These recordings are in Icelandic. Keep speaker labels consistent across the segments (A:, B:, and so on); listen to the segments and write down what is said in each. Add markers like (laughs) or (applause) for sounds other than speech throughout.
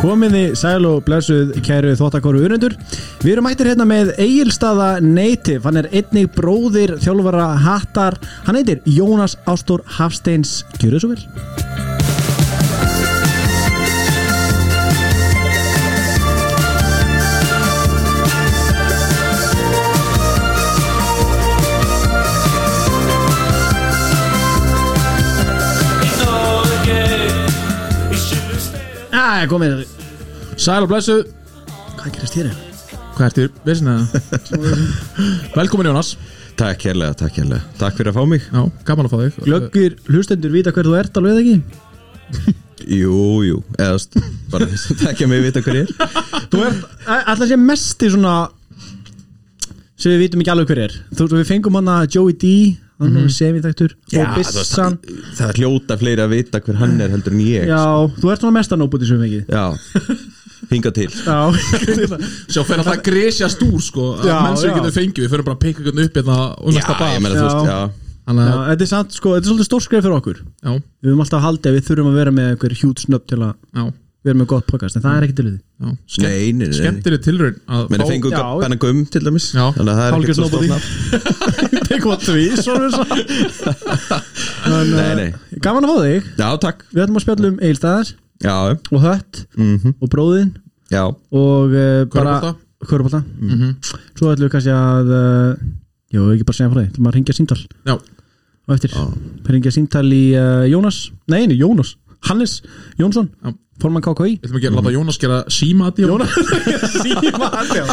A: Komiði sæl og blessuð kæru þóttakoru unnendur. Við erum mættir hérna með Egilstaða Native, hann er einnig bróðir þjálfara hattar, hann heitir Jónas Ástór Hafsteins, gjör þið svo vel? Æ, komið,
B: Sæl og blessu
A: hvað gerist þér? eiginlega?
B: Hvað ertu? Vissin eða? Velkomin Jónas
C: Takk hérlega, takk hérlega Takk fyrir að fá mig
B: Já, gaman að fá þig
A: Glöggir hlustendur vita hver þú ert alveg eða ekki?
C: Jú, jú, eða st- (laughs) bara þess að takja mig vita hver ég er
A: Þú ert alltaf sé mest í svona sem við vitum ekki alveg hver er. Þú veist, við fengum hann að Joey D, hann mm -hmm. semiþæktur, og
C: þú veist,
A: Bissan.
C: það- Það er hljóta fleiri að vita hver hann er heldur en ég
A: Já, þú ert svona mestan óbútið sem við ekki.
C: Já, hinga til
A: Já,
B: Sjá, fyrir alltaf að gresja stúr sko
A: Já,
B: Menn sem
A: já.
B: getur fengið Við fyrir bara að peka hvernig upp hérna og
C: Já,
B: næsta bað
C: ég meina þú veist, já
B: Þannig
A: Já,
B: að,
A: þetta er samt, sko, þetta er svolítið stór skref fyrir okkur
B: já,
A: Við höfum alltaf haldið að við þurfum að vera með einhver hjút snöpp til að
B: já,
A: vera með gott podcast, en það er ekki til við
B: já
C: Nei, nei, nei.
B: Skemmtileg tilraun að
C: Menni
B: fá-
C: fengu
A: já.
C: benna gum til dæmis
B: Já.
C: Þannig að það er
A: Hálfgjörn
C: ekkert svo
A: nobody.
C: stofna
A: (laughs) Take what we, svona er svo en,
C: Nei, nei.
A: eh, Gaman að fá þig,
C: Já, takk
A: við ætlum að spjalla um Egilstaðar
C: Já,
A: og Hött
C: mhm,
A: og Bróðin
C: já
A: og uh, bara
B: Körfubolta. Mhm.
A: Körbólta Svo ætlum við kannski að uh, Jó, ekki bara segja frá því, ætlum að ringja símtal
B: Já,
A: og eftir,
C: Já.
A: ringja símtal í uh, Jónas Nei, nei, Jónas, Hannes Jónsson,
B: Já.
A: formann KKI
B: við ætlum ekki að láta Jónas gera síma að Jónas
A: Jónas Síma Andjá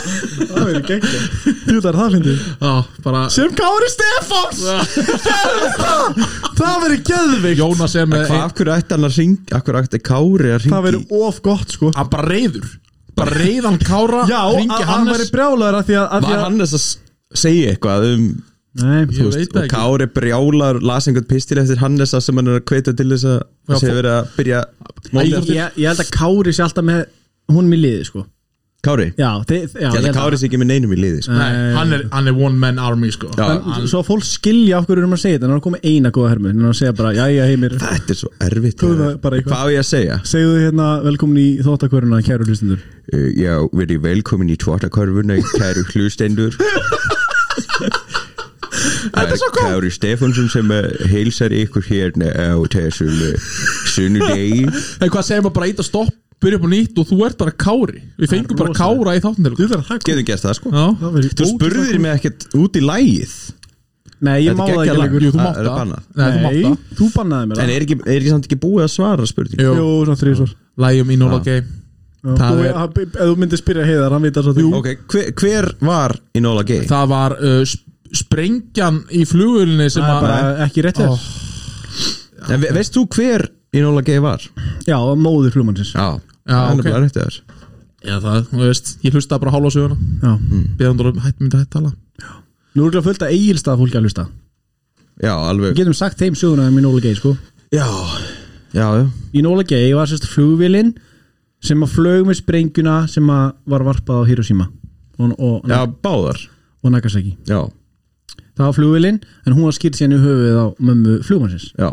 A: Það verður geggja Þú þar það fyndið
B: Já, bara
A: Sem Kári Stefáns Gerðu það Það verður geðvig
B: Jónas er með
C: Hvað, af hverju ætti hann að ringi, af hverju ætti Kári að
A: Það
C: ringi
A: verður of gott sko
B: Hann bara reyður Bara reyðan kára
A: Já, að
B: hringi
A: hann verður
B: Hannes
A: brjálaður af því að, að,
C: Var hann þess að s- segja eitthvað um
A: Nei
B: Ég
C: Þú veist,
B: veit það
C: og
B: ekki.
C: Kári brjálar las einhvern pistil eftir Hannesa sem hann er að kveita til þess að
B: Já,
C: það sé
B: fó-
C: verið að byrja
B: Æ,
C: mótið.
A: ég, ég held að Kári sé alltaf með Hún í liði sko
C: Kári, ég
A: Já, þið, já
C: held að Kári sé ekki með neinum í liði sko.
B: Nei, hann er, hann er one man army sko
C: Já.
A: En, Svo að fólk skilja okkur um að segja þetta Þannig að koma með eina góða hermu Þannig að segja bara Jæja heimir
C: Þetta er svo erfitt
A: Prófum það bara eitthvað.
C: Hvað á ég að segja?
A: Segðu hérna velkomin í þóttakvöruna Kæru hlustundur
C: Uh, Já, verið velkomin í tvartakörfuna Kæru hlustendur Það er Kári Stefánsson sem eh, heilsar ykkur hérna á þessum eh, sunnudegi
B: Nei, hvað segir maður bara eitt að stopp, byrja upp á nýtt og þú ert bara kári Við fengum bara
A: rosalegt.
B: kára í þáttin til
A: þarf að
C: Getum gert það sko
B: Já,
C: Þú spurðir mig ekkert út í lægið
A: Nei, ég
C: Þetta
A: má
C: er
A: það
C: geggjað
A: ekki
C: lag.
A: lengur
B: jú, þú
C: Það
B: mátt
C: er
B: það
C: bannað.
B: Nei, þú mátt það
A: þú bannaði mér
C: En
A: það
C: er ekki, er ekki samt ekki búið að svara spurningu?
A: Jú,
B: Jú,
A: svona þrísvar
B: lægjum í Nóla Game Það
A: Og
B: er-
A: hann- ef þú myndir spyrja heiðar, hann vita svo því
C: Ok, hver, hver var Inola Gay?
B: Það var uh, sp- sprengjan í flugulinni sem
A: Það er
B: að
A: bara ekki rétt þér
B: Ó.
C: En ve veist þú hver Inola Gay var?
A: Já, móður flugmannsins Já,
C: Já,
B: Já,
C: hann
B: ok.
C: er bara rétt þér
B: Já, það, þú veist, ég hlusta bara hálfa söguna Mm.
A: nú
B: Beðandur hætt myndi að hætt tala
A: er ekki fullt að eigilstað fólki að hlusta
C: Já,
A: Við
C: alveg
A: getum sagt þeim söguna um í Nóla Gay, sko
C: Já, já, já
A: Í Nóla Gay var sérst flugvélinn sem að flög með sprengjuna sem að var varpað á Hiroshima og, og,
C: Já, báðar
A: og Nagasaki
C: Já,
A: Það var flugvélinn, en hún var skýrt sérni höfuð á mömmu flugmannsins
C: já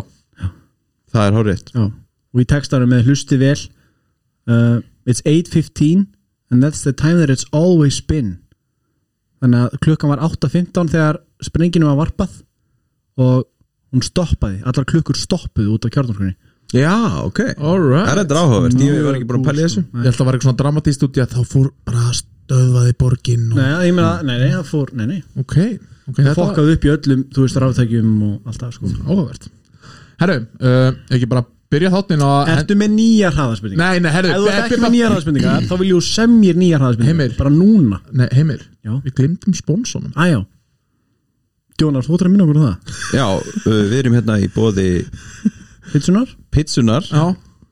C: Það er hórið
A: Já, og í textanum með hlusti vel uh, It's 8.15 and that's the time that it's always been Þannig að klukkan var 8.15 þegar sprenginu var varpað og hún stoppaði, allar klukkur stoppuðu út af kjarnorkunni
C: Já, ok Það
B: Alright
C: er þetta áhugavert, ég var ekki búin að pæla í þessu
B: Ég held að það var eitthvað svona dramatíst út í að þá fór bara stöðvaði borgin og...
A: Nei, ég meina, nei, nei, það fór, nei, nei
B: Ok, ok, Mm. þetta var
A: Fokkaði upp í öllum, þú veist, ráftækjum og allt það, sko
B: áhugavert Herru, uh, ekki bara byrja þáttin og
A: Ertu með nýjar hraðarspendingar?
B: Nei, nei, herru
A: Ef þú ert ekki með nýjar hraðarspendingar, þá vil ég semjir nýjar hraðarspendingar
B: Heimir.
A: Bara núna
B: Nei, heimir,
A: Já.
B: við glemdum spónsónum
A: Æjá Jónar, þú ætlar að minna okkur á það
C: Já, uh, við erum hérna í bóði
A: Hitsunar?
C: Pitsunar
B: Já,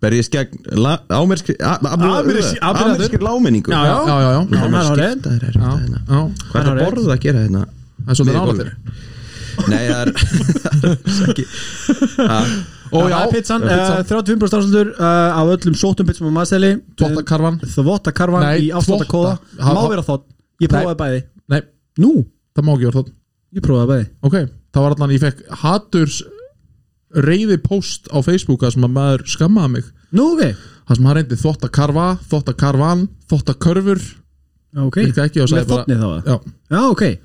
C: Berjist gegn la- ámerskri a- a-
A: Ameríski-
C: Amerískri lámenningu
A: Já,
B: já, já, já, já,
A: Já, það er hárrétt.
C: Það er erfitt
B: já,
C: að hérna
B: já.
C: Hvað er
A: það er
C: að borða að gera hérna?
B: Það er svolítið
C: Miðgólfið.
B: nálægt
C: Nei, það er Sæki
B: Og já,
A: það er pizzan,
B: pizzan.
A: uh, 35% afslutur uh, af öllum sóttum pizzum Eh, á maðurstæli
B: Þvottakarfan
A: Þvotta karvan
B: Nei,
A: í ástætta kóða
B: þvotta. Ha-
A: Má
B: ha-
A: vera þótt, ég
B: Nei.
A: prófaði bæði
B: Nei,
A: Nú,
B: það má ekki vera það
A: ég prófaði bæði
B: Ok, það var allan, ég fekk haturs reyði post á Facebooka sem að maður skammaði mig
A: Nú, ok,
B: það sem hann reyndi þvotta karva, þvotta karvan þvotta körfur,
A: ok
B: virka ekki og sagði
A: Með þotni þá eða?
B: já,
A: Já, ok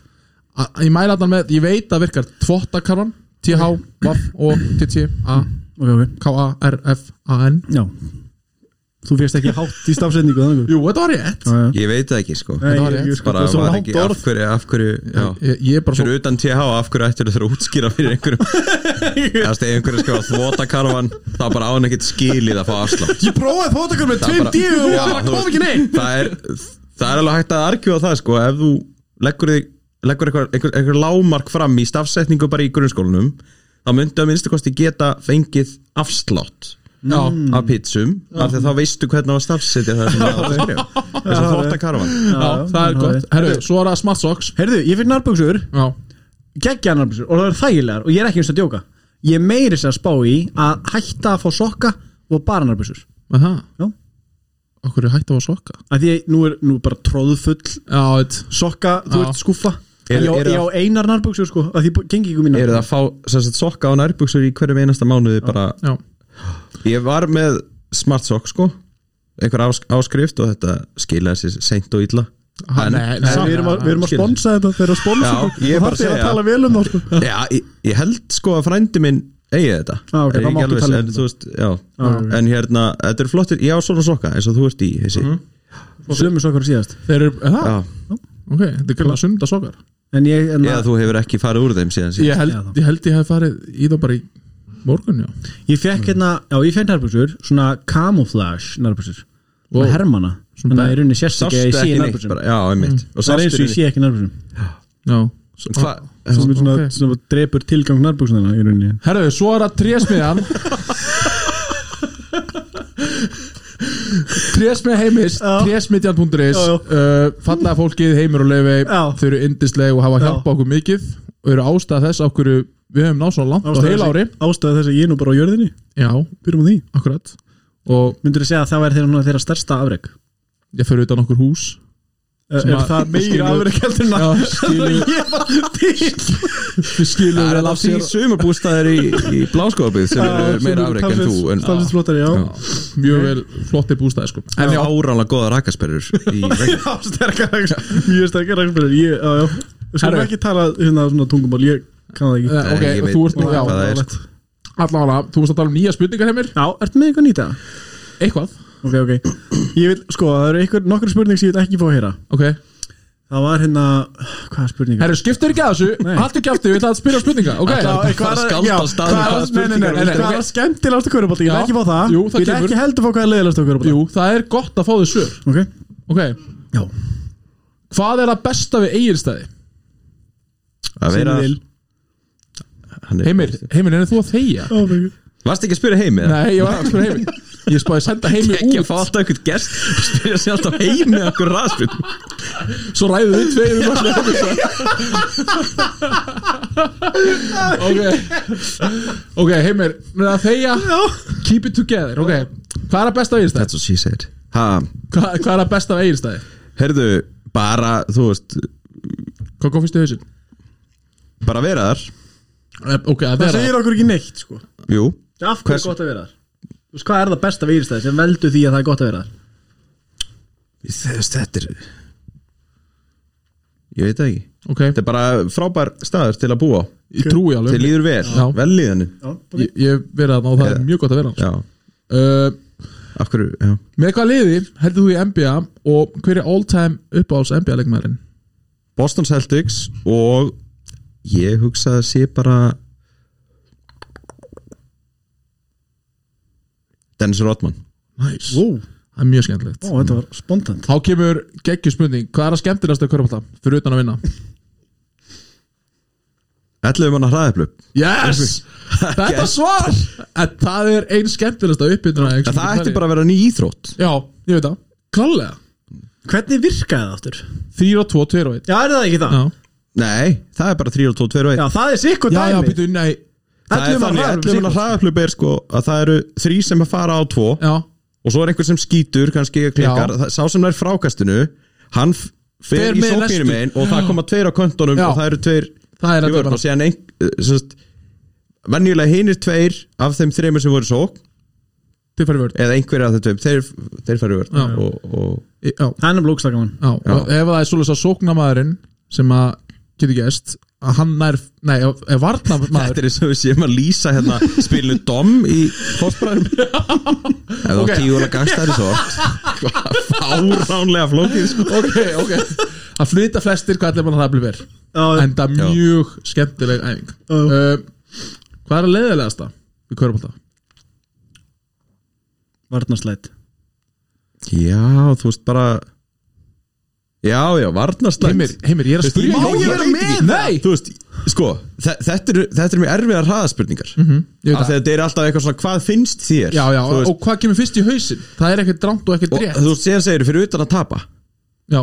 B: A- ég mæla þetta með, ég veit að virkar þvotta karvan, TH, VAF og TT, A,
A: Ok, ok
B: K, A, R, F, A, N
A: Já Þú fyrst ekki hátt í stafsetningu þannig
B: Jú, þetta var rétt
A: Já, já.
C: Ég veit það ekki sko
A: Nei,
B: var
A: ég-
B: rétt,
A: ég- sko,
C: bara
A: það er svo
C: var
A: langt
C: ekki
A: orð
C: af hverju, af hverju já.
B: ég, ég er bara svo
C: fyrir utan TH, af hverju ættir þú að útskýra fyrir
A: (laughs)
C: einhverjum eða stegi einhverju sko þvotakarvan, það er bara án ekkert skilið að fá afslátt
B: Ég prófaði þvóttakar með
C: Það bara- Já, þú veist, það er, það er alveg hægt að argjúa það sko ef þú leggur, þig- leggur einhver, einhver, einhver lámark fram í stafsetningu bara í grunnskólanum þá myndi að minnstu kosti geta fengið afslátt
B: Já,
A: Mm, Hmm.
C: af pizzum af því að þá veistu hvernig það var stafsetja það sem það var að
A: (laughs)
C: skrifa þess að þvotakarvan
B: já,
A: já,
B: það er
A: já,
B: gott
A: já.
B: Herru, svo er það smart socks
A: Heyrðu, ég finn nærbuksur
B: Já,
A: geggja nærbuksur og það er þægilegar og ég er ekki eins að djóka Ég meiri sér að spá í að hætta að fá sokka og bara nærbuksur
B: aha
A: Já.
B: Okkur er hægt að sokka
A: Af því að nú er nú er bara tróðfull
B: Já, veit
A: sokka, þú
B: Já.
A: ert skúffa Ég
C: Eru-
A: á-
C: eru-
A: ég á einar nærbuksur sko að því b- gengi ekki um mínar
C: eru það að fá sem sagt, sokka á nærbuksur í hverjum einasta mánuði bara
B: Já,
C: Ég var með smart sock sko einhver ás áskrift og þetta skilaði sér seint og illa
B: Ha, nei, nei.
A: Nei, Við erum að, við erum að
C: Skil.
A: sponsa þetta, þeir eru að sponsa
C: Já,
A: okkur
C: ég er
A: og
C: bara að
A: það er að
C: segja.
A: tala vel um það sko.
C: Já, ég, ég held sko að frændi minn eigi þetta
A: Já, ok,
C: Er ég
A: þá
C: ekki
A: máttu
C: alveg
A: tala um
C: viss, en,
A: þetta.
C: þú veist, já,
A: ok.
C: en hérna, þetta er flottir ég á svona sokka eins og þú ert í þessi
A: Sömu sokkar og síðast
B: Þeir eru, er það?
C: Já,
B: Ok, þetta er kallar sunda sokkar
A: En ég, en
C: eða þú hefur ekki farið úr þeim síðan síðan
B: Ég
A: Já,
B: held,
A: þá.
B: ég held ég hef farið í það bara í morgun, já
A: ég fekk hérna Já, ég fekk nærbuksur, svona camouflage nærbuksur
B: Wow.
A: Og hermana Þannig að ég runni sérst
C: Sástu
A: ekki að ég sé
C: ekki
A: í
C: neitt
A: nærbuksum
C: bara, já, einmitt
A: Það
C: Og
A: er
C: sástu
A: eins og ég
C: ekki-
A: sé ekki nærbuksum
B: Já
C: Hva-
A: Sem er svona,
B: ok.
A: svona drepur tilgang nærbuksuna í runni
B: Herru, svo er það (laughs) trésmiðan Trésmið heimist
A: Já.
B: trésmiðjan.is
A: Já, já.
B: uh, Fallega fólkið, heimur og lefi
A: Já.
B: Þau eru yndisleg og hafa
A: Já.
B: hjálpa okkur mikið og eru ástæða þess af hverju við höfum náð svo langt á heil ári
A: Ástæða þess að ég er nú bara á jörðinni
B: Já,
A: Byrjum á því
B: akkurat og
A: Myndur þú segja að það væri þeirra, þeirra stærsta afreg
B: ég fyrir utan okkur hús Sem
A: Eh, Er
B: að-
A: það meira
B: skilur-
A: afreg heldur en
B: Já,
A: að
B: skilur, (laughs)
A: Ég er bara til
B: við skilum
C: Það
B: vel
C: er það
B: af
C: því
B: sér
C: sumabústæðir í, í bláskófið sem eru meira afrek en þú en
A: Stafsins flottari, já
B: mjög vel flottir bústæði sko. en já,
C: áránlega goða rakasperur í vegg
A: Já, sterkar rangsbyrður Mjög sterkar rangsbyrður Ég, já, já Við skulum
B: Herru.
A: ekki tala hérna svona tungumál Ég kann það ekki
B: eh, ok,
C: Ég veit
B: þú ert nú
C: hvað það
B: já,
C: er,
A: lett.
B: allavega, þú veist að tala um nýja spurningar heimir
A: Já, ertu með eitthvað nýta?
B: eitthvað,
A: Ok, ok Ég vil, sko, það eru einhver, nokkur spurning sem ég vil ekki fá að heyra
B: ok
A: Það var hérna, hvaða spurning?
B: Herru, skiptur ekki að þessu,
A: Nei.
B: haldur kjátti, við ætlum að spyrja um spurninga Ok,
A: Já,
B: já,
A: hvað er-
C: að skálda
A: já,
C: af stað
A: hvað er-
C: með hvaða
A: Nei, nei, nei,
C: spurningar
A: nei,
B: eru
A: nei,
B: þetta,
A: Hvað er
B: ok?
A: skemmtilegast að körubólta? Ég vil
B: Já.
A: ekki fá það
B: Jú,
A: Ég
B: það
A: vil
B: kemur.
A: ekki heldur fá hvað er leiðilegast að körubólta
B: jú, það er gott að fá þau svör
A: Ok,
B: Ok,
A: já
B: hvað er það besta við eigirstæði?
C: að vera
A: Sem vil.
C: hann er-
B: Heimir, Heimir, er þú að þegja?
A: Ó, my God.
C: Varstu ekki að spyrja heimi?
B: Nei, ég var ekki að spyrja Heimir Ég spáði senda Heimir
C: ekki að
B: út
C: fá alltaf einhvern gest og spyrja sér alltaf heimi okkur raspinn
B: Svo ræðum við tveir um öllu Heimir Ok Ok, Heimir, með að þegja Keep it together, ok Hvað er að besta við eigirstæði?
C: That's what she said ha,
B: Hvað, hvað er að besta við eigirstæði?
C: Herðu, bara, þú veist
B: Hvað kom fyrst í hausinn?
C: bara vera þar
B: Eh, Ok, að
A: Það
B: vera
A: segir okkur ekki neitt, sko
C: Jú,
A: Af hverju er
C: Hvers-
A: gott að vera þar? Þú veist, hvað er það besta við Írsstæði sem veldur því að það er gott að vera þar?
C: þess, þetta er Ég veit það ekki
B: Ok,
C: Þetta er bara frábær staður til að búa á.
B: ég trúi alveg
C: Þið líður vel,
B: Já.
C: vellíðanum
A: Já, ok.
B: Ég ég hef verið þarna og það er
C: Já.
B: mjög gott að vera þarna
C: Já,
B: uh,
C: af hverju, já
B: Með hvað liði heldur þú í NBA og hver er all time uppáhalds NBA leikmærin?
C: Boston Celtics og ég hugsa að sé bara Dennis Rodman
B: Næs nice.
A: Vó,
B: Það er mjög skemmtilegt
A: ó, þetta var spontant
B: Þá kemur geggju spurning Hvað er að skemmtilegast að körfálta fyrir utan að vinna?
C: 11 manna hraðeflöp (laughs)
B: Yes! Þetta svar! En það er einn skemmtilegast að uppbytuna
C: En það ætti bara að vera ný íþrótt
B: Já, ég veit það Klálega
A: Hvernig virkaði það aftur?
B: 3 og 2, 2 og 1
A: Já, er það ekki það?
B: Já,
C: Nei, það er bara 3 og 2, 2 og 1
A: Já, það er sikkur
B: já,
A: dæmi
B: já býtu, nei
C: Það er þannig, 11 manna hraðeflöp er sko að það eru þrý sem að fara á tvo
B: Já,
C: og svo er einhver sem skýtur, kannski klikkar
B: Já.
C: það, sá sem er frákastinu, hann f-
B: Fer
C: fer í
B: með næstu.
C: sókninu megin og það koma tveir á köntunum
B: Já.
C: og það eru tveir
B: það er
C: í vörn og síðan ein, eh, sem sagt, venjulega hinir tveir af þeim þreymur sem voru í sókn
B: þeir fara í vörn
C: eða einhverja af þeir tveim, þeir, þeir fara í vörn
B: Já.
C: og, og
B: Í- Já,
A: hann er blókstaka mann
B: já, og ef það er svolítið að sóknamaðurinn sem að getur gæst að hann nær, nei, ef ef
C: Þetta
B: varnamaður
C: er eins og við séum að lýsa hérna spilinu Dom í fósbræðum Það var
B: Ok.
C: okay. tígulega gangstæri svo (laughs) Fáránlega flókið sko.
B: (laughs) ok, ok að flyta flestir hvað allir mann að það blir verð
A: já,
B: enda
C: Já.
B: mjög skemmtileg æfing
A: Já.
B: uh, hvað er að leiðilegast það við körum alltaf
A: varnarslæt
C: Já, þú veist bara Já, já,
B: heimir,
C: varnarstætt
B: heimir, ég er að
C: Veistu,
B: spyrja
C: má ég vera
B: veit
C: með
B: ekki.
C: það?
B: nei,
C: Þú veist, sko, þe- þetta eru þetta er mjög erfiðar hraðaspurningar mm -hmm.
B: Mhm. ég veit það.
C: Þetta er alltaf eitthvað svona, hvað finnst þér?
B: já, já,
C: þú veist,
B: og hvað kemur fyrst í hausin það er ekkert dránt og ekkert
C: og,
B: rétt
C: þú veist, séðan segir fyrir utan að tapa Þú
B: já,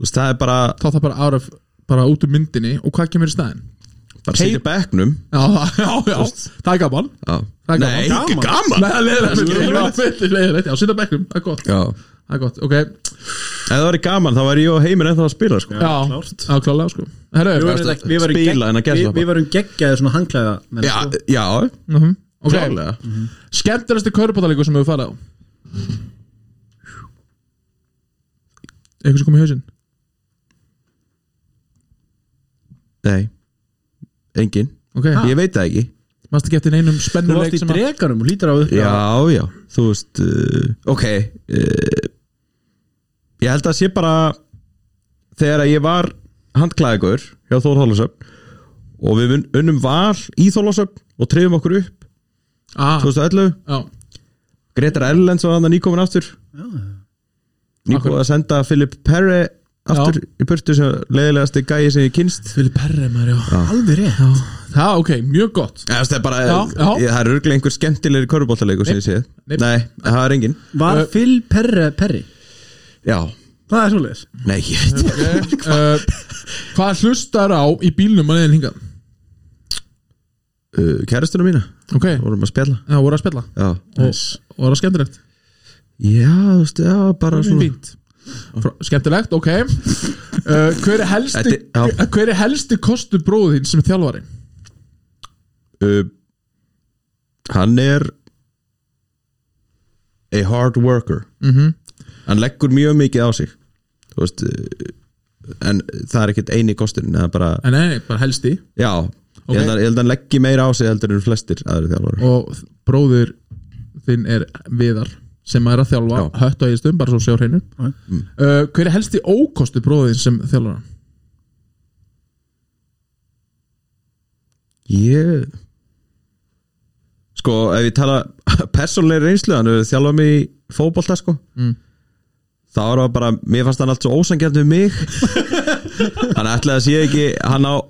C: veist, það er bara,
B: þá það bara áraf bara út um myndinni og hvað kemur í staðin
C: bara sitja í bekknum
B: já, (laughs) já, já, það er gaman
C: Já.
B: Það er
C: Nei,
B: gaman.
C: ekki
B: Nei,
C: gaman
B: það er leiðilegt Þetta er leiðilegt, já, sýnda bekkum, það er gott
C: Já,
B: Það er gott, ok,
C: ef það væri gaman þá væri ég og heimir ennþá að spila sko.
B: já,
A: klárt.
B: já, klálega sko Herru,
A: við varum
C: Spila en að
A: gegg-
C: gæsla
A: við- við varum geggjaði svona hangklæða menn,
C: Já,
A: sko.
C: já,
B: mhm, ok
C: klálega
B: Skemmtilegasti körpáttaleikur sem hefur farið á Eitthvað sem kom í hausinn
C: Nei, engin
B: Ok,
C: Ég veit það ekki
B: mástu gett inn einum
A: þú
B: spennuleik
A: varst í
B: sem að
A: dreganum og lítur á upp
C: Já, já, þú veist uh, Ok uh, Ég held að sé bara Þegar að ég var handklæðigur Hjá Þór Þólasöfn Og við vun- unnum val í Þólasöfn Og trefum okkur upp
B: Ah,
C: 2011
B: já,
C: Gretar Erlends var hann að nýkomin aftur Nýkomin að senda Philip Perre Aftur í burtu sem leiðilegasti gæi sem ég kynst
B: Fili Perre maður, já
A: alveg rétt
B: Já, það, ok, mjög gott (laughs)
C: Eða, þú veist, Það er bara,
B: Já, já.
C: Ég, það er örglega einhver skemmtilegri körubóltaleikur sem ég séð
B: Nei.
C: Nei, það er engin
A: var
B: Ö-
A: Phil Perre Perri
C: Já,
A: það er svoleiðis
C: nei, ég veit það
B: uh, Hvað hlustar á í bílnum að leiðin hingað?
C: uh, Kæristuna mína,
B: Ok,
C: vorum að spjalla
B: það voru að spilla
C: Já,
B: og, og var það skemmtilegt
C: já þú veist, já, bara svona
B: Fínt Frá- Skemmtilegt, ok uh, hver, er helsti,
C: Þetta- já.
B: hver er helsti kostu bróðu þín sem er þjálfari?
C: uh, Hann er a hard worker
B: Mhm.
C: Hann leggur mjög mikið á sig Þú veist uh, En það er ekkert eini kosturinn eða bara,
B: En Eh, nei, nei, bara helsti
C: Já,
B: Ok.
C: ég, held að, ég held að hann leggi meira á sig heldur en flestir aðri þjálfari
B: og bróður þinn er Viðar sem er að þjálfa
C: Já. Mm.
B: hött og eðistum, bara svo sjá hreinu
A: Já.
B: uh, hver er helsti ókostu bróður þinn sem þjálfara?
C: Ég Sko, ef ég tala (laughs) persónlega reynslu, hann hefur þjálfað mig í fótbolta sko
B: Mm.
C: þá er það bara, mér fannst hann allt svo ósangjant við mig (laughs) hann ætlaði að sé ekki hann á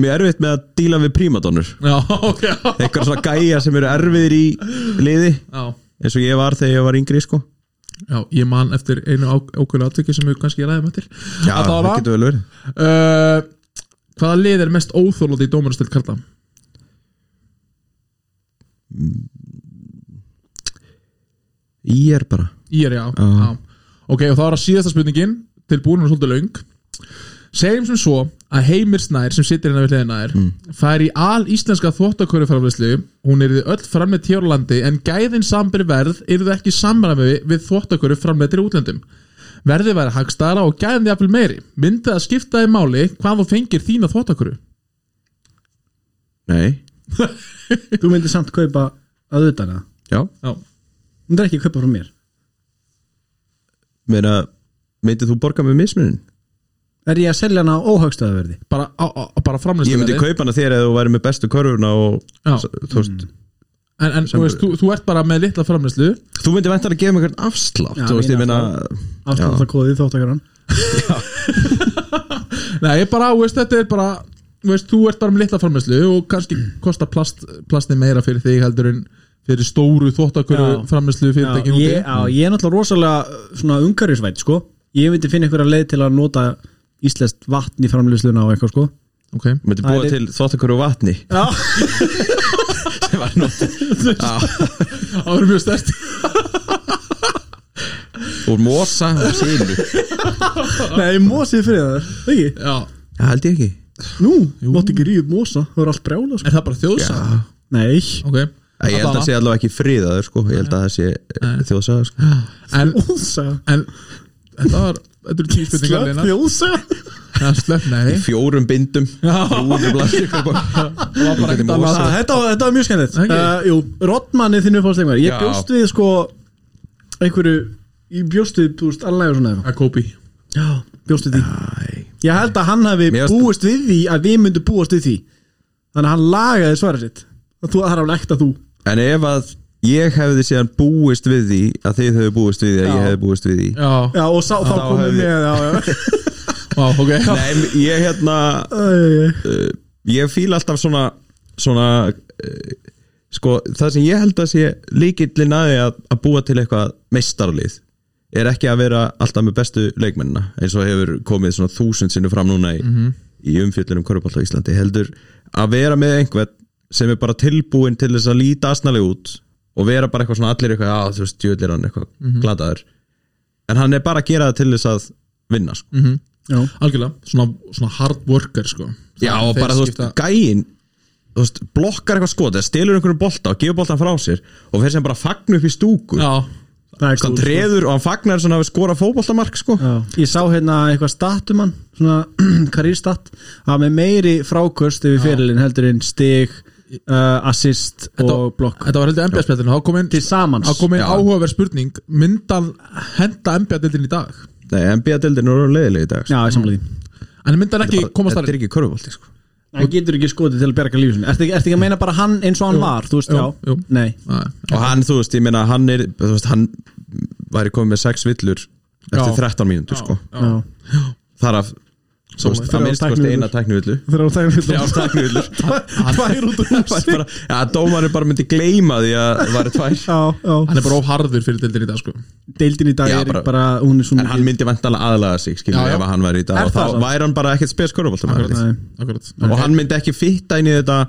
C: mjög erfitt með að díla við prímadónur
B: já, ok já.
C: einhver svona gæja sem eru erfiðir í liði eins og ég var þegar ég var yngri sko
B: já, ég man eftir einu ákveðlega atviki sem við kannski ræðum eftir
C: Já,
B: Alla
C: það
B: vega.
C: getur vel verið
B: uh, hvaða lið er mest óþólandi í dómarastil Karla?
C: Ég er bara
B: Ég er já, já. ok, og þá er að síðasta spurningin tilbúin hún er svolítið löng segjum sem svo að Heimir Snær sem situr hérna við hliðina þær mm. fær í al íslenska þvottaköruframleyslu hún er öll framleitt hér á landi en gæðin sambir verð eru það ekki í samræmi við þvottaköru framleittir útlöndum verðið væri hagstara og gæðin því afil meiri myndið að skipta í máli hvað þú fengir þína þvottaköru
C: Nei,
A: þú myndir samt kaupa að utan að
C: já,
B: já,
A: þú myndir ekki kaupa frá mér
C: meina myndið þú borga með mismunin?
A: er ég að selja hana á óhagstöðaverði
B: bara, á, á, bara
C: Ég
B: framleyslu
C: myndi kaupa hana þér eða þú væri með bestu körfuna og
B: Já.
C: þú veist
B: en, en þú, veist, þú, þú ert bara með litla framleyslu
C: Þú myndir væntanlega að gefa mig einhvern afslátt
A: Já,
C: Þú veist, ég
A: meina
C: meina
A: afslátt að kóðið þóttakaran
B: Nei, bara, veist, þetta er bara veist, þú ert bara með litla framherslu og kannski kostar plast, plasti meira fyrir þig heldur en fyrir stóru þvóttakuru
A: Já.
B: framherslu
A: Já,
B: fyrirtækin
A: ég, já, ég er náttúrulega rosalega uh, svona ungarisvætt sko Ég myndi finna einhverja leið til að nota íslenskt vatn í framlýsluna og eitthvað sko
B: okay.
C: Myndi
A: Það
C: búa
A: er-
C: til þvóttakur og vatni
A: Já,
C: sem var nóttur Já,
B: Það verður mjög stærst
C: Úr mosa og sílu
A: nei, mósið fyrir það, ekki?
B: Já,
C: Já, held ég ekki
A: Nú, mátt ekki ríðið mosa, það er allt brjála sko
B: er það bara þjóðsag?
A: Nei,
B: Ok,
C: Ég held að
B: Allavega.
C: það sé allavega ekki friðaður sko. Ég held að það sé þjóðsaga sko.
B: en,
A: Þjóðsaga
B: en þetta var þetta eru tíu spurningar
A: Slöpp
B: Lena.
A: þjóðsaga
B: Ja, slöpp, nei
C: Fjórum bindum
B: Já.
C: 300 (laughs) blaðsíður, eitthvað bara.
B: það var bara ekkert annað
A: Þetta, Ah, þetta, var- þetta var mjög skemmtilegt
B: Ekki?
A: uh, Jú, Rottmanni þinn uppáðsleikmar Ég
C: Já.
A: bjóst við sko einhverju, ég bjóst við, þú veist, allavega svona eitthvað.
B: að kópi
A: Já, bjóst við því Ég held að hann hafi
C: Mér varst-
A: búist við því að við myndum búast við því Þannig að hann lagaði svarið sitt Það þú- það er alveg ekkert að þú
C: En ef að ég hefði síðan búist við því að þið hefðu búist við því að
A: Já.
C: ég hefði búist við því
B: já,
A: Já, og sá, þá
C: Þá
A: komum
C: hefði-
A: við með Já, já
B: (laughs) já, ok
C: Nei, em- ég hérna
A: Æ, æ, æ.
C: uh, Ég fíla alltaf svona svona uh, sko, það sem ég held að sé líkillin að því að, að búa til eitthvað meistarlið er ekki að vera alltaf með bestu leikmennina eins og hefur komið svona þúsund sinni fram núna í, í umfjöllunum Körubolt á Íslandi heldur að vera með einhvern sem er bara tilbúin til þess að líta asnalegi út og vera bara eitthvað svona allir eitthvað að þú veist, djöðlir hann eitthvað glataður en hann er bara að gera það til þess að vinna sko.
A: Já.
B: algjörlega, svona, svona hard worker sko.
C: Já og
B: Þeir
C: bara þú veist
B: skipta-
C: gæinn þú veist, blokkar eitthvað skot eða stelur einhverjum bolta og gefur boltan frá sér og fyrir sem bara fagnu upp í stúku
B: já,
A: Það er
C: Þannig
A: kúl,
C: hann
A: sko.
C: treður og hann fagnar sem hafi skorað fótboltamark sko.
A: Já, ég sá hérna eitthvað statum hann svona (clears throat) karýrstat að með meiri frákvörst yfir fyrirlin heldur en stig, uh, assist og blokk
B: þetta var heldur NBA-spjallinu þá kom inn,
A: til samans
B: þá kom inn
C: Já.
B: áhugaverð spurning myndan henda NBA-dildin í dag
C: Nei, NBA-deldin eru leiðilega í dag sko.
A: Já, ég
B: Mm.
A: samla því
B: en myndan ekki komast
C: Þetta
B: þar
C: er ekki körfubolti sko.
A: Það getur ekki skotið til að berga lífsin Ertu ekki, ertu ekki að meina bara hann eins og hann var, þú veist,
B: jú,
A: já
B: jú.
A: Nei,
B: Nei.
C: og hann, þú veist, ég meina hann er, þú veist, hann væri komið með sex villur eftir
B: Já.
C: 13 mínútur sko.
B: Já.
A: já
C: þar af, þú veist,
A: Þrjár
C: að minnst kosti
A: tæknivillur.
C: eina tæknivillu
A: Þegar hún tækir
C: Já, tæknivillur
B: (laughs)
A: Tvær út úr
C: (laughs) Það er
A: húsi
C: bara- Já, dómarinn bara myndi gleyma því að það væri tvær
A: Já, já
B: hann er bara óharður fyrir dildin í dag sko.
A: Deildin í dag
C: Já,
A: er
C: bara-
A: bara, hún er
C: En
A: svona
C: hann myndi vantanlega aðlaga sig skilur,
B: Já, já.
C: ef að hann væri í dag
A: Er
C: og þá
A: það samt?
C: væri hann bara ekkert spes körfuboltamæður
A: Nei.
B: Akkurat.
C: og hann myndi ekki fitta inn í þetta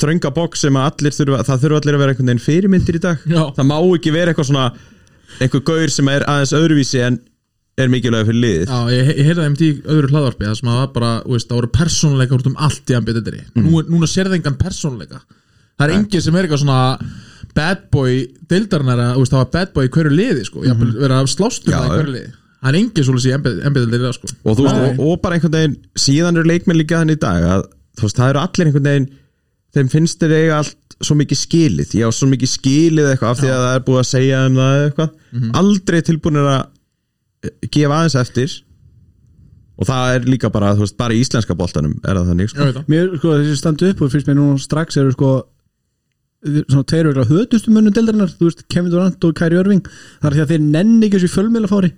C: þrönga bóks sem að allir þurfa það þurfa allir að vera einhvern veginn fyrirmyndir í dag
B: Já.
C: það má ekki vera eitthvað svona einhver gaur sem er aðeins öðruvísi en er mikilvæg fyrir liðið
B: Já, ég, ég heyrði það einmitt í öðru hlaðvarpi það sem að það var bara, þú veist, það voru persónuleika út um allt í ambitendri mm. Nú, er- Núna sérði engan persónuleika Það er engin sem er eitthvað svona bad boy deildarnara, þú veist, það var bad boy í hverju liði, sko, mm -hmm. verið að slástum
C: Mhm. Já,
B: það í hverju liði Það er engin svolítið í ambitendri, sko
C: og, þú veist, og, og bara einhvern veginn síðan eru leikmenn líka þannig í dag að þú veist, það eru allir einhvern veginn þeim finnst þeir eiga allt svo mikið skilið já, svo mikið skilið eitthvað af því að það er búið að segja um það eða eitthvað
B: Mhm.
C: aldrei tilbúinir að eh, gefa aðeins eftir og það er líka bara, þú veist, bara í íslenska boltanum er það þannig,
B: Já,
C: sko
B: veit það
A: Mér, sko, þessi standu upp og fyrst mér núna strax eru sko svona tveir vegla höðustu munum deildarinnar þú veist, Kevin Durant og Kyrie Irving það er því að þeir nenni ekki þessu fjölmiðlafári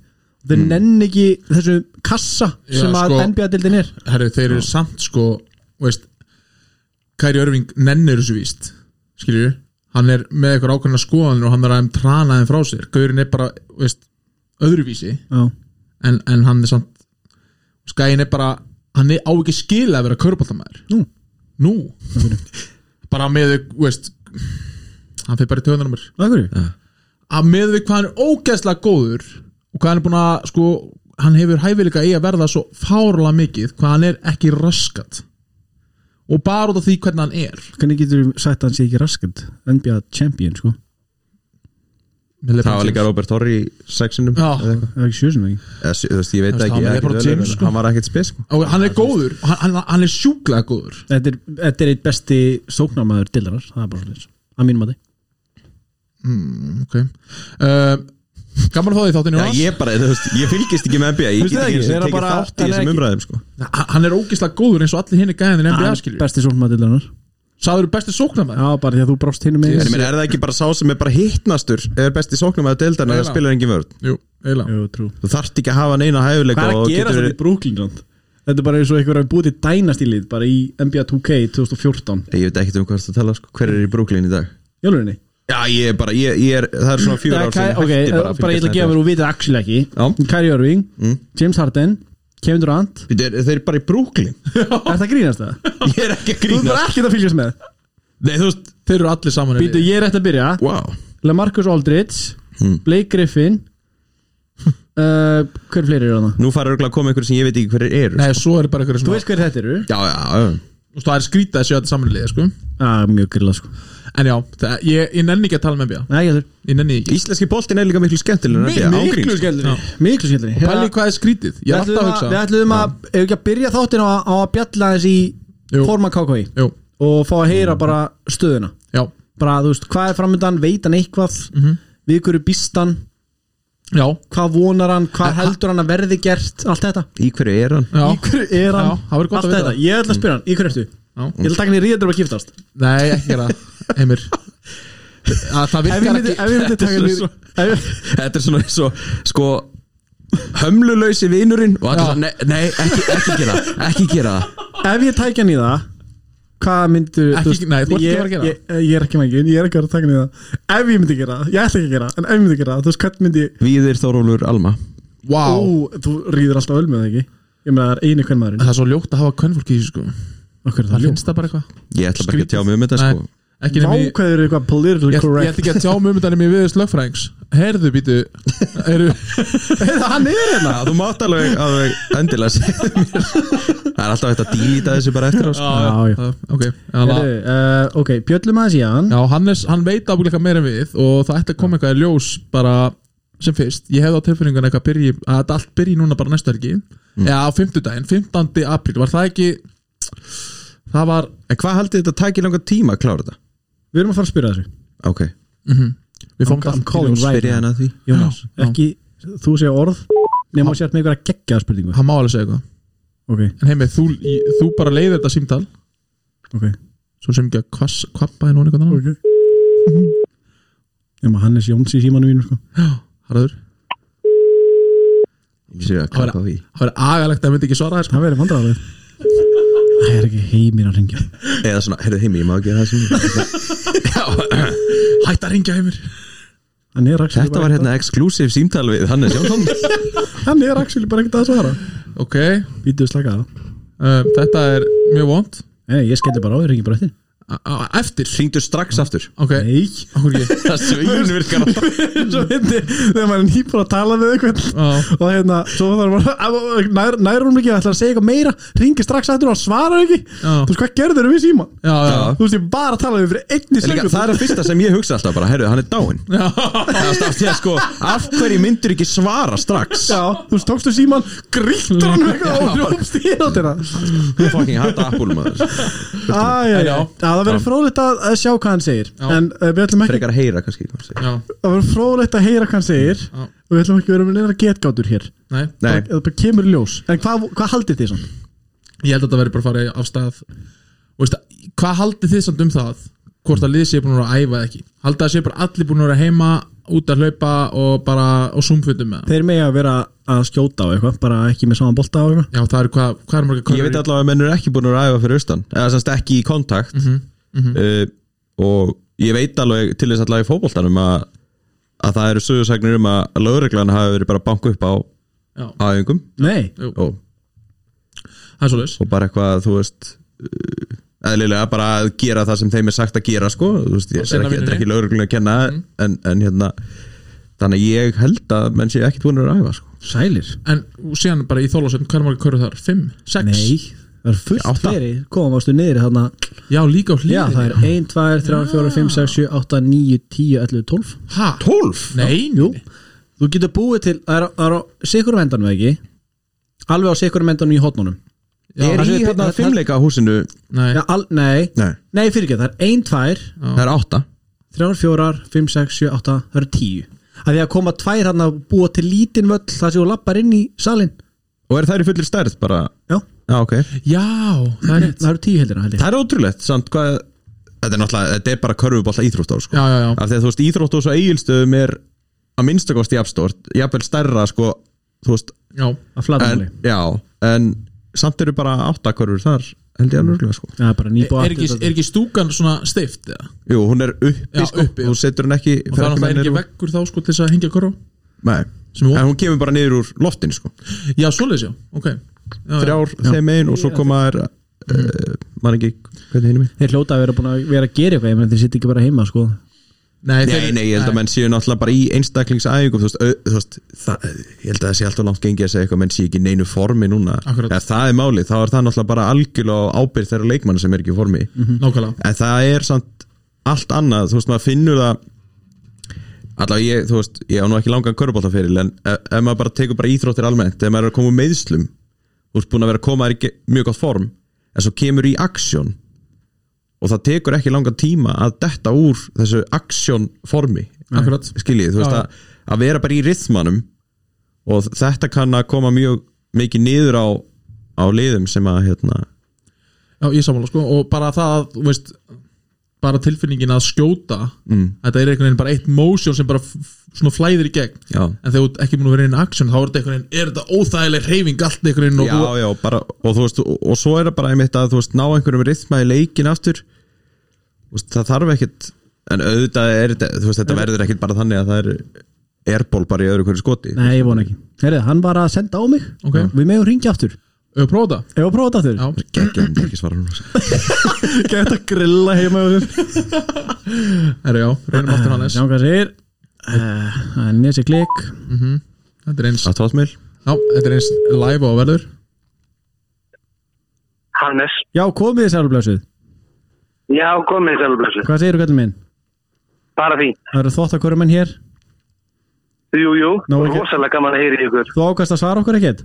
A: þeir nenni ekki þessu kassa
B: Já,
A: sem að
B: sko.
A: NBA-deildin er
B: Herru, þeir eru samt, sko, þú veist Kæri Örving nennir þessu víst Skilju, hann er með eitthvað ákveðna skoðanir og hann er aðeim tranaðin frá sér Gaurin er bara, þú veist, öðruvísi
A: Já,
B: en, en hann er samt skæin er bara, hann er á ekki skila að vera körbáltamæður
A: nú,
B: nú, bara með við, þú veist hann fyrir bara í töðunarumur
A: að hverju?
B: að með við hvað hann er ógeðslega góður og hvað hann er búin að, sko hann hefur hæfileika í að verða svo fárlega mikið hvað hann er ekki raskat og bara út af því hvernig hann er
A: Hvernig getur við sagt að hann sé ekki raskend NBA-champion, sko
B: Með
C: það var
B: LeBron
C: líka
B: James.
C: Robert Horry í sexinum
B: Já.
C: eða eitthvað.
A: það er ekki sjösum ekki
C: Eða, þú veist, ég veit
B: Þú veist, hann
C: ekki,
B: var
C: ég
B: Lebron
C: ekkert
B: James,
C: öðruvísi,
B: sko.
C: hann var ekkert spes sko.
B: og hann er góður, hann, hann, hann er sjúklega góður
A: Þetta er, þetta er eitt besti sóknarmæður deildarinnar, það er bara svona að mínum að þið
B: ok uh, gaman að fá því þáttinu
C: Já, ég bara, þú veist, ég fylgist ekki með NBA ég
A: Veistu
C: get
A: það ekki? Er
C: ekki einu sinni
A: það
C: tekið
A: bara-
C: þátt í
A: hann er
C: þessum
A: ekki-
C: umræðum sko.
B: Hann hann er ógeðslega góður eins og allir hinni gæðin en NBA Ah, skilur
A: Besti sóknarmæður deildarinnar
B: Sáður besti sóknarmæður
A: Já, bara því að þú brást hinum með
C: En ég meina, er það ekki bara sá sem er bara hittnastur er besti sóknum að deildan að
B: Eiginlega.
C: spila engin vörð
B: Jú, eiginlega
A: Jú, trú
C: þú þarft ekki að hafa neina hæfileika
A: Hvað er
C: og
A: að gera
C: getur
A: þetta í Brooklyn land? Þetta er bara eins og einhver að búið til dænastílið bara í NBA 2K 2014
C: Ég veit ekkert um hvað það tala sko. hver er í Brooklyn í dag
A: Jólurinni
C: Já, ég er bara, ég, ég er, það er svona
A: Ok,
C: fjóra ár sem
A: ok, eh,
C: ég hætti
A: bara,
C: uh, bara
A: ég ætla að gefa mér og vitið actually
C: Já.
A: ekki Kyrie Irving, James Harden Kevin Durant,
C: Býtu, er- Þeir eru bara í (laughs) Brooklyn
A: er það grínast það?
C: Ég er ekki að
A: Þú er
C: grína
A: ekki að fylgjast með
C: Nei, þú veist,
B: Þeir eru allir saman í
A: Býtu,
B: liði.
A: ég er eftir að byrja
C: wow
A: LaMarcus Aldridge, Blake (laughs) Griffin uh, Hver fleiri eru það?
C: Nú fara örgulega að koma einhver sem ég veit ekki hverir eru sko.
B: Nei, svo er bara eitthvað
A: Þú
B: svona
A: veist hver þetta eru?
C: Já, já, já
B: Þú veist, Það er skrítið að séu allir saman í liði, sko
A: Já, mjög grilla sko
B: En já, það, ég, ég nenni ekki að tala um með NBA
A: Nei, ég heldur
B: Ég nenni ekki
C: Íslenski boltin er líka miklu skemmtilegur en NBA,
A: Miklu
C: ágríns.
A: skemmtilegri Miklu skemmtilegri
B: Pæli hvað er skrítið
A: Við
B: Ég er
A: ætlum
B: alltaf að
A: að, við
B: hugsa
A: ætlum að, ef ekki að byrja þáttin á, á að bjalla þess í
B: Jú. Mm.
A: forman KKI
B: Jú,
A: og fá að heyra bara stöðuna
B: já,
A: bara, þú veist, hvað er framöndan, veit hann eitthvað
B: Mhm.
A: við hverju býst hann,
B: já,
A: hvað vonar hann hvað heldur hann að verði gert, allt þetta
C: Í hverju er (laughs) hann?
B: já
A: í hverju er hann,
B: Já, það væri gott
A: allt
B: að vita
A: þetta
B: það.
A: ég ætla að spyrja hann, í hverju ertu
B: Já.
A: ég ætla að taka hann í ríðadur að giftast
B: Nei, ekki gera það,
A: (laughs)
B: Heimir að Það
A: ef ég
B: virkar
A: myndi,
B: ekki
A: ef ég myndi
B: (laughs)
A: taka hann í
C: Þetta er
A: ef-
C: Þetta er svona eins og sko hömlulösi vinurinn og allir
B: Já.
C: það, nei, nei ekki, ekki gera það, ekki gera það
A: ef ég tækja hann í það hvað myndu
B: Ekki-
A: þú veist,
B: nei, þú ert ekki að fara
A: ég,
B: að gera
A: ég, ég er ekki mækin, ég er ekki að fara að taka hann í það ef ég myndi gera það, ég ætla ekki að gera það en ef ég myndi gera það, þú veist, hvern myndi ég
C: Víðir Þórólfur Alma
B: Vá,
A: Ó, þú rýður alltaf öl með það ekki Ég meina það er eini hvern maðurinn
B: það er svo ljótt að hafa kvennfólk í þessu sko
A: Okkur er
B: Það
A: það ljó
B: finnst það bara eitthvað
C: Ég ætla bara ekki að tjá mig um þetta
B: Nei,
C: sko
B: ekki nefnir ég
A: Vákvæður eru eitthvað politically
B: Ég ég ætti
A: correct
B: ekki að tjá mig um þetta nefnir við þess lögfræðings Herðu
A: (laughs)
B: býtu Herðu
A: Hann er hérna
C: Já, þú mátt alveg, alveg endilega segja mér (laughs) Það er alltaf hægt að dýlita þessu bara eftir á sko.
A: Já, já.
B: Ok, en það
A: Heyrðu, eh, Ok, bjöllum aðeins í hann
B: Já, Hannes, hann veit ábygglega meira en við og það ætti að koma eitthvað í ljós bara sem fyrst, ég hefði á tilfinningan eitthvað byrji, að þetta allt byrji núna bara næstu helgi
A: Mm.
B: eða á fimmtudaginn, 15. apríl var það ekki það var,
C: En hvað haldið þetta tæki langa tíma að klára þetta?
A: Við erum að fara að spyrja þessu
C: Ok,
B: við fórum
A: I'm
B: allt
A: calling
B: í ljós.
A: Right
C: byrja
A: now.
C: hann að því
A: Jónas,
B: Já.
A: ekki þú segja orð Nefnum að sért með einhverja geggjaða spurningu
B: hann má alveg segja eitthvað
A: Ok,
B: en heimi, þú, í- þú bara leiðir þetta símtal
A: ok
B: svo sem ekki að kvass, kvappa henni og einhvern annan
A: Ok Nefnum að Hannes Jóns í símanu mínu sko
B: Harður,
C: Ég sé að klappa því
B: það verður agalegt að það myndi ekki svara þér sko.
A: Það verður vandræðaleg Það er ekki heimir að ringja
C: Eða svona, heyrðu heimi, ég má ekki gera það sem
B: (clears throat) hætt að ringja heimir
A: Hann er actually
C: Þetta
A: bara
C: var
A: ekkert
C: hérna exclusive símtal við Hannes Jónsson
A: að- Hann er actually bara ekkert að svara
B: ok,
A: Býtuðu slaka það
B: um, þetta er mjög vond
A: Nei, ég skelli bara á, ég ringi bara eftir
B: eftir,
C: Hringdu strax aftur
B: ok,
A: Nei (laughs)
B: okkur ekki
C: Það
B: (laughs)
C: svegin virkar alltaf
A: Svo hindi, þegar maður er nýbúin að tala við einhvern
B: Já.
A: og hérna, svo þarf maður að- nær, nær hún ekki, ætlar að segja eitthvað meira ringi strax aftur og hann svarar ekki
B: Já.
A: þú veist hvað gerður við síma
B: já, já,
C: Já.
A: þú veist ég bara að tala við fyrir einni
C: Líka,
A: sekund
C: það er að fyrsta sem ég hugsa alltaf bara, heyrðu, hann er dáinn
B: Já,
C: Það er státt ég að sko, af hverju myndur ekki svara strax?
A: Já, þú veist, tókstu síman, grýttur hann eitthvað og hljómst í áttina
C: Þú fucking hata Apple maður
A: Æja,
B: já.
A: já, það verður fróðlegt að að sjá hvað hann segir
B: Já.
A: en uh, við ætlum ekki,
C: Frekar að heyra kannski hvað hann segir.
B: já,
A: það verður fróðlegt að heyra hvað hann segir
B: Já.
A: og við ætlum ekki að vera með neina getgátur hér
B: nei
C: Nei,
A: það bara kemur í ljós, en hvað, hvað haldið þið svona?
B: Ég held að þetta verði bara að fara af stað Og veist, að- Hvað haldið þið samt um það? Hvort að liðið sé búin að vera að æfa eða ekki Haldið að sé bara allir búin að vera heima Út að hlaupa og bara á zoomfundum með það
A: Þeir megi að vera að skjóta á eitthvað, bara ekki með saman bolta á eitthvað
B: Já, það eru hvað, hvað er marga
C: ég veit allavega að menn eru ekki búin að ræfa fyrir austan eða semst ekki í kontakt uh, og ég veit alveg til þess allavega í fótboltanum að, að það eru sögursagnir um að lögreglan hafi verið bara að banka upp á
B: Já.
C: aðingum
A: Nei,
C: og,
B: Það er svoleiðis
C: og bara eitthvað þú veist uh, eðlilega bara að gera það sem þeim er sagt að gera sko, þú veist, ég
B: Og
C: er
B: sinna
C: ekki, þetta er
B: vinnunni.
C: ekki lögreglun að kenna en, en hérna þannig að ég held að menn sé ekki búin að ræfa sko.
A: sælir
B: En síðan bara í þólasöfn, hvað er marga körur þar? Fimm? Sex?
A: Nei, það er fullt
C: Átta.
A: fleiri Komum ástu niður þarna
B: Já, líka á
A: Já, það
B: hliðin
A: er 1, 2, 3, 4, 5, 6, 7, 8, 9, 10, 11, 12
B: Ha?
C: 12?
B: Nei,
A: Jú, þú getur búið til Það er á- það er á sikurum endanum eða ekki Alveg á sikurum endanum í hotnunum
B: Já,
C: er
B: það
C: í
B: sé-
C: hérna
B: það-
C: fimmleika húsinu
B: Nei,
A: Já, al, Nei,
C: Nei.
A: nei fyrir ekki, það er 1, 2
C: það er átta
A: 3, 4, 5, 6, 7, 8 Það eru 10 Það er að koma tvær hann að búa til lítinn völl Það sem þú lappar inn í salin
C: og er það í fullir stærð bara
A: Já,
C: Já, ok.
B: já, það er rétt
A: það eru 10 heldina held ég
C: Það er ótrúlegt, samt hvað Þetta er náttúrulega, þetta er bara körfubólta íþróttár sko.
B: Já, já, já,
C: Af því að þú veist, íþróttás og eigilstöðum er að minnstakost jafnstórt, jafnvel stærra sko, þú veist,
B: já
A: Að flata
C: en, já en samt eru bara átta körfur þar held ég alveg örgulega, sko.
A: Það er bara
B: Er,
A: nýbúið
B: er, ekki, er ekki stúkan svona steift? eða?
C: Jú, hún er uppi,
B: Já,
C: sko,
B: uppi, já.
C: hún setur hún ekki
B: Og það er náttúrulega ekki veggur þá sko til þess að hengja körur
C: Nei,
B: Sem er
C: en hún kemur bara niður úr loftinu sko.
B: Já, svoleiðis, já, ok já, já. Mm.
C: Þrjár þeim einn og svo koma þær uh, mann ekki, hvernig hinum
A: Þeir hljóta að vera búin að vera að gera eitthvað ég meina þeir sitt ekki bara heima sko
B: Nei,
C: Nei, nei, ég held að menn séu náttúrulega bara í einstaklingsæðingum þú veist, au- þú veist, það, ég held að það sé alltaf langt gengið að segja eitthvað menn sé ekki í neinu formi núna
B: Akkurat.
C: Ef það er málið, þá er það náttúrulega bara algjörlega á ábyrgð þeirra leikmanna sem er ekki í formi
B: Nákvæmlega
C: En það er samt allt annað, þú veist, maður finnur það Alla ég, þú veist, ég á nú ekki langan körbóltaferil En ef, ef maður bara tekur bara íþróttir almennt Ef maður er að koma úr meiðslum Þú ert búin að vera að koma þér í ge- mjög gott form En svo kemur í aksjón Og það tekur ekki langan tíma að detta úr þessu aksjón formi
B: Akkurat
C: Skiljið, þú veist
B: Já.
C: að, að vera bara í rithmanum Og þetta kann að koma mjög mikið niður á, á liðum sem að hérna,
B: Já, ég er sammála sko og bara það, að, þú veist bara tilfinningin að skjóta mm. þetta er einhvern veginn bara eitt motion sem bara f- f- svona flæðir í gegn
C: Já.
B: en þegar þú ert ekki múin að vera inn í action þá er þetta einhvern veginn, er þetta óþægileg reyfing allt einhvern veginn og
C: já, já, bara, og þú veist og, og svo er það bara einmitt að þú veist ná einhverjum rithma í leikin aftur Þú veist, það þarf ekkit en auðvitað er þetta, þú veist, þetta verður ekkit bara þannig að það er airból bara í öðru hverju skoti
A: Nei, ég vona ekki Herrið, hann var að senda á mig
B: Ok.
A: Við megum ringja aftur Ef
B: þú prófa það
A: að prófa þetta aftur
B: Já.
C: Geggjað, hann er ekki svara
B: (laughs)
C: núna
A: Gæt að grilla heima hjá þér
B: Herra, já, reynum
C: (clears throat)
B: aftur hann
A: Sjá hvað segir Eh, Það er nesi klik
B: þetta er eins,
C: að tóðsmil
B: já, þetta er eins live og verður
D: Hannes.
A: Já, komið þið sælblessuð
D: Já, komið þið sjálfblessu.
A: Hvað segir þú kallum minn?
D: Bara fín.
A: Það eru þvótt að hverju menn hér
D: Jú, jú.
A: Nú, ekki-
D: Rósalega gaman að heyra í ykkur.
A: Þú ákast að svara okkur ekkert?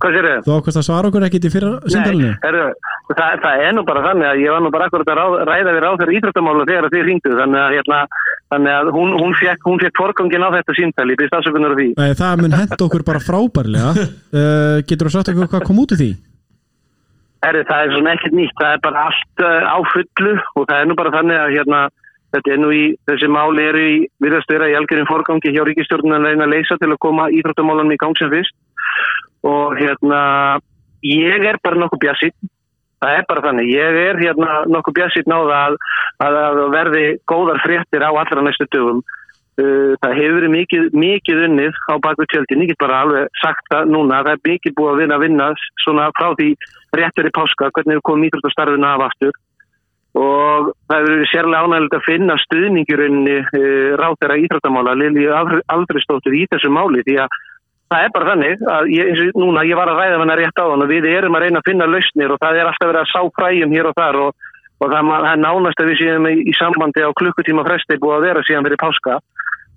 D: Hvað sér þið?
A: Þú ákast að svara okkur ekkert í fyrra
D: Nei,
A: sindalinu?
D: heru, það, það er nú bara þannig að ég var nú bara akkurat að ráð, ræða við ráð fyrir íþróttamála þegar þið ringdu. Þannig að, hérna, þannig að hún, hún fekk, hún fekk forgangin á þetta síntali. Ég byrst afsökunar á því.
A: Nei, það mun henda okkur bara
B: (laughs)
A: frábærlega uh, Getur þú sagt okkur hvað kom út úr því?
D: Herri, það er svona ekkert nýtt, það er bara allt uh, á fullu og það er nú bara þannig að hérna, þetta er nú í, þessi máli eru í virðast vera í algjörðin forgangi hjá ríkistjórnum að leina að leysa til að koma íþróttamálunum í gang sem fyrst og hérna, ég er bara nokkuð bjassið, það er bara þannig, ég er hérna nokkuð bjassið náða að, að, að verði góðar fréttir á allra næstu dögum. Uh, það hefur verið mikið, mikið unnið á baku tjöldin, ég get bara alveg sagt það núna, það er mikið búið að vinna að vinna svona frá því rétt verið páska, hvernig við komum íþróttastarfinu af aftur og það hefur verið sérlega ánægilegt að finna stuðning í rauninni uh, ráðherra íþróttamála Lilju aldrei stóttur í þessu máli því að það er bara þannig að ég, eins og núna, ég var að ræða hana rétt á hann og við erum að reyna að finna lausnir og það er alltaf verið að sá fræjum hér og þar og, og það, ma- það er nánast að við séum í, í sambandi á klukkutíma fresti búið að vera síðan fyrir páska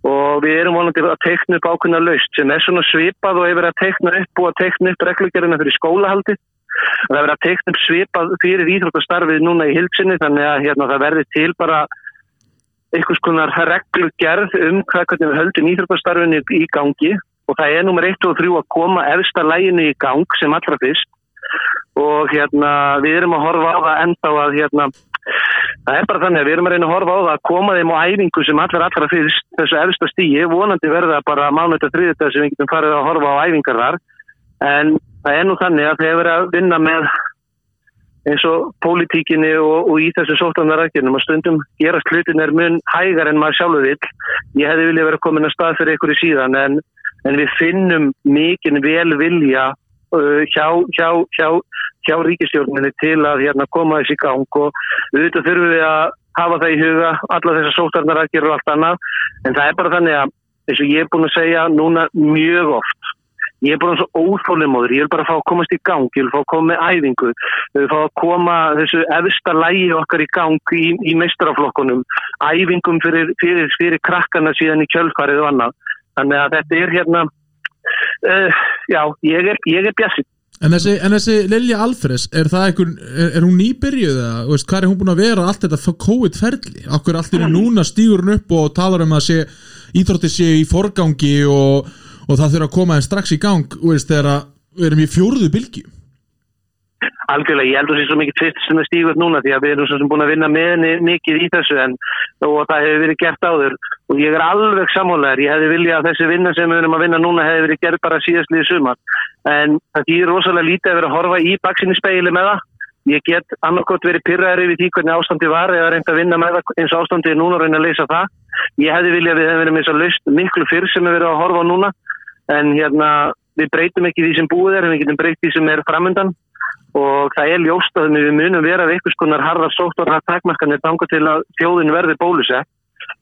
D: og við erum vonandi að teikna upp ákveðna laust sem er svona svipað og hefur verið að teikna upp og að teikna upp reglugjörðina fyrir skólahaldi og það er verið að teikna upp svipað fyrir íþróttastarfið núna í hilsinni þannig að hérna, það verði til bara einhvers konar reglugjörð um hvað, hvernig við höldum íþróttastarfinu í gangi og það er nummer 1 og 3 að koma efsta læginu í gang sem allra fyrst og hérna við erum að horfa á það ennþá að hérna það er bara þannig að við erum að reyna að horfa á það að koma þeim á æfingu sem allar allra fyrst þessu efsta stíi, vonandi verða bara mánuðið að þriðið sem við getum farið að horfa á æfingar þar en það er nú þannig að þegar við erum að vinna með eins og pólitíkinni og, og í þessu sóttanaraðgjörnum að stundum gerast hlutin er mun hægar en maður sjálfur vill ég hefði viljað vera komin að stað fyrir ykkur í síðan en, en við finnum mikinn vel vilja uh, hjá, hjá, hjá, hjá ríkistjórninni til að hérna, koma þessi í gang og auðvitað þurfum við að hafa það í huga alla þessar sóttanaraðgjörn og allt annað en það er bara þannig að eins og ég er búin að segja núna mjög oft ég er bara svo óþólimóður, ég vil bara fá að komast í gang, ég vil fá að koma með æfingu, ég vil fá að koma þessu efsta lægi okkar í gang í, í meistraflokkunum, æfingum fyrir, fyrir, fyrir krakkana síðan í kjölfarið og annað. Þannig að þetta er hérna, uh, já, ég er, ég er bjassið.
B: En þessi, en þessi Lilja Alfres, er það einhver, er, er hún nýbyrjuð eða, þú veist, hvað er hún búin að vera allt þetta f- COVID-ferli? Akkur allt er núna stígur hún upp og talar um að sé, íþrótti sé í forgangi og, og það þurfa að koma þeim strax í gang, þú veist, þegar að við erum í fjórðu bylgi.
D: Algjörlega, ég heldur sér svo mikið tvist sem er stígut núna því að við erum svo sem búin að vinna með henni mikið í þessu en, og það hefur verið gert áður og ég er alveg sammálaður, ég hefði viljað að þessi vinna sem við erum að vinna núna hefði verið gerð bara síðastlið sumar en það þýðir rosalega lítið að vera að horfa í baksinni speili með það ég get annarkot verið pyrraður yfir því hvernig ástandi var eða reynd að vinna með það eins og ástandi er núna og reyna að leysa það ég hefði viljað að við hefum verið með þess að laust miklu fyrr sem við erum að horfa á núna en hérna við breytum ekki því sem búið er en við getum breytt því sem er framöndan og það er ljóst að við munum vera við einhvers konar harðar sóttorðar takmarkanir þanga til að þjóðin verði bólusett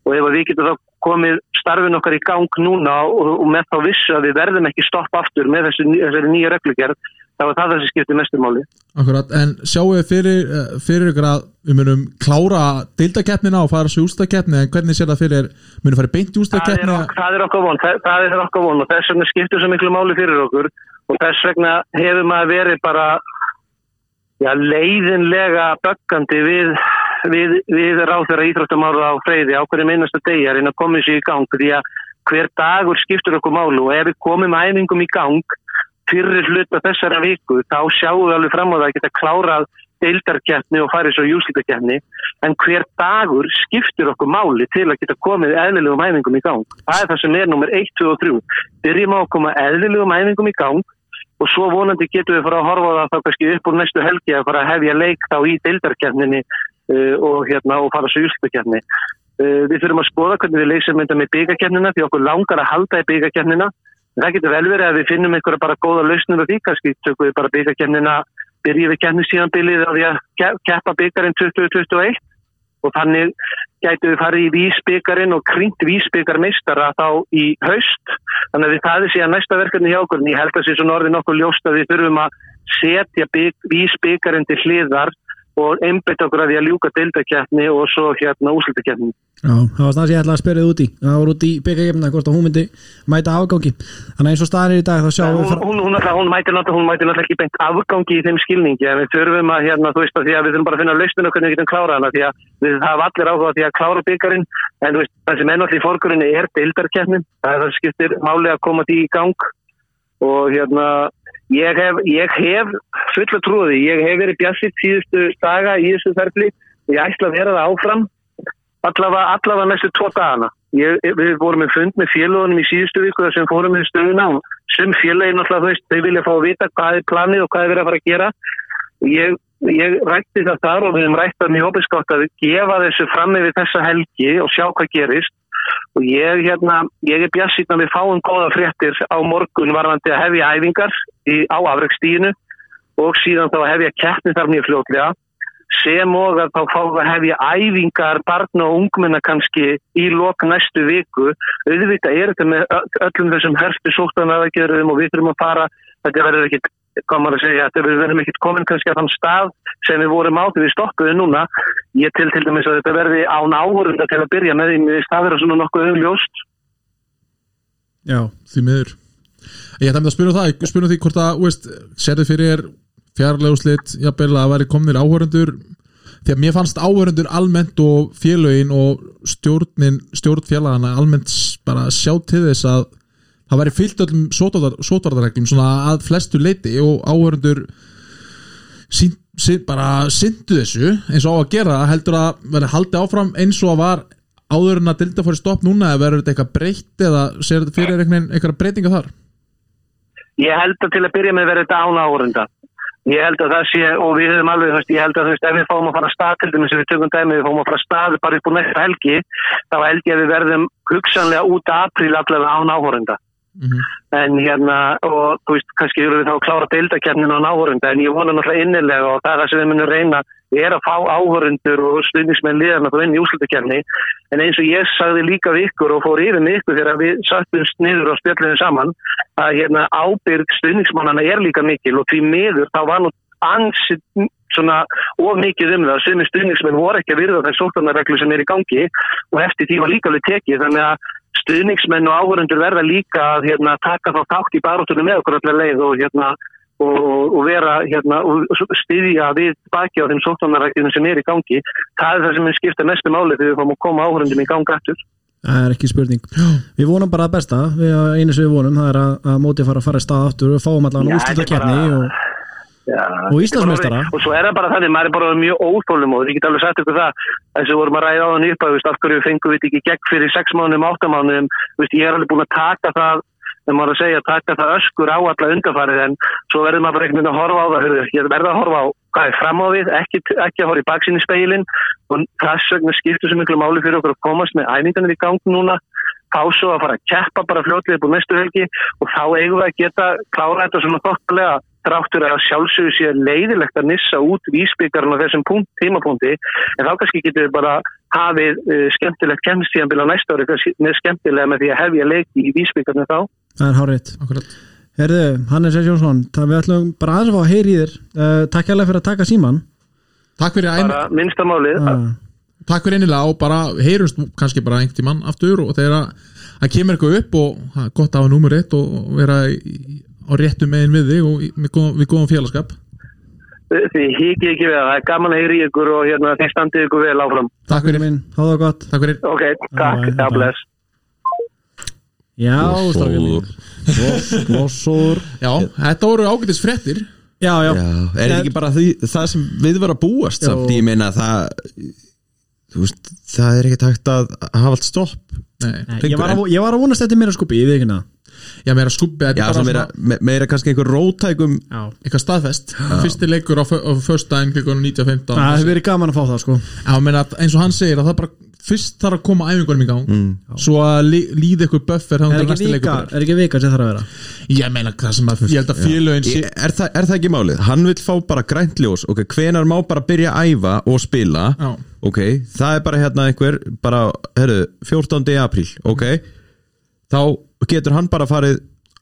D: og ef að við getum þá komið starfin okkar í gang núna og, og með þá vissu að við verðum ekki stopp aftur með þessu, ný- þessari nýja reglugjörð þá er það það sem skiptir mestu máli.
B: Akkurat, en sjáu þið fyrir, eh, fyrir ykkur að við munum klára deildakeppnina og fara svo í úrstakeppni en hvernig sér það fyrir, munum fara beint í
D: það er,
B: úrstakeppni
D: ok- það er okkar von, það, það er okkar von og þess vegna skiptir svo miklu máli fyrir okkur og þess vegna hefur maður verið bara já, leiðinlega böggandi við, við, við ráþæra íþróttamála á freyði á hverjum einasta degi að reyna að koma sér í gang því að hver dagur skiptir okkur málu og ef við komum æfingum í gang fyrir hluta þessara viku þá sjáum við alveg fram á það að geta klárað deildarkeppni og farið svo júslíkakeppni en hver dagur skiptir okkur máli til að geta komið eðlilegum æfingum í gang. Það er það sem er nummer 1, 2 og 3. Byrjum á að koma eðlilegum æfingum í gang og svo vonandi getum við fara að horfa á það þá kannski upp úr næstu helgi að fara að hefja leik þá í deildarkeppninni uh, og, hérna, og fara svo júslíkakeppni. Uh, við þurfum að skoða hvernig við leysum þetta með byggakeppnina því okkur langar að halda í byggakeppnina. En Það getur vel verið að við finnum einhverja bara góða lausnir og því kannski tökum við bara byggakeppnina byrjum við keppnisíðanbilið á því að ke- keppa byggarinn 2021 og þannig gætu við farið í vísbyggarinn og kringt vísbyggarmeistara þá í haust þannig að við það er síðan næsta verkefni hjá okkur en ég held að sé svona orðið nokkuð ljóst að við þurfum að setja bygg, vísbyggarinn til hliðar og einbytta okkur að því að ljúka deildakeppni og svo hérna úslutakeppni
A: Já, það var það sem ég ætlaði að spyrja þið út í Það var út í byggjargefna hvort að hún myndi mæta afgangi Þannig að eins og staðan er í dag þá sjáum
D: hún,
A: við frá
D: hún, hún, náttúrulega- hún mætir náttúrulega hún mætir náttúrulega ekki beint afgangi í þeim skilningi en við þurfum að hérna, þú veist að því að við þurfum bara að finna lausninu hvernig við getum klárað hana því að við hafa allir áhuga á því að klára byggarinn en þú veist, það sem er náttúrulega í fórgurinn er deildarkeppnin, það er það sem skiptir máli að koma því í gang og hérna ég hef, ég hef fulla trúði, ég hef verið bjassitt síðustu daga í þessu ferli og ég ætla að vera það áfram allavega, allavega næstu tvo dagana ég, við vorum með fund með félagunum í síðustu viku þar sem fórum við stöðuna og sem félagin alltaf veist, þau vilja fá að vita hvað er planið og hvað er verið að fara að gera og ég, ég rætti það þar og við hefum rætt það mjög opinskátt að gefa þessu fram yfir þessa helgi og sjá hvað gerist og ég, hérna, ég er bjassitna við fáum góða fréttir á morgun varðandi að hefja æfingar í, á afrekstíinu og síðan þá að hefja keppni þar mjög fljótlega sem og að þá fá að hefja æfingar barna og ungmenna kannski í lok næstu viku auðvitað er þetta með ö- öllum þessum herstu sóttan aðgerðum og við þurfum að fara þetta verður ekkit, hvað maður að segja þetta við verðum ekkit komin kannski að þann stað sem við vorum á því við stokkuðum núna ég til til dæmis að þetta verði án áhörunda til að byrja með því mér finnst það vera svona nokkuð augljóst
A: Já,
B: því miður ég ætla að mynda að spyrja um það, spyrja um því hvort að þú veist, sérðu fyrir fjarlæguslit jafnvel að það væri komnir áhörundur því að mér fannst áhörundur almennt og félögin og stjórnin stjórn fjarlægana almennt s- bara sjá til þess að það væri fyllt öllum sótvardarreglum svona að flestu leiti og áhörundur sín, sín, bara syndu þessu eins og á að gera heldur að verði haldið áfram eins og að var áður en að dilda fór í stopp núna eða verður þetta eitthvað breytt eða sér þetta fyrir einhvern eitthvað breytinga þar
D: Ég held að til að byrja með verði þetta án áhörunda. Ég held að það sé, og við höfum alveg, þú veist, ég held að þú veist, ef við fáum að fara af stað til dæmis, ef við tökum dæmi, við fáum að fara af stað bara upp úr næsta helgi, þá held ég að við verðum hugsanlega út af apríl allavega án áhörunda. En hérna, og þú veist, kannski eru við þá að klára deildakernin án áhörunda, en ég vona náttúrulega innilega og það er það sem við munum reyna, við erum að fá áhörundur og stuðnismenn liðan að inn í úslutakerni, en eins og ég sagði líka við ykkur og fór yfir með ykkur þegar við sattumst niður og spjöldum saman, að hérna, ábyrg stuðningsmannana er líka mikil og því miður þá var nú ansi svona of mikið um það sem stuðningsmenn voru ekki að virða þær sóttanarreglu sem er í gangi og eftir því var líka alveg tekið þannig að stuðningsmenn og áhörundur verða líka að hérna, taka þá tátt í baróttunum með okkur allar leið og hérna og, og vera hérna og styðja við baki á þeim sóttanarreglunum sem er í gangi það er það sem mun skipta mestu máli þegar við fáum að koma áhörundum í gang aftur
A: það er ekki spurning Við vonum bara að besta, við, einu sem við vonum það er að, að mótið fara að fara í stað aftur og fáum allan
D: Já,
A: úrslita
D: þetta er bara-
A: kefni og,
D: Já.
A: Og Íslandsmeistara.
D: Og svo er það bara þannig, maður er bara orðinn mjög óþólum og ég get alveg sagt ykkur það þess að vorum að ræða á hann upp að veist, af hverju fengum við þetta ekki í gegn fyrir 6 mánum, 8 mánum veist, ég er alveg búin að taka það þegar maður er að segja, taka það öskur á alla undarfarið en svo verður maður bara einhvern veginn að horfa á það hörðu, ég verður að horfa á hvað er fram á við ekki, ekki að horfa í baksinni speilin og þess vegna skiptur svo miklu máli fyrir okkur að komast með æfingarnir í gang núna þá svo að fara að keppa bara fljótlega upp úr næstu helgi og þá eigum við að geta klára þetta svona þokkulega dráttur að sjálfsögur sé leiðilegt að nissa út vísbyggarinn á þessum punkt, tímapunkti en þá kannski getur við bara hafið uh, skemmtilegt kemstíðanbíl á næsta ári kannski með skemmtilega með því að hefja leik í vísbyggarinn þá.
A: það er hárið
B: Akkurat
A: Herðu, Hannes S. Jónsson, það við ætlum bara aðeins að fá að heyri í þér uh, Takk hérlega fyrir að taka síman
B: Takk fyrir, ein,
D: Bara minnstamálið
A: uh,
B: takk fyrir einnilega og bara heyrumst kannski bara einhvern tímann aftur og þegar að- að kemur eitthvað upp og það er gott að hafa númur eitt og og vera í, í- á réttu megin við þig og í- með góðan, við góðan félagskap
D: því eh, hikið ekki við það, það er gaman að heyri ykkur og hérna þeir standið ykkur vel áfram.
B: Takk fyrir,
A: minn, Háða gott
B: takk fyrir
D: Ok, takk,
A: Já,
D: God bless.
A: Já, strákar
C: Þór.
A: mín. Loss- Lossur
B: Já, þetta voru ágætis fréttir
A: Já, já,
C: Já, er þetta ekki bara því, það sem við var að búast
A: Jó.
C: samt, ég meina það þú veist, það er ekki takt að hafa allt stopp
B: Nei,
A: Nei, ég, var að, ég var að vonast þetta meira skupi, ég veit ekki um það
B: já, meira skubbi þetta
C: Já,
B: er bara
C: sem meira,
B: svona
C: me- meira kannski einhver rótækum
A: Já,
B: eitthvað staðfest Fyrsti leikur á, fö- á föstudaginn klukkan 19.15
A: það hefur verið gaman að fá það sko
B: Já, meina, eins og hann segir að það bara fyrst þarf að koma æfingunum í gang svo að lí, líði eitthvað
A: Er
B: buffer þannig að
A: ekki
B: næsta
A: vika,
B: leikur byrjar.
A: er ekki vika sem þarf að vera
B: Ég meina, það sem að ég held að félögin sé
C: Ég- er, það, er það ekki málið? Hann vil fá bara grænt ljós ok, hvenar má bara byrja að æfa og spila
B: Já.
C: ok, það er bara hérna einhver bara, herru, 14. apríl ok, þá getur hann bara farið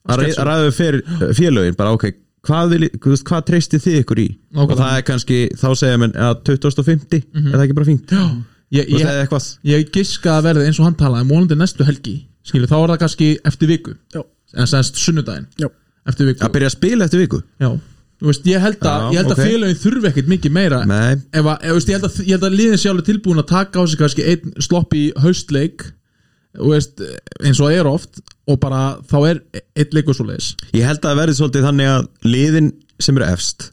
C: að rei-
B: Sketsa.
C: að ræða fyr, félögin, bara ok hvað, vil, þú veist, hvað treystið þið ykkur í
B: Nákvæmlega.
C: og það er kannski, þá segja menn að 2050, er það ekki bara fínt Mhm. Já,
B: ég,
C: yeah.
B: ég,
C: eða eitthvað
B: ég giska að verði eins og hann talaði múlandi næstu helgi skilu, þá er það kannski eftir viku
A: Já.
B: en sennst sunnudaginn
A: Já.
B: eftir viku
C: að byrja að spila eftir viku
B: Já. Þú Veist, ég held að,
C: Já,
B: ég held að
C: ok.
B: félögin þurfi ekkert mikið meira
C: Nei.
B: ef að, ef, veist, ég, held að, ég held að liðin sé alveg tilbúin að taka á sig kannski einn slopp í haustleik þú veist, eins og er oft og bara þá er einn leikur svo leiðis
C: Ég held að það verði svolítið þannig að liðin sem eru efst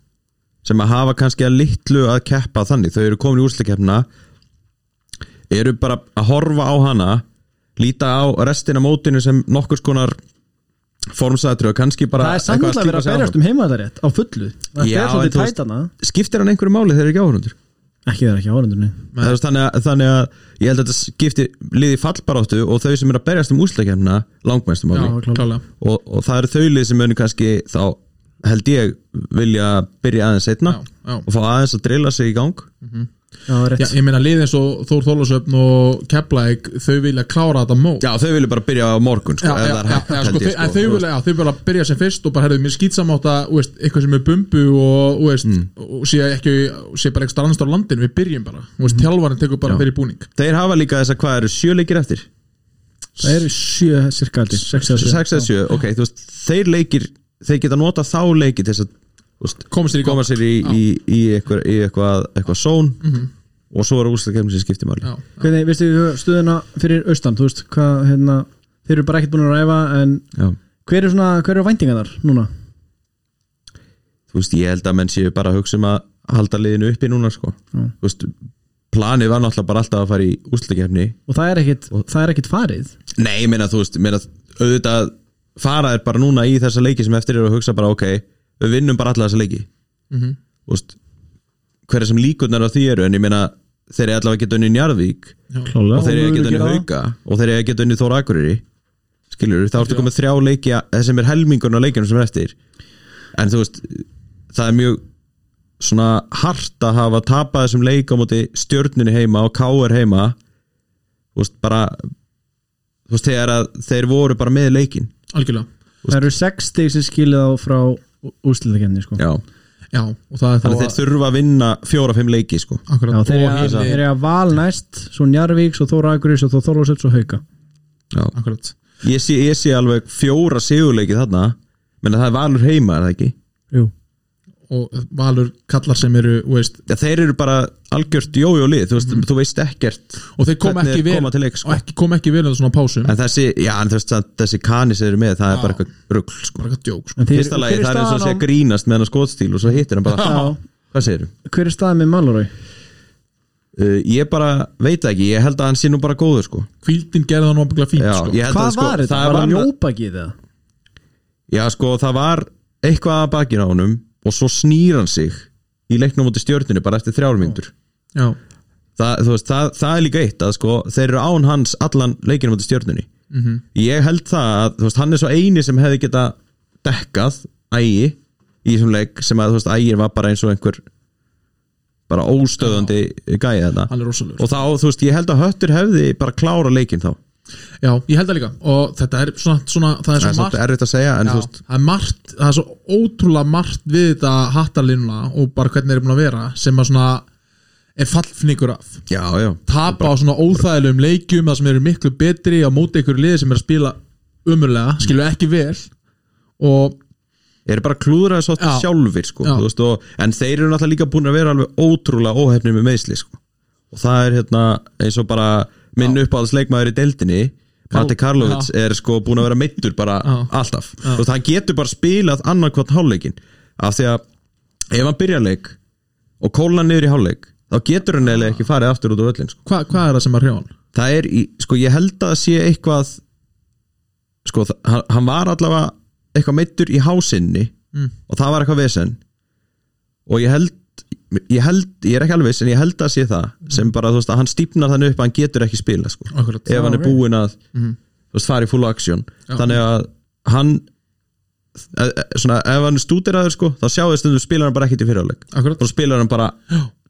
C: sem að hafa kannski að litlu að keppa þannig þau eru komin í úrslikefna eru bara að horfa á hana líta á restina af mótinu sem nokkurs konar formsætru og kannski bara
A: Það er samtlæg að vera að berjast um heimaðarétt á fullu Það er
C: Já,
A: berjast
C: en
A: svolítið
C: þú veist-
A: tætana
C: skiptir hann einhverju máli þegar þeir eru ekki áhörundur
A: Ekki það er ekki áhverjandunni
C: Það er þannig, að- þannig að ég held að þetta skipti liði fallbaráttu og þau sem eru að berjast um úrslikefna langmænstum máli
B: klálega
C: og, og það eru þaulið sem munu kannski þá held ég vilja byrja aðeins setna
B: Já, já.
C: og fá aðeins að drilla sig í gang
A: Já, það er
B: Já,
A: rétt
B: ég meina liðin svo Þór Þólasöfn og Keflæk þau vilja klára þetta mót
C: já þau vilja bara byrja á morgun sko,
B: Já,
C: ef
B: já,
C: það er
B: já,
C: hægt,
B: já,
C: held
B: sko,
C: ég,
B: þau- en þau vilja, já, þau vilja byrja sem fyrst og bara herðu mér skýtsamátt að þú veist, eitthvað sem er bumbu og, þú
C: Mm.
B: veist, og sé, ekki, sé bara eitthvað annars á landin við byrjum bara, þú veist, tjálvarinn tekur bara
C: Mm. Já.
B: fyrir búning
C: þeir hafa líka þess að hvað eru sjöleikir eftir
A: Það eru sjö cirka aldrei Sex eða sjö
C: 6 eða 7, ok, þú veist þeir leikir, þeir geta nota þá leiki til þess að þú veist,
B: Koma sér í gang.
C: koma sér í, í, í, eitthvað, í eitthvað, eitthvað són og svo er úrstakefnum sem skiptir máli
B: Mhm. já,
A: Hvernig, veistu stuðuna fyrir austan Þú veist, hvað, hérna Þeir eru bara ekkert búin að ræfa En
C: já.
A: hver eru svona, hver eru væntingar þar núna?
C: þú veist, ég held að menn séu bara að hugsa um að halda liðinu uppi núna sko.
A: Já.
C: þú veist, planið var náttúrulega bara alltaf að fara í úrstakefni
A: Og það er ekkit, það er ekkit farið
C: Nei, ég meina þú veist, meina, auðvitað fara er bara núna í þessa leiki sem eftir eru að hugsa bara ok, við vinnum bara alla þessa leiki Þú veist, hverja sem líkurnar á því eru en ég meina þeir eru allavega að geta unni Njarðvík
A: Klálega
C: og þeir eru að geta unni Hauka og þeir eru að geta unni Þóra Akureyri skilur, þá ertu komið þrjá leiki þessi sem er helmingun á leikinu sem er eftir en þú veist, það er mjög svona hart að hafa tapað þessum leik á móti stjörnunni heima og káir heima þú veist, bara þú veist, þegar að þeir voru bara með leikin
B: algjörlega
A: Það eru sex stig sem skilja þá frá úsliðakefni sko. Já,
C: já,
B: já, og það er þá
C: þannig að þeir þurfa að vinna fjóra-fimm leiki, sko
B: akkurat,
A: þeir
B: og
A: eru
B: hinni-
A: þeir eru að val næst Svo Njarvík, svo Þóra Akurís og Þó Þorlósöld, svo Hauka
C: já.
B: akkurat,
C: ég sé, ég sé alveg fjóra sigurleiki þarna menn það er valur heima, er það ekki?
A: Jú,
B: og valur kallar sem eru, þú veist,
C: Já, þeir eru bara algjört jójólið, þú veist,
A: Mhm.
C: þú veist ekkert
B: og þeir koma
C: Hvernig
B: ekki
C: þeir
B: vel
C: koma til leik, sko.
B: og ekki, koma ekki vel en svona á pásum,
C: en þessi, já, en þú veist, samt þessi kanis eru með, það er bara eitthvað rugl, sko
B: bara eitthvað djók sko.
A: En þeir-
C: Fyrsta lagi,
A: hver er
C: það er eins og
A: staðan
C: sé
A: á-
C: að grínast með hann skotstíl og svo hittir hann bara,
A: Já.
C: hvað segir
A: Hver er staðan með Malurau?
C: Uh, ég bara veit það ekki, ég held að hann sé nú bara góður sko.
B: kvíldin gerði hann ábyggla fínt,
C: Já,
B: sko
C: ég held að,
A: Hvað
C: sko,
A: var þetta?
C: það
A: Var það
C: var,
A: mjóbakið eða?
C: já, sko, það var eitthvað að bakina á honum og svo snýr hann sig í leiknum múti stjörnunni bara eftir þrjármyndur
B: já,
C: það, þú veist, það, það er líka eitt að sko, þeir eru án hans allan leikinu múti stjörnunni
B: Mhm.
C: ég held það að þú veist, hann er svo eini sem hefði geta dekkað ægi í þessum leik sem að þú veist ægir var bara eins og einhver bara óstöðandi gæði þetta
B: Hann er rosalegur.
C: og þá þú veist ég held að höttur hefði bara klára leikinn þá
B: Já, ég held það líka og þetta er svona, svona það er svo
C: það er
B: margt
C: svolítið erfitt að segja en
B: Já,
C: þú veist
B: það er margt, það er svo ótrúlega margt við þetta hattarlínuna og bara hvernig er búin að vera sem að svona er fallfningur af
C: já já
B: tapa á svona óþægilegum leikjum það sem eru miklu betri á móti ykkur liði sem er að spila umurlega, skilu ekki vel og
C: eru bara klúðraði svo
B: Já.
C: sjálfur sko
B: Já.
C: þú veist og en þeir eru náttúrulega líka búin að vera alveg ótrúlega óhefni með meðsli sko og það er hérna eins og bara minn uppáhalds leikmaður í deildinni Mati Karlovits er sko búin að vera meittur bara
B: Já.
C: alltaf þú veist hann getur bara spilað annarkvæmt hálfleikin af því að ef hann byrjar leik og kóla hann niður í hálfleik þá getur hann eiginlega ekki farið aftur út á öllin sko.
B: hva, hvað er það sem að hrjá hann?
C: það er í, sko ég held að það sé eitthvað sko það- hann, hann var allavega eitthvað meittur í hásinni
B: Mm.
C: og það var eitthvað vesen og ég held ég held, ég er ekki alveg viss en ég held að sé það sem bara þú veist að hann stípnar þannig upp að hann getur ekki spila sko
B: Akkurat. Mhm.
C: ef hann er
A: ok.
C: búinn að þú veist fara í full action þannig að hann eh, eh, svona ef hann er stúderaður sko þá sjáðu stundum spilar hann bara ekkit í fyrirháleik
B: Akkurat.
C: þá spilar hann bara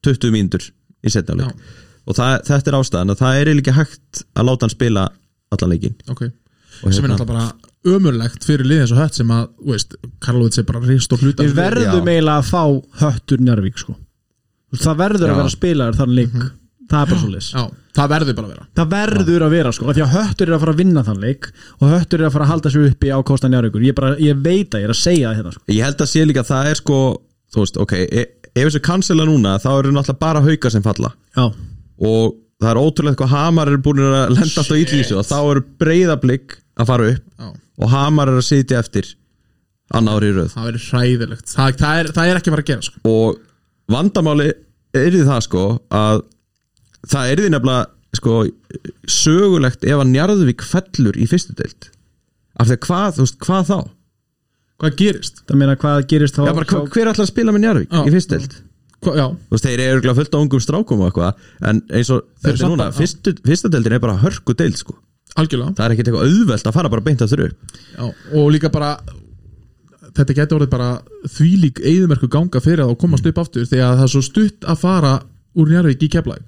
C: 20 mínútur í setjáleik og það, þetta er ástæðan að það er eiginlega ekki hægt að láta hann spila allan leikin
B: Ok,
C: Og
B: sem er
C: hérna-
B: náttúrulega bara ömurlegt fyrir liðið eins og hött sem að, þú veist, Karlovits er bara ríst og hluta
A: Við verðum
C: Já.
A: eiginlega að fá höttur Njárvík sko. Þú veist, Það verður
C: Já.
A: að
C: Mhm.
A: vera spilaður þann leik Það er bara svo
B: Já, það verður bara að vera
A: Það verður að vera sko af Því að höttur er að fara að vinna þann leik Og höttur er að fara að halda sér uppi á kosta Njárvíkur ég, bara- ég veit að ég er að segja það hérna sko.
C: ég held að sé líka að það er sko þú veist ok, e ef þessu cancela núna þá eru náttúrulega bara hauka sem falla
A: Já,
C: og það er ótrúlega hvað Hamar er búin að lenda alltaf í þessu og þá eru breyðablík að fara upp
B: Já.
C: og Hamar er að sitja eftir annar ári í röð
B: Það verður hræðilegt, það, það, er, það er ekki að fara að gera sko.
C: og vandamáli er því það sko að það er því nefnilega sko sögulegt ef að Njarðvík fellur í fyrstu deild af því að hvað, þú veist, hvað þá?
B: Hvað gerist?
A: það meina hvað gerist þá
C: Já, bara, hva,
A: þá-
C: hver ætlar að spila með Njarðvík
B: Já.
C: í fyrstu deild?
B: Hva, já,
C: Þú veist, þeir eru örugglega fullt á ungum strákum og eitthvað en eins og
B: Þeir eru
C: þetta er
B: samt
C: núna,
B: bara- já.
C: fyrstu, fyrsta deildin er bara hörku deild sko,
B: algjörlega
C: það er ekkert eitthvað auðvelt að fara bara beint að þurru
B: Já, og líka bara þetta getur orðið bara þvílík eigðumerku ganga fyrir að komast upp aftur því að það er svo stutt að fara úr Njarvík í Keflæk,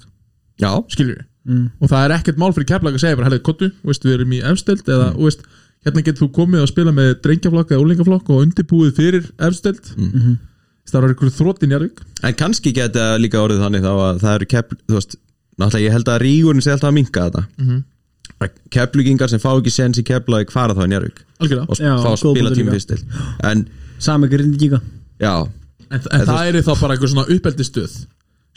C: Já,
B: skilur við og það er ekkert mál fyrir Keflæk að segja bara, herrið, kottu, veist, við erum í efstöld eða, mm. veist, hérna getur þú komið að spila með drengjaflokk eða úlingaflokk og undirbúið fyrir efstöld mm. það er einhverju þrótt í Njarvík
C: en kannski geta líka orðið þannig þá að það eru kepl, þú veist náttúrulega ég held að rígurinn sé alltaf að minka þetta mm
A: Mhm.
C: keplugingar sem fá ekki sens í keplæk fara þá í Njarðvík
B: algjörlega,
C: og
A: Já,
C: fá að
A: góð
C: spila
A: punktur
C: tíma
A: líka.
C: fyrst til en
A: Sami grindíka
C: já,
B: en, en það er þá bara einhver svona uppeldistöð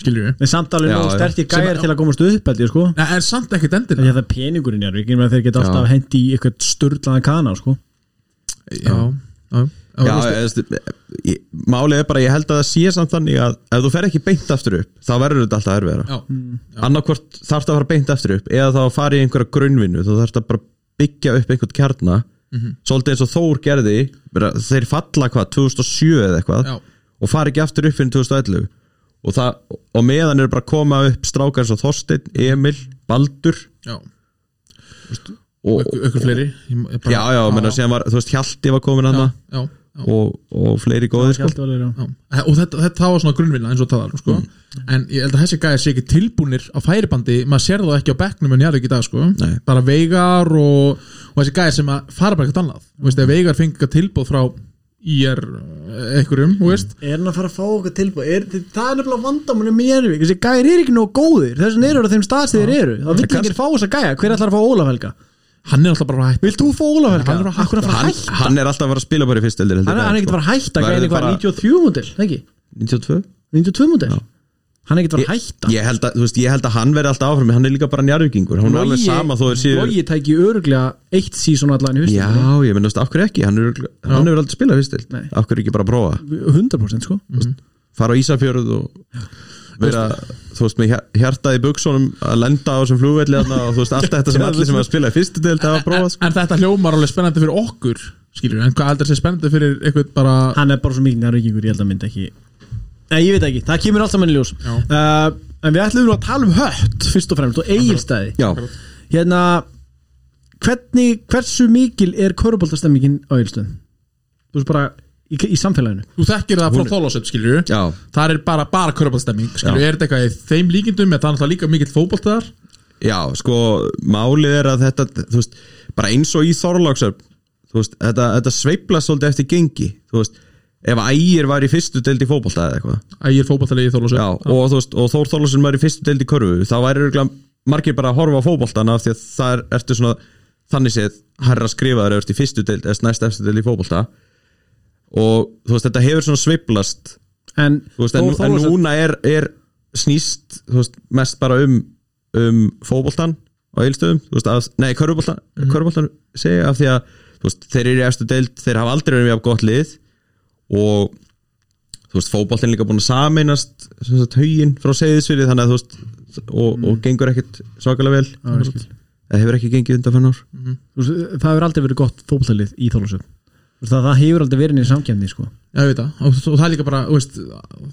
B: skilur við,
A: Við samt alveg
C: Já,
A: nóg
C: já.
A: sterkir
B: Sem-
A: gæjar til að komast upp held ég, sko.
B: en, en samt ekkert
A: Því
B: endilega
A: að það er peningurinn Njárvík Ég meina, Þeir geta
C: Já.
A: alltaf hendi í eitthvað sturlaðan kana sko.
B: já, já, já,
C: já
B: veist,
C: eðst, ég, málið er bara ég held að það sé samt þannig að ef þú fer ekki beint aftur upp þá verður þetta alltaf erfiðara
B: já,
C: annarkvort þarf það að fara beint aftur upp eða þá fara í einhverja grunnvinnu þú þarf það bara að byggja upp einhvern kjarna svolítið eins og Þór gerði bara, þeir falla hvað, 2007 eða eitthvað
B: já,
C: og fara ekki aftur upp fyrir 2011 og, það, og meðan eru bara að koma upp strákar eins og Þorsteinn, Emil, Baldur
B: já.
C: og,
B: Ykkur, ykkur fleiri Ég- ég bara-
C: já, já, menna síðan var, þú veist, Hjalti var komin hann
B: já, já, já,
C: og, og fleiri góðir sko.
A: Skjaldvalur, já.
B: já. og þetta, þetta það var svona grunnvinna eins og það var sko.
C: Mm.
B: en ég held að þessi gæði sé ekki tilbúnir á færibandi, maður sér það ekki á bekknum en ég er ekki í dag sko,
C: Nei.
B: bara veigar og, og þessi gæði sem að fara bara eitthvað annað, þú veist,
C: Mm.
B: ef veigar fengi eitthvað tilbúð frá IR einhverjum, þú veist,
A: Er hann að fara að fá okkur tilbúið? Er, það er nefnilega vandamunum í Njárvík Þessi gæjar er ekki nóg góðir Þess vegna eru á þeim stað sem þeir eru Það vill ekki fá þessa gæja Hver ætlar að fá Ólaf Helga?
B: hann er alltaf bara hægt
A: Vilt þú fá Ólaf Helga?
B: Hann er að fara að
A: Akkur að fara að
C: hann,
A: hætta
C: hann er alltaf að fara að spila bara í fyrst eldir
A: Hann er hann er ekkert að fara að hætta Gæja er
C: Verður
A: eitthvað
C: bara-
A: 93 múndil, ekki?
C: 92?
A: 92 múndil Hann er ekkert að fara að hætta
C: Ég held að, þú veist, ég held að hann verði alltaf áfram hann er líka bara njarvíkingur, hann er alveg sama þó er síður
A: Lógi tæki öruglega eitt sísón allan í
C: Já,
A: hustin
C: ég menn, þú veist, af hverju ekki hann, er, hann hefur aldrei spilað fyrst
A: Nei.
C: af hverju ekki bara að prófa
A: 100% sko
C: Mhm. fara á Ísafjörð og vera, þú veist, með hjar- hjartað í buksónum að lenda á þessum flugvelli þarna og þú veist, allt þetta sem allir sem er að spila í fyrstu deild hafa prófað, sko.
B: en þetta hljómar alveg spennandi fyrir okkur skilur, en hvað heldur þessi spennandi fyrir eitthvað bara,
A: hann er bara svo mikið nærvíkingur ég held að myndi ekki Nei, ég veit ekki, það kemur alltaf manni ljós
B: Já.
A: uh, En við ætlum nú að tala um hött fyrst og fremst og eigilstæði
C: Já,
A: Hérna, hvernig, hversu mikil er köruboltastemmingin á eigilstöðum? Þú veist bara, í, í samfélaginu
B: Þú þekkir það frá þólasöld, skilur við
C: Já.
B: Það er bara, bara körpastemming, skilur við Er þetta eitthvað í þeim líkindum, eða það er náttúrulega líka mikill fótbolt þar
C: Já, sko, málið er að þetta þú veist, bara eins og í Þorláksöp þú veist, þetta, þetta sveifla svolítið eftir gengi, þú veist ef ægir var í fyrstu deild í fótbolta eða eitthvað
B: Ægir fótboltalegi í
C: Já,
B: þólasöld
C: og þú veist, og Þór Þorláksson var í fyrstu deild í körfu, þá væri örugglega margir bara að horfa á fótboltana af því að það er, ertu svona, þannig séð herra skrifaður eftir fyrstu deild, eða næst eftir deild í fótbolta og þú veist, þetta hefur svona sveiflast
A: en,
C: þú veist,
A: Þór
C: en, en
A: Þórðarson-
C: núna er, er snýst þú veist, mest bara um, um fótboltan og eilstöðum þú veist, að, nei, köruboltan, mm segja af því að þú veist, þeir eru í efstu deild þeir hafa aldrei verið mjög gott lið og þú veist, fótboltin er líka búin að sameinast sem sagt, haugin frá segðisfyrir þannig að þú veist og, og gengur ekkert svakalega vel
A: Já, ég skil.
C: eða hefur ekki gengið undan fennar
A: Þú veist, það hefur aldrei verið gott fótboltalið í Þólasöf það, það hefur aldrei verið nýr samkjöfni sko.
B: Já, ég veit það, og, og það er líka bara, þú veist,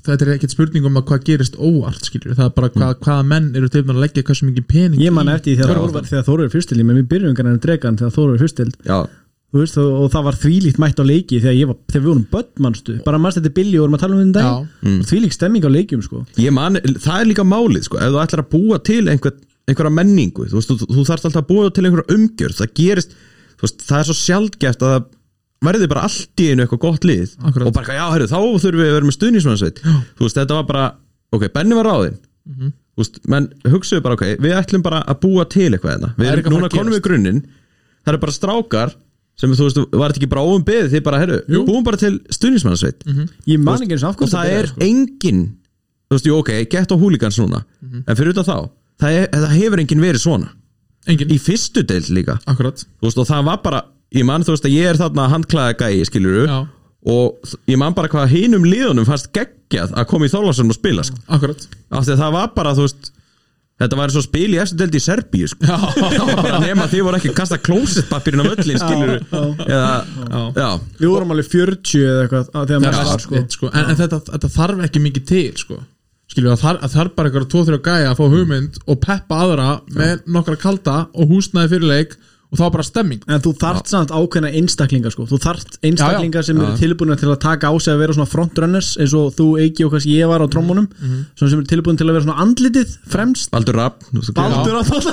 B: þetta er ekkert spurning um að hvað gerist óvart, skilur við, það er bara hvað, hvaða menn eru tilbúin að leggja hversu mikið pening
A: Mm. ég man
B: í-
A: eftir því þegar Þór var- þegar Þór er fyrstild ég með mér byrjum grann en dregan þegar Þór er fyrstild
C: Já,
A: Þú veist, og, og það var þvílíkt mætt á leiki þegar, ég var, þegar við vorum börn, mannstu bara mannstu þetta er billi og vorum að tala um þetta
B: Já.
A: mm. þvílíkt stemming á leikjum sko.
C: ég man, það er líka málið sko, ef þú ætlar að búa til einhver, einhverja menningu þú, veist, þú, þú þarft alltaf að búa til einhverja umgjörð það gerist, þú veist, það er svo sjálfgæft að það verði bara allt í einu eitthvað gott lið
B: Akkurat.
C: og bara, eitthvað, já, heyrðu, þá þurfum við að vera með stuðnismannsveit þú veist, þetta var bara, ok, Benni var ráðinn
B: Mhm.
C: þú veist, menn hugsuðu bara, ok við ætlum bara að búa til eitthvað hérna við
B: Það er
C: erum
B: eitthvað
C: núna
B: að gerast.
C: konum við grunninn það eru bara strákar sem, þú veist, var þetta ekki bara óum beðið því bara, heyrðu,
B: Jú. Mhm.
C: búum bara til stuðnismannsveit
A: ég man ekki eins og af
C: og
A: hverju
C: það
A: þetta
C: er
A: byrjaði, sko.
C: engin þú veist, jú, ok, gett á húlíkans núna en fyrir utan þá, það, er, það hefur engin verið svona,
B: Engin,
C: í fyrstu deild líka
B: akkurat
C: þú veist, og það var bara, ég man þú veist að ég er þarna handklæða gæi, skilur
B: Já.
C: og þ- ég man bara hvað hinum liðunum fannst geggjað að koma í Þorlásun og spila sko.
A: (laughs)
B: Akkurat
C: af því að það var bara, þú veist þetta var svo spil í efstu deild í Serbíu sko. (laughs)
B: Já,
C: bara nema að þið voru ekki að kasta klósettpapirinn á völlin, skilur eða, já, já.
A: við vorum alveg 40 eða eitthvað að, þegar
B: það
A: maður
B: er
A: var sko.
B: sko. sko. En, en þetta, þetta þarf ekki mikið til, sko Skilur við, að þar- að þarf bara eitthvað tvo þrjá gæja að fá hugmynd og peppa aðra með nokkra kalda og húsnaði fyrir leik og þá bara stemming
A: en þú þarft samt ákveðna einstaklinga sko. þú þarft einstaklinga sem eru tilbúin til að taka á sig að vera svona frontrunners eins og þú Eiki og kannski ég var
B: Mhm.
A: á trommunum svona sem eru tilbúin til að vera svona andlitið fremst
C: Baldur Rapp þú veist,
B: (laughs)
A: Baldur á þóla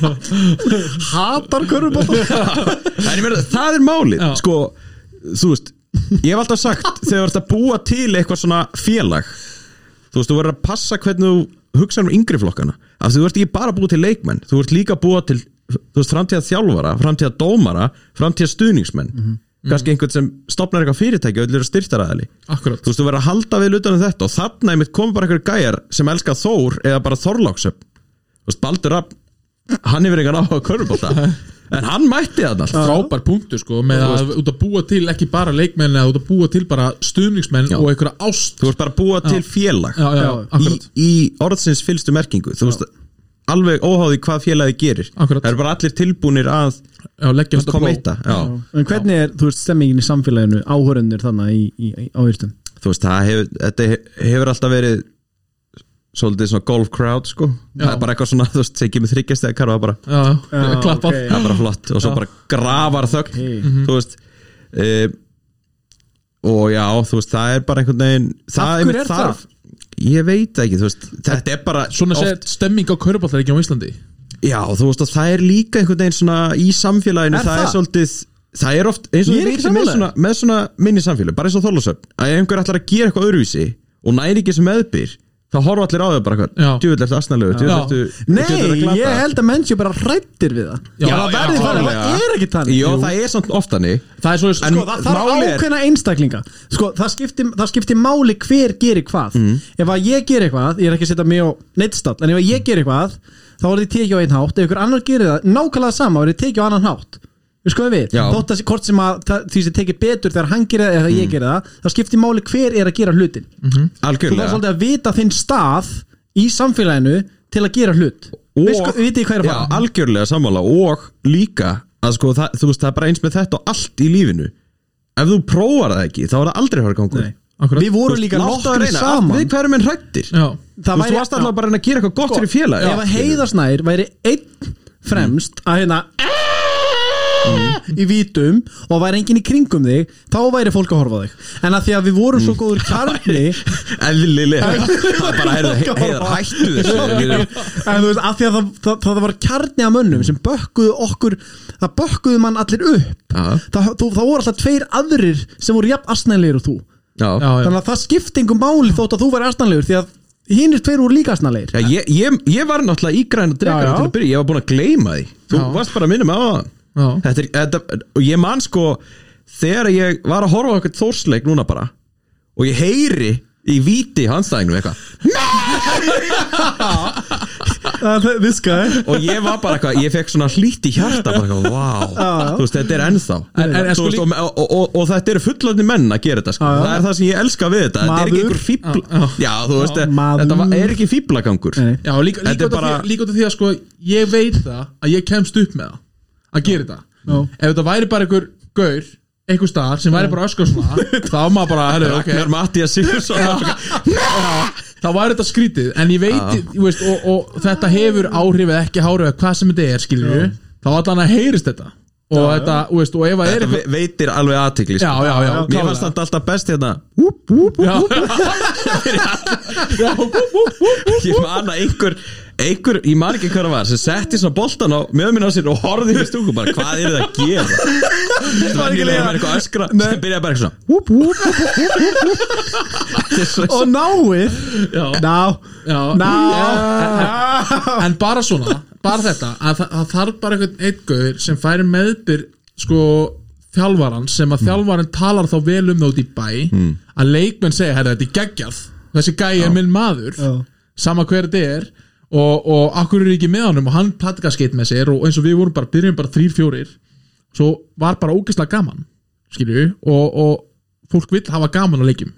A: (laughs) Hatar
B: (laughs)
A: körfubóta
C: En ég meina, það er málið
B: Já.
C: Sko, þú veist Ég hef alltaf sagt, þegar þú ert að búa til eitthvað svona félag Þú veist, þú verður að passa hvernig þú hugsa um yngri flokkana Af því þú ert ekki bara að búa til leikmenn Þú ert líka að búa til, þú veist, framtíða þjálfara Framtíða dómara, framtíða stuðningsmenn mm Kannski einhvern sem stopnar eitthvað fyrirtæki og öll eru styrtaræðali
B: Akkurat
C: Þú veist, þú verður að halda vel utan um þetta og þarna einmitt kom bara einhver gæjar sem elska Þór eða bara Þorláksöp Þú veist, Baldur Rapp, hann hefur engan áhuga á körubólta
B: (laughs)
C: En hann mætti þarna alltaf
B: frábær punktu sko með að út að búa til ekki bara leikmenn eða út að búa til bara stuðningsmenn
C: Já.
B: og einhverja ást
C: Þú ert bara að búa til félag
B: já, já,
A: Já.
C: í,
B: akkurat
C: í orðsins fylstu merkingu Þú veist, alveg óháði hvað félagi gerir
B: Akkurat.
C: Það eru bara allir tilbúnir að
B: já, leggja þetta
C: koma
B: bló.
C: eitt að
A: en hvernig er, þú veist, stemmingin í samfélaginu áhörundir þannig í, í, í áhýrstum
C: Þú veist, það hefur, þetta he- hefur alltaf verið svolítið svona golf crowd sko. það er bara eitthvað svona, þú veist, segjum við þryggjast eða karfa bara
B: já, já,
A: Já,
B: klappað
A: ok.
C: það er bara flott og svo bara grafar þögn
A: Mm-hmm.
C: þú veist e, og já, þú veist, það er bara einhvern veginn
A: Af
C: það
A: hverju er
C: þarf- Ég veit það ekki, þú veist, þetta er bara
B: svona
C: oft-
B: sé stemming á kauruballleikjum á Íslandi
C: Já, þú veist að það er líka einhvern veginn svona í samfélaginu,
A: Er
C: það,
A: það?
C: er svolítið það er oft eins og
A: Ég er
C: við
A: ekki
C: vitum með
A: sammála.
C: svona, með svona minni samfélag, bara eins og þólusöfn að ef einhver ætlar að gera eitthvað öðruvísi og næri ekki sem meðbyr, þá horfa allir á þau bara
B: Já.
C: eitthvað, djúvill ertu asnalegu djúvill
B: Já.
C: ertu,
A: Nei,
C: djöfull ertu að glata."
A: ég held að menn sé bara hrættir við það
B: Já,
A: Það
B: já,
A: verði þannig, það
C: klárlega.
A: er ekki þannig
C: Jó, það er samt oft hannig
B: það er svo sko,
A: sko, það þarf
C: málið er-
A: ákveðna einstaklinga sko, það skiptir það skipti máli hver gerir hvað
C: Mm.
A: ef að ég gerir eitthvað, ég er ekki að setja mig á neittstall, en ef að ég gerir eitthvað þá er þið tekið á einn hátt, ef ykkur annar gerir það nákvæmlega sama, er þið tekið á annan hátt við skoðum við,
C: Já. Mm.
A: þótt að sé- hvort sem að það- því sem tekið betur þegar hann gerir það eða ég gerir það, þá skiptir máli hver er að gera hlutin þú þarf
C: algjörlega
A: svolítið að vita þinn stað í samfélaginu til að gera hlut
C: Og-
A: Veist hvað- vitið þið hvað ég er að
C: Já,
A: fara
C: algjörlega sammála og líka að sko, það, þú veist, það er bara eins með þetta og allt í lífinu ef þú prófar það ekki, þá er það aldrei að fara gangur
A: Nei.
B: akkurat.
A: við vorum líka
C: Láttu að
A: nokkri
C: reyna,
A: saman
C: við hverjum en hrættir
B: já,
A: Það
C: Þú veist,
A: væri-
C: þú varst alltaf
A: já.
C: bara að reyna að gera eitthvað
A: Sko,
C: gott fyrir félag Mm.
A: ef að heiðarsnær væri einn fremst að hérna í vítum og væri enginn í kringum þig þá væri fólk að horfa á þig en að því að við vorum
C: Mm.
A: svo
C: (laughs)
A: góður kjarni
C: eðlilega það er bara, heyrðu,
A: Fólk að horfa á.
C: heiðar, hættu þessu Við erum-
A: en þú veist, að því að það, það, það var kjarni af mönnum sem bökkuðu okkur það bökkuðu mann allir upp
C: Já.
A: það, þú, það voru alltaf tveir aðrir sem voru jafn asnæðlegir og þú
C: Já.
B: Já, já.
A: þannig að það skipti engum máli þótt að þú væri asnæðlegur því að hinnir tveir voru líka asnæðlegir
C: Já, ég, ég, ég var náttúrulega í græna
A: Já, já.
C: dregara til að byrja, ég var búin að gleyma því Þú
B: Já.
C: varst bara að minna mig á það
B: Já.
C: þetta er, þetta, Og ég man sko Þegar ég var að horfa á eitthvað þórsleik núna bara Og ég heyri í víti hansdæðinu eitthvað
A: this guy
C: Og ég var bara eitthvað, ég fekk svona hlýtt í hjarta Bara eitthvað, vá,
A: Já, já.
C: þú veist, þetta er ennþá
B: En- en- en
C: Þú
B: sko
C: veist,
B: lí-
C: og, og, og, og þetta eru fullandi menn að gera þetta sko.
A: Já, já.
C: Það er það sem ég elska við þetta Þetta er ekki
A: Maður.
C: einhver fíbla Já, þú veist,
A: Já, maður.
C: þetta var- er ekki fíblagangur
A: Nei, nei.
B: Já, líka, líka,
C: Þetta er
B: út af
C: bara-
B: því, líka út af því að sko ég veit það að ég kemst upp með það að gera þetta
A: Já.
B: ef þetta væri bara einhver gaur einhver staðar sem væri bara öskar svona
A: (laughs)
B: þá var maður bara, herru, ok
C: Ragnar Mattias Sigursson
B: þá væri þetta skrítið en ég veit, ég veist, og, og þetta hefur áhrif eða ekki áhrif eða hvað sem þetta er skilur við, þá allan að heyrist þetta og þetta, þú veist, og ef að er
C: Þetta
B: eitthvað
C: ve- veitir alveg aðtikli
B: Já, já, já,
C: Mér
B: klálega.
C: fannst þetta alltaf best hérna
B: Já. Já, hú, hú, hú, hú.
C: Ég man að einhver, einhver Ég man ekki hvað það var sem setti svona boltan á möðuminn á sér og horfði yfir stúku bara hvað er það að gera Það var ekki lega eitthvað öskra sem byrjaði bara eitthvað svona
A: whoop, whoop.
C: Þetta er svo-
A: og náið
B: Já.
A: ná,
B: Já.
A: ná
B: en bara svona, bara þetta að það, það þarf bara einhvern einn gaur sem færi meðbyr sko þjálfaran sem
A: Mm.
B: að þjálfaran talar þá vel um það út í bæ að leikmenn segja, herra, þetta er geggjað þessi gæi er minn maður
A: Já.
B: sama hver þetta er og, og akkur er ekki með honum og hann platikaskeitt með sér og eins og við vorum bara, byrjum bara þrýr, fjórir svo var bara ógeðslega gaman skilju, og, og fólk vill hafa gaman á leikjum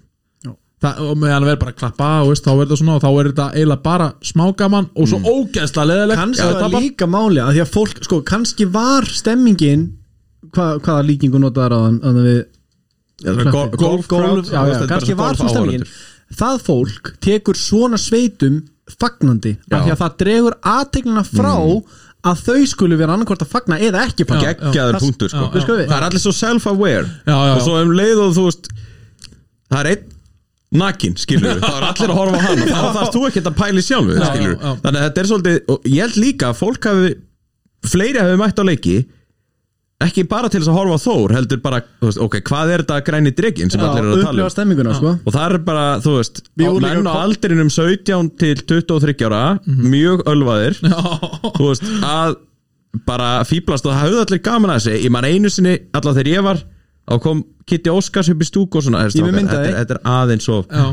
B: Það, og meðan að vera bara að klappa og veist, þá verður þetta svona og þá er þetta eiginlega bara smágaman og
C: Mm.
B: svo ógeðslega leðilegt
A: kannski var líka máli að því að fólk, sko, kannski var stemmingin hva, hvaða líkingu notaðar á þann að við
C: Já, það var gol-
A: Klappi.
C: golf crowd,
A: golf, já,
C: það
A: já,
C: var
A: kannski
C: bara
A: var
C: golf
A: svo stemmingin
C: áhorfendur.
A: það fólk tekur svona sveitum fagnandi,
C: Já. Mm.
A: af því að það dregur aðtegnina frá að þau skulu vera annarkvort að fagna eða ekki fagna
C: Geggjaður
A: Það-
C: punktur sko
A: já, já.
C: Það er allir svo self-aware
B: Já, já, já.
C: Og svo um leið og þú veist Það er einn nakin,
B: (laughs)
C: skilur við Það er allir að horfa á hann og Þá þarfst þú ekkert að pæli sjálfu,
B: Já,
C: skilur
B: já, já.
C: Þannig að þetta er svolítið Og ég held líka að fólk hafi Fleiri hafi mætt á leiki Ekki bara til þess að horfa á Þór Heldur bara, þú veist, ok, hvað er þetta græni dregin Sem allir eru að tala
A: upplifa
C: um
A: stemminguna, sko
C: Og það er bara, þú veist,
A: Við vorum
C: menn
A: líka-
C: á aldrinum 17 til 23 ára
B: Mhm.
C: Mjög
B: (laughs)
C: ölvaðir þú veist, að bara fýblast og það hafði allir gaman að þessi ég man einu sinni, allavega þegar ég var þá kom Kitty Óskars upp í stúku og svona "Herra,
A: Ég er með
C: strákar,
A: mynd af
C: þetta, er-
A: því."
C: þetta er aðeins og
B: já,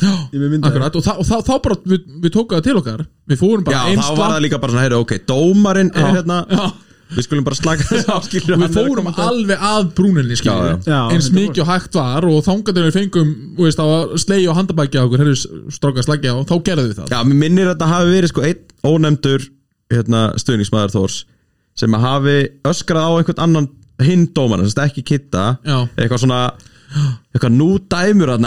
B: já,
A: Ég með myndaði.
B: akkurat og, það, og það, þá bara, við, við tókum það til okkar við fórum
C: já,
B: bara
C: þá var það líka bara svona, heyru, ok, dómarinn er hérna
B: já.
C: við skulum bara slaka þess á skilur
B: og við fórum alveg að brúninni
C: Já, já.
B: skilju
A: Já,
B: eins
A: 100%.
B: mikið og hægt var og þangatum við fengum þú veist, á að slegi og handabækja okkur herri, stráka slagja og þá gerðum við það
C: já, mér minnir að þetta hafi verið sko einn ónefndur hérna, stuðningsmaður Þórs sem að hafi öskrað á einhvern annan hinn dómarinn, sem sagt ekki Kitta
B: Já.
C: eitthvað svona eitthvað nú dæmur hann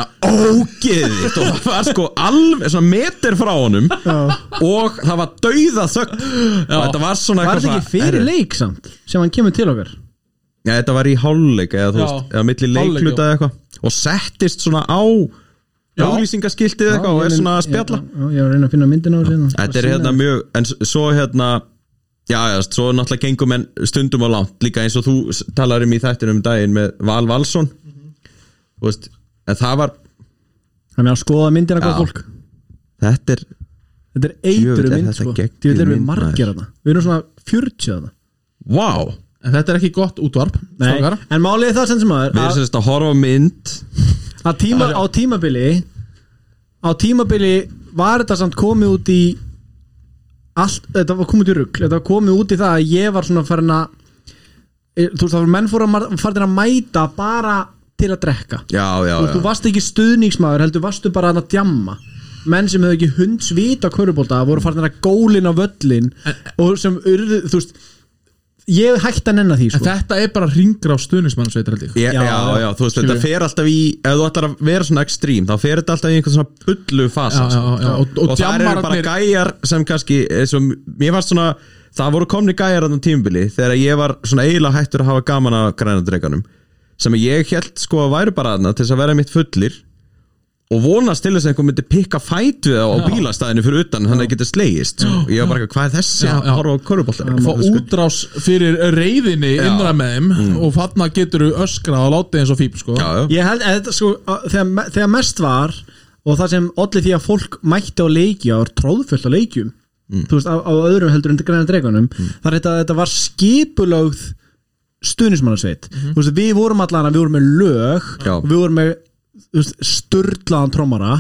C: ógeðið og það var sko alveg svona meter frá honum og það var dauða þögn og þetta var svona
A: var
C: eitthvað
A: þetta ekki fyrir leik samt sem hann kemur til okkar
C: Já, þetta var í hálfleik eða þú
B: Já.
C: veist, eða milli
B: Hálfleik,
C: leikluta
B: já.
C: eða eitthvað og settist svona á
B: Já.
C: auglýsingaskiltið eitthvað og er svona að spjalla
A: Já, já, ég var að reyna að finna myndina á þessu hérna.
C: Þetta er hérna mjög, en s- svo hérna Já, já, svo náttúrulega gengum en stundum á langt Líka eins og þú s- talar um í þættinum um daginn með Val Valsson Þú veist, en það var
A: Þannig að skoða myndina
C: Já.
A: hvað fólk
C: Þetta er,
A: Þetta er eitru
C: Djöfull er
A: mynd
C: þetta
A: sko
C: geggjuð
A: Djöfull erum við
C: mynd,
A: margir
C: maður.
A: þarna Við erum svona 40 þarna
C: vá wow.
B: en þetta er ekki gott útvarp strákar.
A: Nei, en málið er það sem sem maður
C: Við erum
A: að,
C: semst að horfa á mynd
A: að tíma, á tímabili á tímabili var þetta samt komið út í allt, þetta var komið út í rugl þetta var komið út í það að ég var svona farin að e, þú veist það var menn fóru að mar- farin að mæta bara til að drekka
C: Já, já,
A: þú, veist, þú
C: já
A: varst ekki stuðningsmaður heldur varstu bara að djamma menn sem hefðu ekki hundsvita körubólta voru farin að gólin á völlin og sem urðu, þú veist ég hef hægt að nenna því
B: En
A: sko.
B: þetta er bara ringra á stuðnismannsveitar held ég
C: Já, já,
A: já,
C: já, þú veist, þetta
B: skilur.
C: fer alltaf í ef þú ætlar að vera svona ekstrím, þá fer þetta alltaf í einhvern svona bullu fasa
B: Já, já, já, já, og- og
C: og það eru bara
B: djammararnir-
C: gæjar sem kannski, eh, sem, ég var svona það voru komni gæjar á tímbili þegar ég var svona eiginlega hættur að hafa gaman að græna dreganum, sem ég held sko að væri bara þarna til þess að vera mitt fullir og vonast til þess að einhver myndi pikka fæt við það á bílastæðinu fyrir utan þannig að það getur slegist sko. og ég var bara, eitthvað, hvað er þessi
B: Já,
C: að
B: já.
C: horfa
B: Að
C: á Sko,
B: Fá
C: körubólta
B: útrás fyrir reyðinni innra með þeim og þarna getur þú öskrað og látið eins og fíp sko.
C: Mm. Já, já.
A: ég held að þetta sko að, þegar, me- þegar mest var og það sem olli því að fólk mætti á leiki og var tróðfullt á leikjum
B: Mm.
A: þú veist á, á öðrum heldur undir græna dregunum þar þetta, þetta var skipulögð stuðnismannasveit
B: Mhm.
A: þú veist við vorum allan að við vorum með lög
C: Já.
A: og við vorum með þú veist, sturlaðan trommara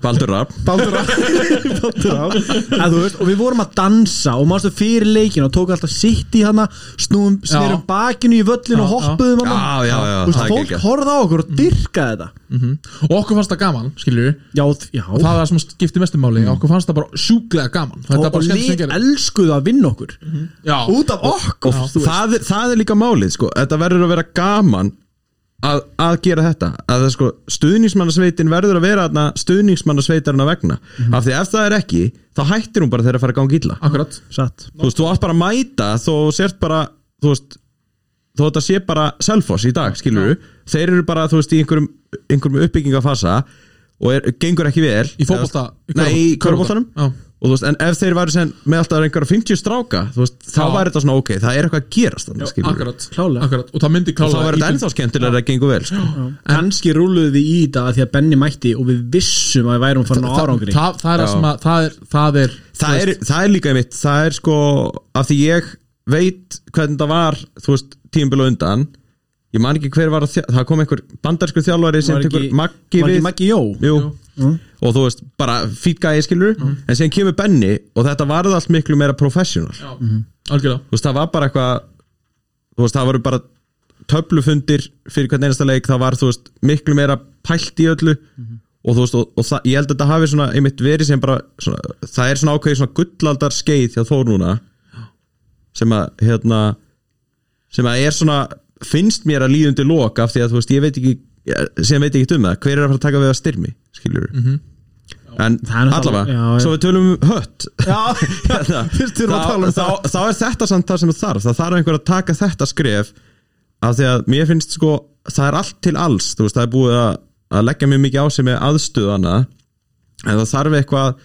C: Baldur Rapp
A: Baldur á Baldur á að, þú veist, og við vorum að dansa og mástu fyrir leikin og tók alltaf sitt í hana snúum, snerum
B: Já.
A: bakinu í völlin og
B: Já, já.
A: hoppuðum hana
C: Já, já, já,
A: Þú veist,
C: það er
A: fólk
C: geggjað.
A: horfði á okkur
B: Mm.
A: og dyrkaði þetta
B: og okkur fannst það gaman, skilju
A: já, þ- já
B: það er það sem skipti mestum máli
C: Mm.
B: okkur fannst það bara sjúklega gaman þetta
A: og,
B: er
A: og
B: bara skemmt sem
A: lið
B: gerir
A: elskuðu að vinna okkur
B: já,
A: út af okkur
C: og
A: þú veist.
C: það er, það er líka málið sko. þetta verður að vera gaman að, að gera þetta að það, sko, stuðningsmannasveitin verður að vera þarna stuðningsmannasveitarinn að vegna af því ef það er ekki, þá hættir hún bara þegar að fara að ganga illa
B: Mhm. akkurat
A: satt
C: þú veist, þú átt bara að mæta þó þú sért bara, þú veist þó þetta sé bara selfos í dag, skilur þeir eru bara, þú veist, í einhverjum, einhverjum uppbyggingafasa og er, gengur ekki vel
B: Í fótbolta- í
C: Nei, í
B: körfubolta.
C: körbóltanum
B: Já.
C: og þú veist, en ef þeir væri sem með alltaf einhverja 50 stráka, þú veist, þá
B: Já.
C: væri þetta svona ok, það er eitthvað að gerast þannig, skilur
B: akkurat,
A: Klálega.
B: akkurat og það myndi
C: og þá
B: klálega
C: verður þetta ennþá skemmtilega að gengur vel sko.
A: kannski rúluðu við í þetta af því að Benni mætti og við vissum að við værum farin á
B: það,
A: árangri
B: það, það er það sem að það er, það er,
C: það, er, það er líka mitt, það er sko af því ég veit hvernig það var þú veist, tímbil og undan ég man ekki hver var að þjá, það kom einhver bandarsku þjálfari sem
A: Var ekki-
C: tekur Maggi
A: var
C: við
A: ekki Maggi Jó
C: Jú. og þú veist, bara fýt gæði skilur en síðan kemur Benni og þetta varð allt miklu meira professional
B: Já, algjörlega
C: þú veist, það var bara eitthvað þú veist, það voru bara töflufundir fyrir hvern einasta leik, það var þú veist, miklu meira pælt í öllu og þú veist, og, og það, ég held að þetta hafi svona einmitt verið sem bara, svona, það er svona ákveðið svona gullaldar skeið hjá Þór núna sem að, hérna sem að er svona finnst mér að líðundi lok af því að þú veist, ég veit ekki sem veit ekki um það, hver er að fara að taka við að styrmi skilur en
A: Það er náttúrulega-
C: allavega,
A: já, já.
C: svo við tölum um hött
A: já,
C: (laughs) Hérna,
A: Fyrst þurfum að
C: þá-
A: tala um það.
C: þá- þá er þetta samt það sem það þarf það þarf einhver að taka þetta skref af því að mér finnst sko það er allt til alls, þú veist það er búið að, að leggja mjög mikið á sig með aðstöðana en það þarf eitthvað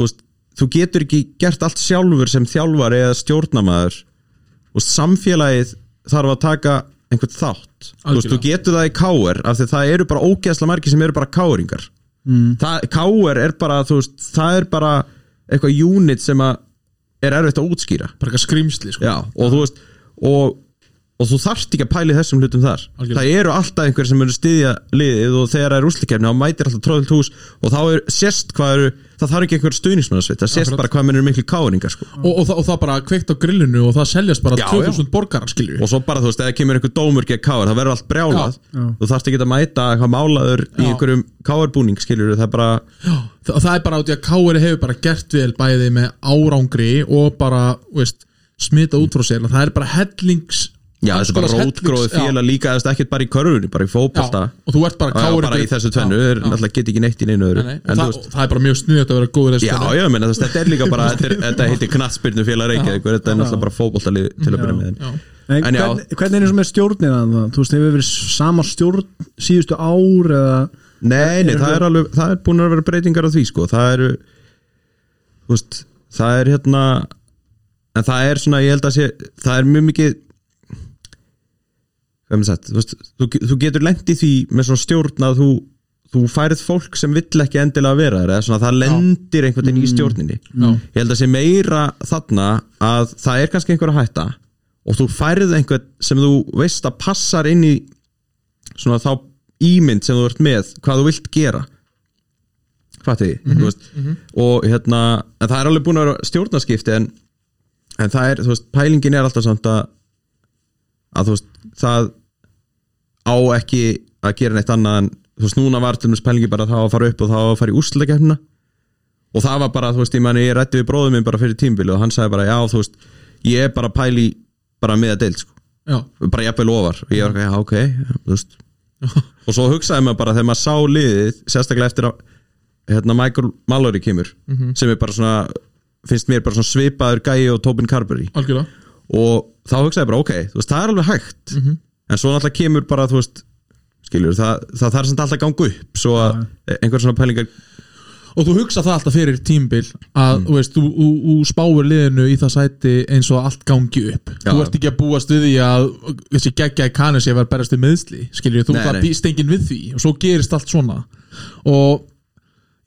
C: þú veist, þú getur ekki gert allt sjálfur sem þjálfari eða stjórnamaður og samfélagið þarf að taka einhvern þátt þú, veist,
B: Algjörlega.
C: þú getur það í káir af því að það eru bara ógeðsla margir sem eru bara káringar mm. káir er bara þú veist, það er bara eitthvað unit sem að er erfitt að útskýra
B: bara eitthvað skrýmsli sko.
C: Já, og þú veist og, og þú þarft ekki að pæli þessum hlutum þar
B: Algjörlega.
C: það eru alltaf einhver sem eru stiðja liðið og þegar það er úslikefni þá mætir alltaf tróðilt hús og þá er sérst hvað eru það þarf ekki einhver stuðnismannasveit það sérst
B: Akkurat.
C: bara hvað mennur miklu káringar sko.
B: og, og, það, og það bara kveikt á grillinu og það seljast bara
C: Já,
B: 2000 borgarar skilju
C: og svo bara þú veist, eða kemur einhver dómur gegn káar, það verður allt brjálað
A: Já.
C: þú þarft ekki að mæta hvað málaður í
B: Já.
C: einhverjum káarbúning skilur það er bara,
B: Þa, það er bara út í að KR hefur bara gert vel bæði með árangri og bara þú veist, smita út frá sér það er bara hellings
C: já þessi bara
B: alls konar
C: rótgróði
B: hellings- já,
C: félag líka, þú veist, ekkert bara í körfunni bara í fótbolta,
B: já, og þú ert bara
C: Já, já,
B: KR
C: bara í þessu tvennu, þeir náttúrulega get ekki neitt í neinu öðru
B: Nei, nei, og
C: En þú
B: það,
C: veist-
B: og það er bara mjög sniðjögt að vera góður í þessu
C: Já,
B: tvennu.
C: já, menn, þetta er líka bara þetta, er, þetta heitir knattspyrnu félag Reykjavík þetta er náttúrulega bara fótboltalið til að byrja með
B: Já.
A: Nei,
C: En já.
A: hvern, hvernig er eins og með stjórnina þarna? þú veist, hefur verið sama stjórn síðustu ár eða
C: Nei,
A: Er-
C: nei,
A: er-
C: það er alveg, það er búin að vera breytingar á því sko, það eru þú veist, það er hérna en það er svona, ég held að sé það er mjög mikið hvað er maður sagt, þú veist þú, þú getur lent í því með svona stjórn að þú þú færið fólk sem vill ekki endilega vera þér, eða svona það lendir einhvern veginn í stjórninni
B: Já.
C: ég held að sé meira þarna að það er kannski einhver að hætta og þú færið einhvern sem þú veist að passar inn í svona þá ímynd sem þú ert með hvað þú vilt gera hvað þið, þú veist og hérna, en það er alveg búin að vera stjórnarskipti en, en það er, þú veist, pælingin er alltaf samt að að þú veist, það á ekki að gera neitt annað en þú veist, núna var til mjög pælingi bara að það á að fara upp og það á að fara í úrslutakefnina og það var bara, þú veist, ég mani, ég rætti við bróðum minn bara fyrir tímbili og hann sagði bara, já, þú veist ég er bara að pæli bara miða deild sko.
B: já,
C: bara jafnvel ofar og ég var ekki, ok, já, þú veist (laughs) og svo hugsaði maður bara þegar maður sá liðið sérstaklega eftir að hérna Michael Mallory kemur sem er bara svona, finnst mér bara svona svipaður gæi og Tobin Carberry
B: algjörlega
C: og þá hugsaði ég bara ok, þú veist, það er alveg hægt en svo náttúrulega kemur bara, þú veist skilur, það, það þarf samt alltaf að ganga upp svo að einhver svona pælingar
B: og þú hugsa það alltaf fyrir tímbil að
C: Mm.
B: þú, veist, þú, þú, þú spáir liðinu í það sæti eins og allt gangi upp
C: Já.
B: þú ert ekki að búast við því að þessi geggjaði kanus ég var að berast við meðsli skilur þú
C: Nei,
B: það
C: nei.
B: býst enginn við því og svo gerist allt svona og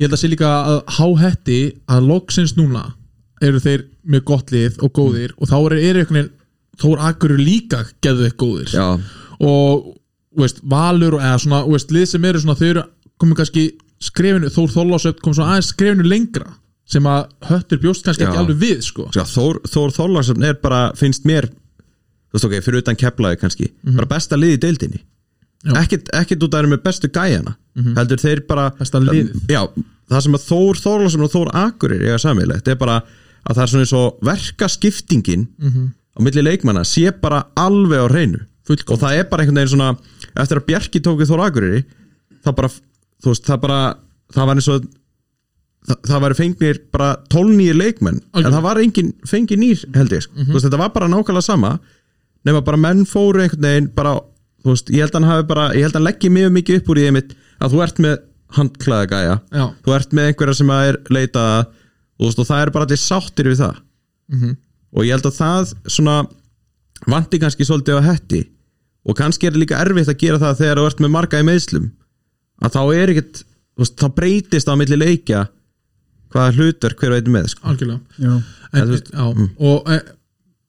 B: ég held að sé líka að háhetti að loksins núna eru þeir með gott lið og góðir
C: Mm.
B: og þá eru er einhvern veginn þá eru akkur líka geðveikt góðir
C: já,
B: og þú veist, valur og- eða svona, þú veist, lið sem eru svona þau eru komið kannski skrefinu, Þór Þorlásöfn kom svona aðeins skrefinu lengra sem að höttur bjóst kannski ekki
C: Já.
B: alveg við sko.
C: sko, Þór, Þór Þorlarsson er bara, finnst mér þú veist ok, fyrir utan keplaði kannski bara besta liðið í deildinni
B: Mhm. Já. Mhm.
C: ekkert, ekkert út að þeir eru með bestu gæjana heldur þeir bara
B: Besta liðið.
C: já, það sem að Þór Þorlarsson og Þór Akurir eiga samilegt er bara að það er svona eins og verkaskiptingin
B: Mhm.
C: á milli leikmanna sé bara alveg á hreinu
B: Fullkomin.
C: og það er bara einhvern veginn svona eftir að Bjarki tókið Þór Akureyri það bara, þú veist, það bara það var eins og það, það væri fengnir bara 12 nýjir leikmenn en
B: Algjörlega. Mhm.
C: það var engin, fengið nýr held ég, sko. þú veist, þetta var bara nákvæmlega sama nema bara menn fóru einhvern veginn bara, þú veist, ég held að hann hafi bara ég held að hann leggji mjög mikið upp úr í einmitt að þú ert með handklæða gæja
B: Já.
C: þú ert með einhverja sem að er leitað að, þú veist, og það er bara allir sáttir við það
B: Mhm.
C: og ég held að það svona vanti kannski svolítið á hetti og kannski er líka erfitt að gera það þegar þú ert með marga í meðslum að þá er ekkert, þú veist, þá breytist á milli leikja hvaða hlutur hver veit með, sko.
B: algjörlega
A: Já.
B: en,
C: þú veist,
B: já, og e,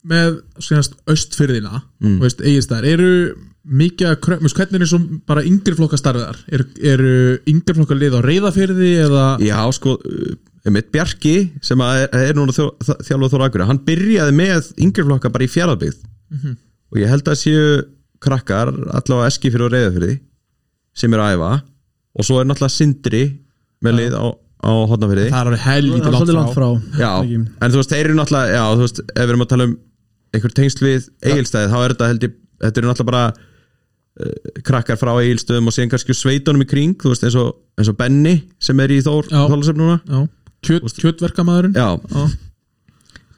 B: með sérst, östfyrðina mm. veist, eigistæðar, eru mikið að kröf, veist, hvernig er svo bara yngri flokka starfiðar eru, eru yngri flokka lið á reyðafyrði eða
C: Já, sko, uh, mitt Bjarki sem að er, er núna þjó- þ- þjálfur Þóra Akureyri, hann byrjaði með yngjörflokka bara í fjaraðbyggð og ég held að séu krakkar allavega eski fyrir og reyðafyrði sem eru að æfa og svo er náttúrulega sindri með lið á, á hotnafyrði
B: það er alveg
A: Það
B: helvítið
A: er svolítið langt frá
C: Já,
A: Ekki.
C: en þú veist, þeir eru náttúrulega Já, þú veist, ef við erum að tala um einhver tengsl við eigilstæði, þá er þetta held ég Þetta eru náttúrulega bara uh, krakkar frá eigilstöðum og síðan kannski sveitunum í kring, þú veist, eins og, eins og Benny sem er í Þór,
B: Já.
C: Þólasöfn núna
B: já, kjöt, kjötverkamaðurinn
C: Já,
B: Já.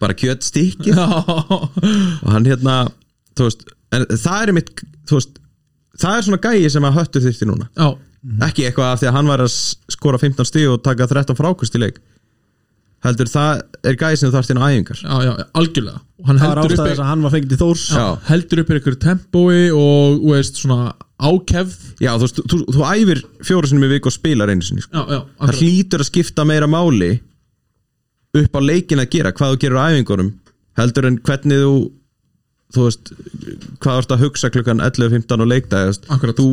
C: bara kjötstykki
B: já,
C: og hann hérna, þú veist en það er mitt, þú veist það er svona gæi sem að höttu þyrfti núna
B: (laughs) já.
C: ekki eitthvað af því að hann var að s- skora 15 stíð og taka 13 frákust í leik heldur það er gæi sem þarfst inn á æfingar
B: já, já, algjörlega og hann
A: Það er
B: heldur
A: ástæðis
B: upp,
A: að hann var fengið til Þórs
C: Já.
B: heldur upp ykkur tempói og þú veist svona ákefð
C: Já, þú, veist, þú, þú æfir fjóru sinni með viku og spilar einu sinni sko.
B: já, já,
C: Það
B: akkurat.
C: hlýtur að skipta meira máli upp á leikin að gera hvað þú gerur á æfingunum heldur en hvernig þú þú veist, hvað þú ert að hugsa klukkan 11.15 og leikdag þú veist.
B: Akkurat.
C: þú,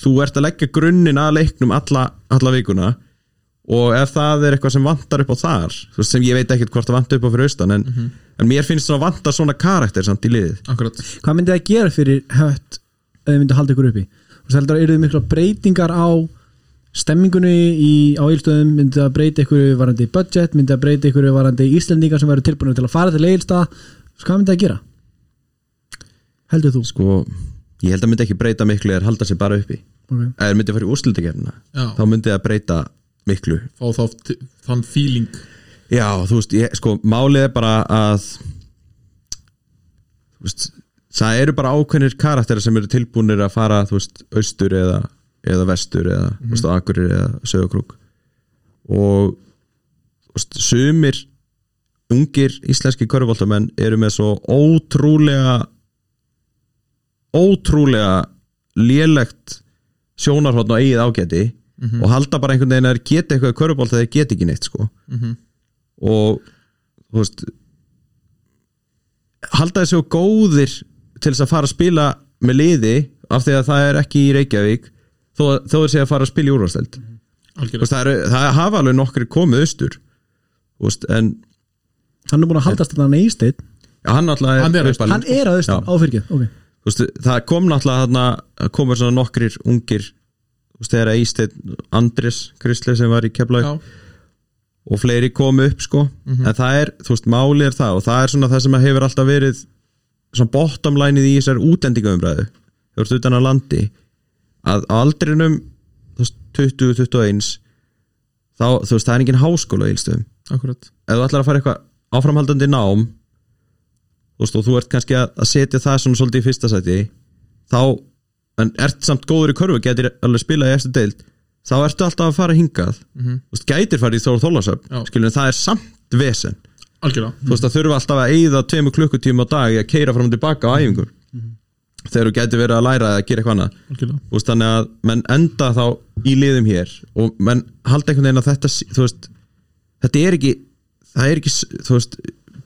C: þú ert að leggja grunnin að leiknum alla, alla vikuna og ef það er eitthvað sem vantar upp á þar þú veist, sem ég veit ekkert hvort það vantar upp á fyrir austan en,
B: Mhm.
C: en mér finnst svona vantar svona karakter samt í liðið
B: akkurat
A: Hvað myndi það gera fyrir hött ef þið myndi halda ykkur uppi? Þú heldur að eru þið mikla breytingar á stemmingunni í, á eilstöðum myndi það breyta ykkur varandi budget myndi það breyta ykkur varandi íslendingar sem verður tilbúinu til að fara til eilstöða hvað myndi það gera? Heldur þú?
C: sko, ég held að myndi ekki breyta miklu eða halda sér bara uppi
A: Okay.
C: ef þeir myndi að fara í úrslutakefnina
B: Já.
C: þá myndi það breyta miklu
B: fá þá t- þann feeling
C: já, þú veist, ég, sko, málið er bara að þú veist, það eru bara ákveðnir karakterar sem eru tilbúinir að fara þú veist, austur eða, eða vestur eða, þú veist, akurir eða sögurkrúk og þú veist, sumir ungir íslenski körfbóltamenn eru með svo ótrúlega ótrúlega lélegt sjónarhóttn og eigið ágæti og halda bara einhvern veginn að þeir geta eitthvað í körfbólt þeir geta ekki neitt sko og þú veist halda þessu góðir til þess að fara að spila með liði af því að það er ekki í Reykjavík þó, þó þeir sé að fara að spila í úrvarsdeld Þú
B: algjörlega
C: veist, það, eru, það hafa alveg nokkri komið austur Þú veist, en
A: Hann er búin að haldast þetta hann í Ísteinn
C: Já, hann náttúrulega
B: Hann er
C: uppalinn,
A: Hann
C: sko.
A: er að austan
C: Já.
A: á fyrkið okay.
C: Þú veist, það kom náttúrulega þarna komur svona nokkrir ungir þú veist, þegar Ísteinn Andris Kristli sem var í Keflavík
B: já,
C: og fleiri komu upp sko en það er, þú veist, máli er það og það er svona það sem hefur alltaf verið svona bottomlænið í þessar útendingaumræðu þú ert utan að landi að á aldrinum þú veist, 20-21 þá, þú veist, það er engin háskóla í Ílstöðum
B: akkurat
C: ef þú ætlar að fara eitthvað áframhaldandi nám þú veist, og þú ert kannski að, að setja það svona svolítið í fyrsta sæti þá, en ert samt góður í körfu getur alveg spilað í eftir deild þá ertu alltaf að fara hingað þú veist, gætir farið í Þór Þólasöp
B: Já.
C: skilur, en það er samt vesen
B: algjörlega
C: þú veist, það þurfa alltaf að eyða tveimu klukkutíma á dag í að keira fram og tilbaka á æfingum þegar þú getur verið að læra eða gera eitthvað annað
B: algjörlega
C: Þú veist, þannig að menn enda þá í liðum hér og menn halda einhvern veginn að þetta sé- þú veist, þetta er ekki það er ekki, s- þú veist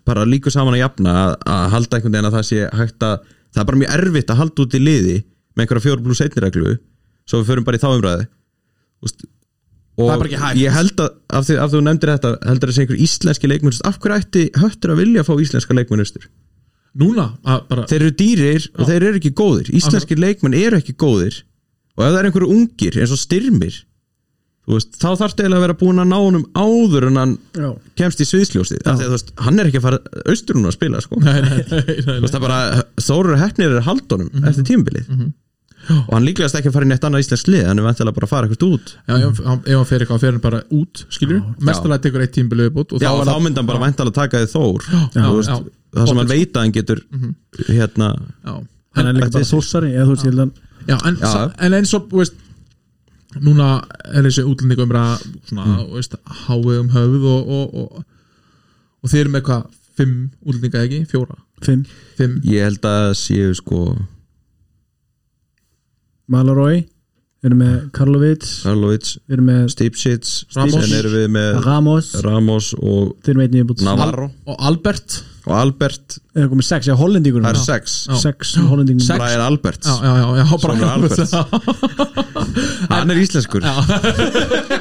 C: bara líku saman að jafna að, að halda einhvern veginn að það sé hægt að það er bara mjög erfitt að halda út í liði með einhverja fjóru pluss einni reglu svo við förum bara í þá umræði Þú veist, og
B: Það er bara ekki hægt.
C: ég held að af því af því þú nefndir þetta, heldur þessi einhver íslenski leikmunust, af hverju ætti höttur að vilja að fá íslenska leikmunustur?
B: núna að bara
C: þeir eru dýrir og þeir eru ekki góðir íslenskir leikmenn eru ekki góðir og ef það er einhverju ungir eins og styrmir þú veist, þá þarf til að vera búin að ná honum áður en hann
A: Já.
C: kemst í sviðsljósið af því að þú veist, hann er ekki að fara austur hún að spila sko. þú
B: nei, nei, nei, nei, nei.
C: veist, það er bara, Þórur Hefnir er haldunum
B: Mhm.
C: eftir tímabilið og hann líklegast ekki að fara í neitt annað íslensk lið hann er vantilega bara að fara eitthvað út
B: Já, ef hann ef hann fer eitthvað, fer hann bara út, skilur mestalega tekur eitt tímbil viðbútt og
C: já, og
B: er
C: þá
B: það-
C: myndi hann bara vantilega taka því Þór
B: já,
C: Þú veist,
B: já. Mhm.
C: það sem hann veit að hann getur hérna,
B: Já,
A: hann er
B: en,
A: líka bara þósari eða þú veist, ég held að
B: já, en,
C: Já.
B: sa- en eins og, þú veist núna er þessi útlendingum bara svona, mm. veist, háið um höfuð og, og, og, og þeir eru með hvað fimm útlendinga ekki, fjóra
A: fimm,
B: fimm,
C: ég held að séu sko
A: Malarói við erum með Karlovic
C: Karlovits,
A: við erum með
C: Stipsits
B: Ramos.
C: Sen erum við með
A: Ramos
C: Ramos og
A: þeir eru með einn nýjubútt
C: Navarro
B: og Albert
C: og Albert,
A: eða komið sex, já, hollendingur
C: það er sex
A: sex hollendingur
B: Sex.
C: Brian Alberts,
B: já, já, já, já, bara
C: Sonur Alberts. hann er íslenskur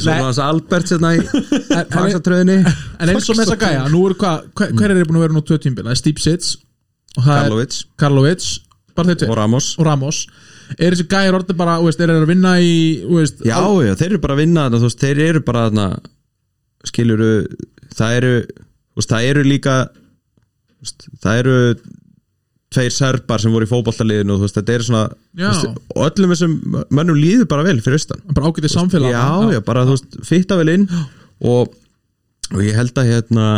C: Svo er hans Albert hérna í
B: En- en-
C: Faxatröðinni
B: en eins og með þess að gæja, nú eru hvað hver, hver er búin að vera nú tvö tímbil, það er Steve Sitz og það er
C: Karlovits
B: Karlovits bara þeir
C: og
B: tveir
C: Ramos
B: og Ramos er þessi gæjar orðið bara, þú veist, er þeir að vinna í þú veist,
C: Já, já, þeir eru bara að vinna þarna, þú veist, þeir eru bara þarna, skiluru, það eru þú veist, það eru líka þú veist, það eru tveir serbar sem voru í fótballtaliðinu og þú veist, þetta eru svona þú
B: Já.
C: veist, og öllum þessum mönnum líður bara vel fyrir austan
B: bara ágætið samfélag
C: Já, já, bara þú veist, fitta vel inn og, og ég held að hérna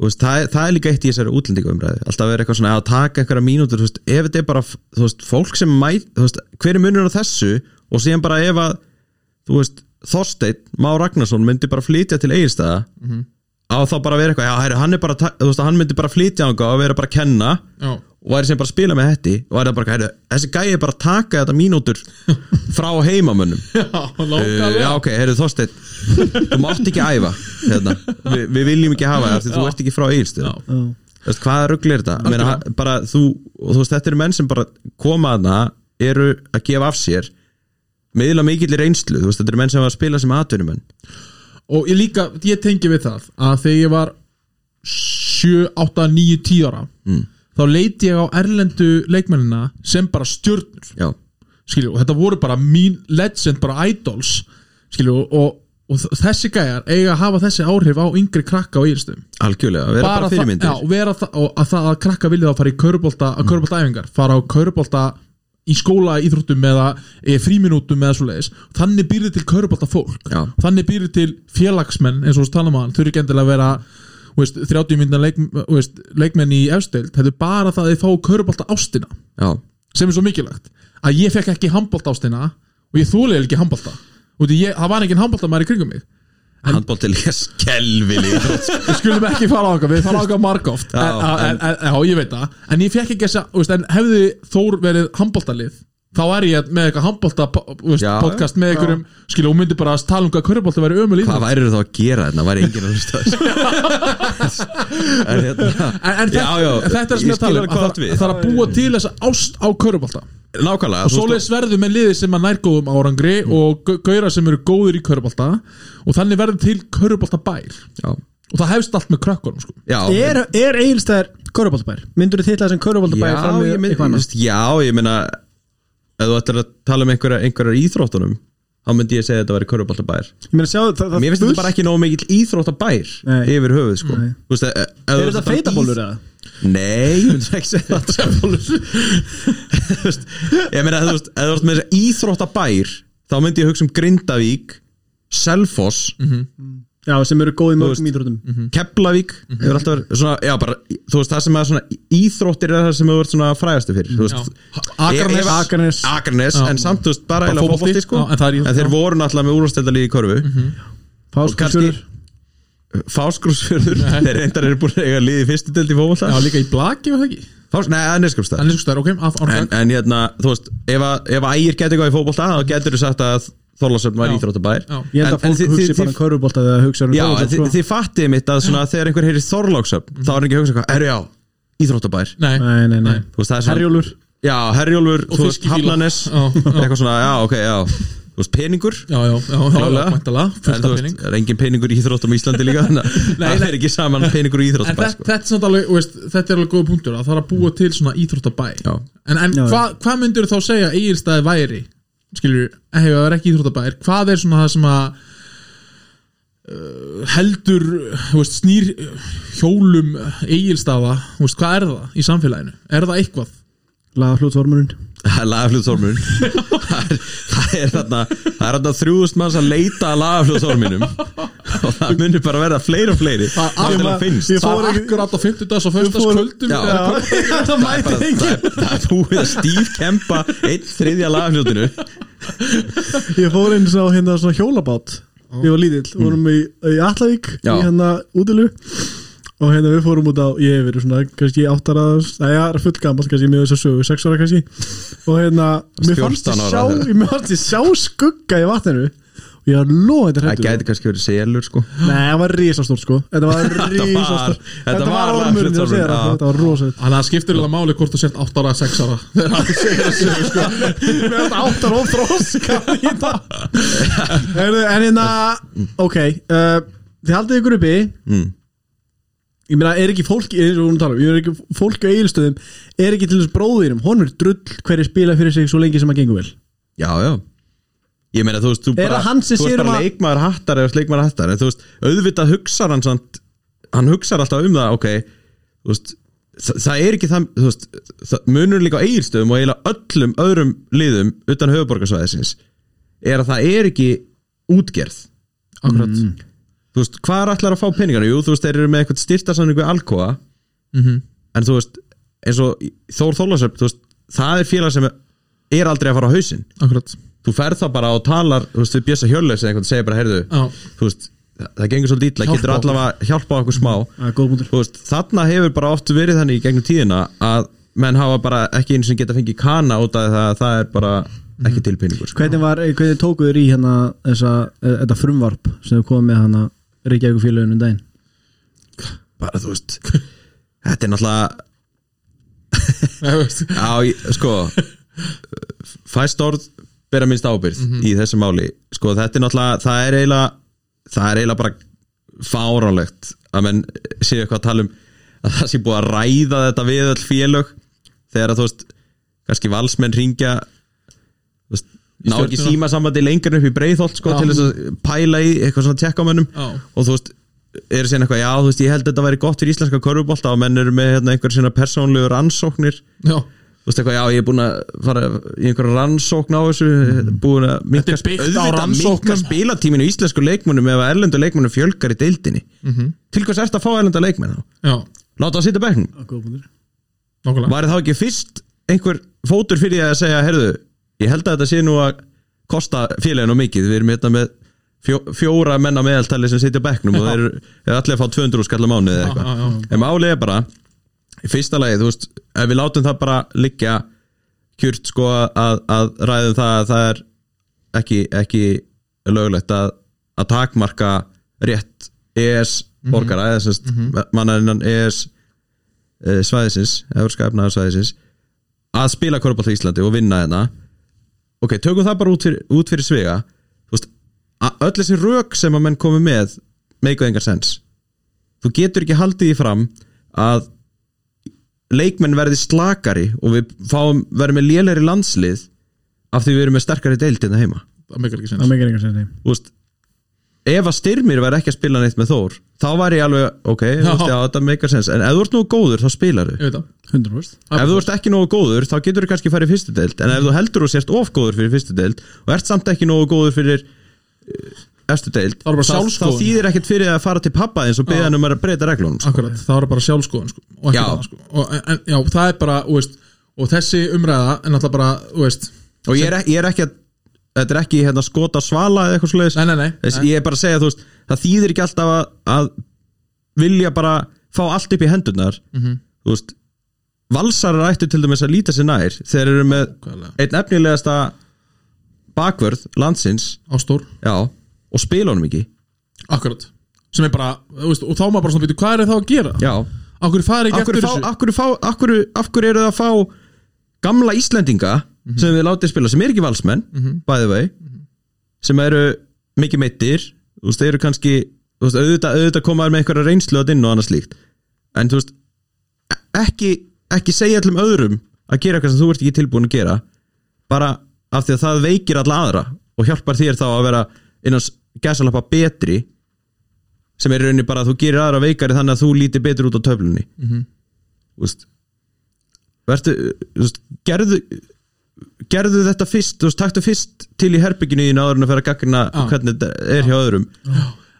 C: þú veist, það, er- það er líka eitt í þessari útlendingumræði alltaf verið eitthvað svona að taka einhverja mínútur þú veist, ef þetta er bara, þú veist, fólk sem mæt þú veist, hver er munur á þessu og síðan bara ef að, þú veist Þorsteinn, Má Ragnarsson myndi bara flytja til Egilstaða á þá bara vera eitthvað, já, hæru, hann er bara ta- þú veist, hann myndi bara flytja á og vera bara að kenna
B: já.
C: og væri sem bara að spila með hætti og væri það bara, hæru, þessi gæi er bara að taka þetta mínútur frá heimamönnum
B: (laughs) Uh,
C: Uh, Eh, já, ok, heyrðu Þorsteinn Þú mátt ekki æfa hérna. Vi, Við viljum ekki hafa það því þú ert ekki frá Egilstu
B: Já.
C: Veist, Hvaða rugl er þetta? Meina, ha- bara, þú, og þú veist, þetta eru menn sem bara koma aðna eru að gefa af sér meðla mikill reynslu þú veist, Þetta eru menn sem hafa að spila sem atvinnumenn
B: og ég líka, ég tengi við það að þegar ég var 7, 8, 9, 10 ára þá leiti ég á erlendu leikmennina sem bara stjörnur
C: Já,
B: skilju, og þetta voru bara mín legend, bara idols skilju, og, og þessi gæjar eiga að hafa þessi áhrif á yngri krakka á ílstum
C: algjörlega, vera bara, fyrirmyndir
B: það, já, vera það, og að það að krakka vilja þá fara í körubolta, að körubolta æfingar fara á körubolta í skóla íþróttum eða e, fríminútum eða svo leiðis þannig býrði til körubolta fólk
C: Já.
B: þannig býrði til félagsmenn eins og við talaðum að um þau eru ekki endilega að vera þú veist, 30 minna leik, þú veist, leikmenn í efstild, þetta er bara það að þið fá körubolta ástina
C: já.
B: sem er svo mikilvægt að ég fekk ekki handbolta ástina og ég þólið ekki handbolta Út í ég, það var ekki handbolta maður í kringum mig
C: Handbólt til skelvili
B: við skulum ekki fara á okkar, við fara á okkar margóft
C: Já,
B: en, en, en, já, ég veit það en ég fekk ekki þess að, veist, en hefði Þór verið handbóltalið, þá er ég með eitthvað handbólta
C: Já.
B: podcast með einhverjum, skilu, og myndi bara að tala um hvað körubólta verið ömul í
C: Hvað væri þá að gera þarna? Væri enginn að hlusta á
B: (laughs)
C: þessu En hérna
B: en, en þetta,
C: Já, já,
B: þetta er sem
C: ég
B: ég að tala um
C: skil alveg hvað
B: að,
C: átt
B: það-
C: við.
B: það er að búa til þessa ást á körubólta
C: Nákvæmlega
B: og
C: þú veist, Mm.
B: svoleiðis verður með liði sem að nærgóðum árangri og gau- gaurar sem eru góðir í körubólta og þannig verður til körubólta
C: Já,
B: og það hefst allt með krökkunum sko.
C: já
A: er, er Egilstæðar körubaldabær? myndur þið titla sem körubaldabær
C: já,
A: fram í
C: ég mynd,
A: eitthvað annars?
C: just, já, ég meina ef þú ætlar að tala um einhverja, einhverjar íþróttunum þá myndi ég segja að þetta væri körfuboltabær
A: Ég meina sjáðu það, það
C: Mér finnst þetta bara ekki nógu mikill íþróttabær
A: Nei.
C: yfir höfuð sko
A: Nei.
C: Þú veist, e- ef þú
A: Er
C: ert
A: þetta
C: að fara í-
A: feitabólur eða?
C: Nei, ég myndi ekki segja það trefbólur
A: (laughs)
C: Ég meina, þú veist, ef þú ert með þess íþróttabær þá myndi ég hugsa um Grindavík Selfoss,
A: Já, sem eru góð í mörgum
C: veist- mm.
A: íþróttum
C: Keflavík hefur alltaf verið svona, já bara þú veist, það sem er svona, íþróttir er það sem hefur verið svona frægastu fyrir, þú veist
B: Akranes.
C: Ég- ég-
A: Akranes.
C: Akranes,
B: Já.
C: en samt, þú veist, bara,
B: Bara
C: bara
B: fótbolti,
C: fótbolti, sko,
B: já, en það er
C: en,
B: íþrótt,
C: þeir
B: já.
C: voru náttúrulega með úrvarsdeldalið í körfu
A: Fáskursfjörður
C: (laughs) Fáskrúsfjörður, þeir reyndar eru búin að eiga liði fyrstu delt í
B: Já,
C: fótbolta
B: líka í blaki var það ekki
C: Fás, Nei, það er neskjöpstað
B: Hann er svo stær, ok, af
C: en,
B: orðan
C: en hérna, þú veist, ef, að, ef að ægir getur eitthvað í fótbolta, þá getur þú sagt að Þorlásöfn var
B: Já.
C: íþróttabær
B: Já.
A: Ég held að
C: En- en
A: fólk
C: þið-
A: hugsi
C: þið-
A: bara um
C: þið-
A: körfubolta þegar það hugsa um
C: Já, en
A: fótbolta,
C: þið,
A: sko.
C: þið fattið mitt að svona, þegar einhver heyrir Þorlásöfn þá er hann ekki að hugsa eitthvað, erðu já, íþróttabær
B: Nei,
A: Nei, nei, nei
C: Þú veist, það er svona-
A: Herjólfur
C: Já, Herjólfur,
B: Og
C: þú veist,
B: fiskibílar.
C: Hafnanes
B: Já, já.
C: eitthvað svona, já, ok, já Þú veist, peningur
B: Já, já, já, já, já,
C: Klálega.
B: mæntala,
C: En
B: fullt
C: þú
B: af
C: veist,
B: pening
C: það er engin peningur í íþróttum í Íslandi líka þannig að
B: Nei,
C: það
B: nei.
C: er ekki
B: (laughs)
C: saman peningur í
B: En
C: íþróttabær
B: þetta,
C: sko.
B: þetta er samt alveg, þú veist, þetta er alveg góða punktur að það er að búa til svona íþróttabæ
C: Já.
B: En, en
A: Já, já.
B: hvað hva myndur þá segja eigirstaði væri, skilur hefur það er ekki íþróttabær, hvað er svona það sem að uh, heldur, þú veist, snýr uh, hjólum eigirstaða þú veist, hvað er það í samfélaginu? Er það eitthvað?
A: Laða hlutvormurinn
C: Það er
B: (laughs)
C: lagafljóðsormun það, er- það er þarna Það er þarna þrjúðust manns að leita að lagafljóðsorminum Og það munir bara verða fleiri og fleiri Það er það finnst
A: Ég fór
B: Það er
A: ekki-
B: akkurat á 50 dags og 50
A: fór-
B: kvöldum
C: Já.
B: eða-
A: (laughs) Það mæti
C: Það
A: enginn
C: er- það er búið að stífkempa Einn þriðja lagafljóðinu
A: Ég fór eins á hérna svona hjólabát Ég var lítill, við vorum í, í Allavík
C: Já.
A: Í hérna útilu Og hérna við fórum út á, ég hef verið svona Kannski áttara, næja, fullgammal Kannski mjög þess að sögu, sex ára kannski Og hérna, mér fannst
C: 14
A: ég
C: ára
A: sjá
C: þegar.
A: Mér fannst ég sjá skugga í vatninu Og ég var lóðið
C: Það gæti kannski verið selur sko
A: Nei, það var risastórt sko Þetta
C: (laughs)
A: var
C: var-
A: risastórt
C: þetta var
A: ormurinn, ég var að segja það,
C: lagaflutsormurinn, já.
A: Þetta var rosið
B: Þannig að það skiptir alveg máli hvort þú sért 8 ára, 6
C: (laughs)
B: ára Þegar hann segir þessu, sko
A: Mér er þetta áttar of þróska í dag Heyrðu, En hérna Ok uh, Þið haldið ykkur uppi
C: mm.
A: Ég meina, er ekki fólk eins og hún tala um, Ég er ekki fólk á eigilstöðum Er ekki til þess bróðinum Hún er drull hverju spila fyrir sig svo lengi sem að gengur vel
C: Já, já Ég meina, þú veist, þú
A: Er
C: bara
A: það hann sem
C: Þú
A: sér
C: veist
A: um
C: bara
A: að-
C: leikmaður hattar eða leikmaður hattar En þú veist, auðvitað hugsar hann samt Hann hugsar alltaf um það, ok Þú veist, það, það er ekki það Þú veist, það, munur líka á eigilstöðum Og eiginlega öllum öðrum liðum Utan höfuborgarsvæðisins Er að það er ekki útgerð
B: Akkurat
A: Mm.
C: Þú veist, hvað er allar að fá peningana? Jú, þú veist, þeir eru með eitthvað styrtarsamningu við Alcoa
B: Mhm.
C: En þú veist, eins og Þór Þólasöp, þú veist, það er félag sem er aldrei að fara á hausinn
B: Akkurat
C: þú ferð þá bara og talar þú veist, við Bjössa Hjörleis eða einhvern segir bara, heyrðu
B: Já.
C: þú veist, það, það gengur svolítið illa,
B: Hjálpa
C: getur
B: okkur.
C: allavega hjálpa okkur smá
A: Það er góð mútur
C: þú veist, þarna hefur bara oft verið þannig í gegnum tíðina að menn hafa bara ekki einu sem geta fengið kana út af það að það er bara
B: Mhm.
C: ekki tilpenningur sko.
A: Hvernig, var, hvernig tókuður í hérna þessa, eh, Þetta frumvarp sem þau komið með hana Reykjavík félaginu um daginn
C: bara þú veist þetta er náttúrulega,
B: Nei, þú veist.
C: á, ég- sko fæst orð bera minnst ábyrð
B: Mhm.
C: í þessu máli sko þetta er náttúrulega, það er eiginlega það er eiginlega bara fáránlegt að menn séu eitthvað að tala um að það sé búið að ræða þetta við öll félög þegar að þú veist kannski valsmenn ringja þú veist, ná ekki
B: stjörnuna.
C: símasambandi lengur upp í breiðholt sko,
B: Já.
C: til þess að pæla í eitthvað svona tjekk á mönnum
B: Já.
C: og þú veist eru síðan eitthvað, já þú veist, ég held að þetta væri gott fyrir íslenska körfubólta og menn eru með hérna, einhver sína persónlegu rannsóknir
B: Já,
C: Þú veist eitthvað, já ég er búinn að fara í einhverja rannsókn á þessu búin að
B: Mm. Þetta er byggt á rannsóknum.
C: spilatíminu í íslensku leikmunum ef að erlendu leikmunum fjölgar í deildinni
B: Mhm.
C: til hvers ert að fá erlenda leikmenn þá?
B: já,
C: Láta það sitja bekknum
A: Það er góð mútur
B: nokkulega
C: Var þá ekki fyrst einhver fótur fyrir því að segja heyrðu, ég held að þetta sé nú að kosta félaginu mikið, við erum hérna með fjó, fjóra menna meðaltali sem sitja á bekknum og þeir eru er allir að fá 200 skallar mánuði
B: Já,
C: eða
B: já, já.
C: eitthvað en málið er bara, í fyrsta lagi þú veist, ef við látum það bara liggja kjurt sko að, að ræðum það að það er ekki, ekki löglegt að, að takmarka rétt ES
B: Mhm.
C: borgara eða semst mm -hmm. mannarinnan ES eh, svæðisins, Evropska efnaðarsvæðisins að spila korfbalt í Íslandi og vinna hérna ok, tökum það bara út fyrir, út fyrir svega þú veist, að öll þessi rök sem að menn komi með meikuð engar sens þú getur ekki haldið því fram að leikmenn verði slakari og við fáum, verðum með lélegri landslið af því við erum með sterkari deild en það heima
B: það meikar ekki
A: það
B: sinns
A: meikir engan sens, nei.
C: þú veist ef að styrmir væri ekki að spila neitt með Þór þá væri ég alveg, ok, þú veist, já, þetta meikar sens en ef þú ert nógu góður, þá spilar
B: ég veit það
A: 100%
B: Já,
C: ef þú ert ekki nógu góður þá getur þú kannski farið í fyrstu deild en ef þú heldur og sért of góður fyrir fyrstu deild og ert samt ekki nógu góður fyrir eh, efstu deild
B: Þá er bara
C: þá
B: sjálfsskoðun.
C: þýðir ekkert fyrir að fara til pappa eins og beða hann um að breyta reglunum sko.
B: Akkurat, það var bara sjálfskoðun sko, og ekki
C: Já.
B: annað, sko. og, en, en, já, það er bara, þú veist og þessi umræða er náttúrulega bara, þú veist
C: og ég er, ek- ég er ekki að þetta er ekki hérna, skota svala eða eitthvað svoleiðis
B: Nei, nei, nei,
C: Þess,
B: nei.
C: ég er bara að segja, þú veist, það þýðir ekki alltaf að, að vilja bara fá allt upp í hendunar
B: Mhm.
C: þú veist, valsarar ættu til dæmis að líta sér nær þegar þeir eru með
B: Nákvæmlega.
C: einn efnilegasta bakvörð landsins,
B: Ástór,
C: já og spila honum ekki,
B: akkurat sem er bara, þú veist, og þá maður bara svona býtu hvað er það að gera?
C: já
B: Akkur farið ekki
C: af hverju,
B: eftir
C: fá,
B: þessu?
C: af, hverju fá, af, hverju, af hverju eru það að fá gamla Íslendinga
B: Mhm.
C: sem við látið spila, sem er ekki valsmenn bæði vei, sem eru mikið meittir, þú veist, þeir eru kannski þú veist, auðvitað, auðvitað komaður með einhverja reynslu að inn og annað slíkt en þú veist, ekki ekki segja allum öðrum að gera eitthvað sem þú ert ekki tilbúin að gera bara af því að það veikir alla aðra og hjálpar þér þá að vera innan gæsalappa betri sem er í rauninni bara að þú gerir aðra veikari þannig að þú lítir betur út á töflunni Þú veist, vertu, þú veist, gerðu gerðu þetta fyrst, þú veist, taktu fyrst til í herbygginu þínu áður en að fara að gagna
B: Já.
C: hvernig þetta er hjá öðrum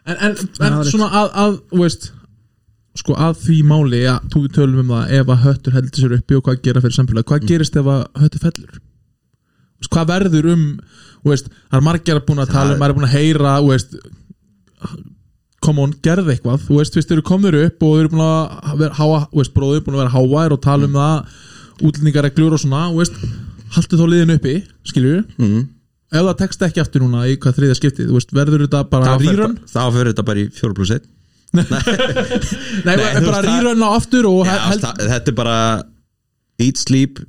B: en, en, en
A: það er
B: svona að, að þú veist, sko að því máli að þú við tölum um það ef að höttur heldur sér uppi og hvað gera fyrir samfélagi hvað gerist ef að höttur fellur Þú veist, hvað verður um þú veist, það er margir að búin að tala um maður er búin að heyra þú veist, come on, gerð eitthvað þú veist, þú eru komnir upp og þú eru búin að vera háa, þú veist, bróður búin að vera háaðir og tala um það útlendingareglur og svona, þú veist haltu þá liðin uppi, skilju mm. ef það tekst ekki aftur núna í hvað þriðja skiptið, þú veist, verður þetta bara
C: þá fer,
B: rýrun
C: þá fer þetta bara í 4 plus 1
B: Nei,
C: Nei,
B: Nei
C: þú
B: bara
C: veist, það-
B: rýrunna aftur og
C: Já,
B: he- held
C: það, þetta er bara eat, sleep,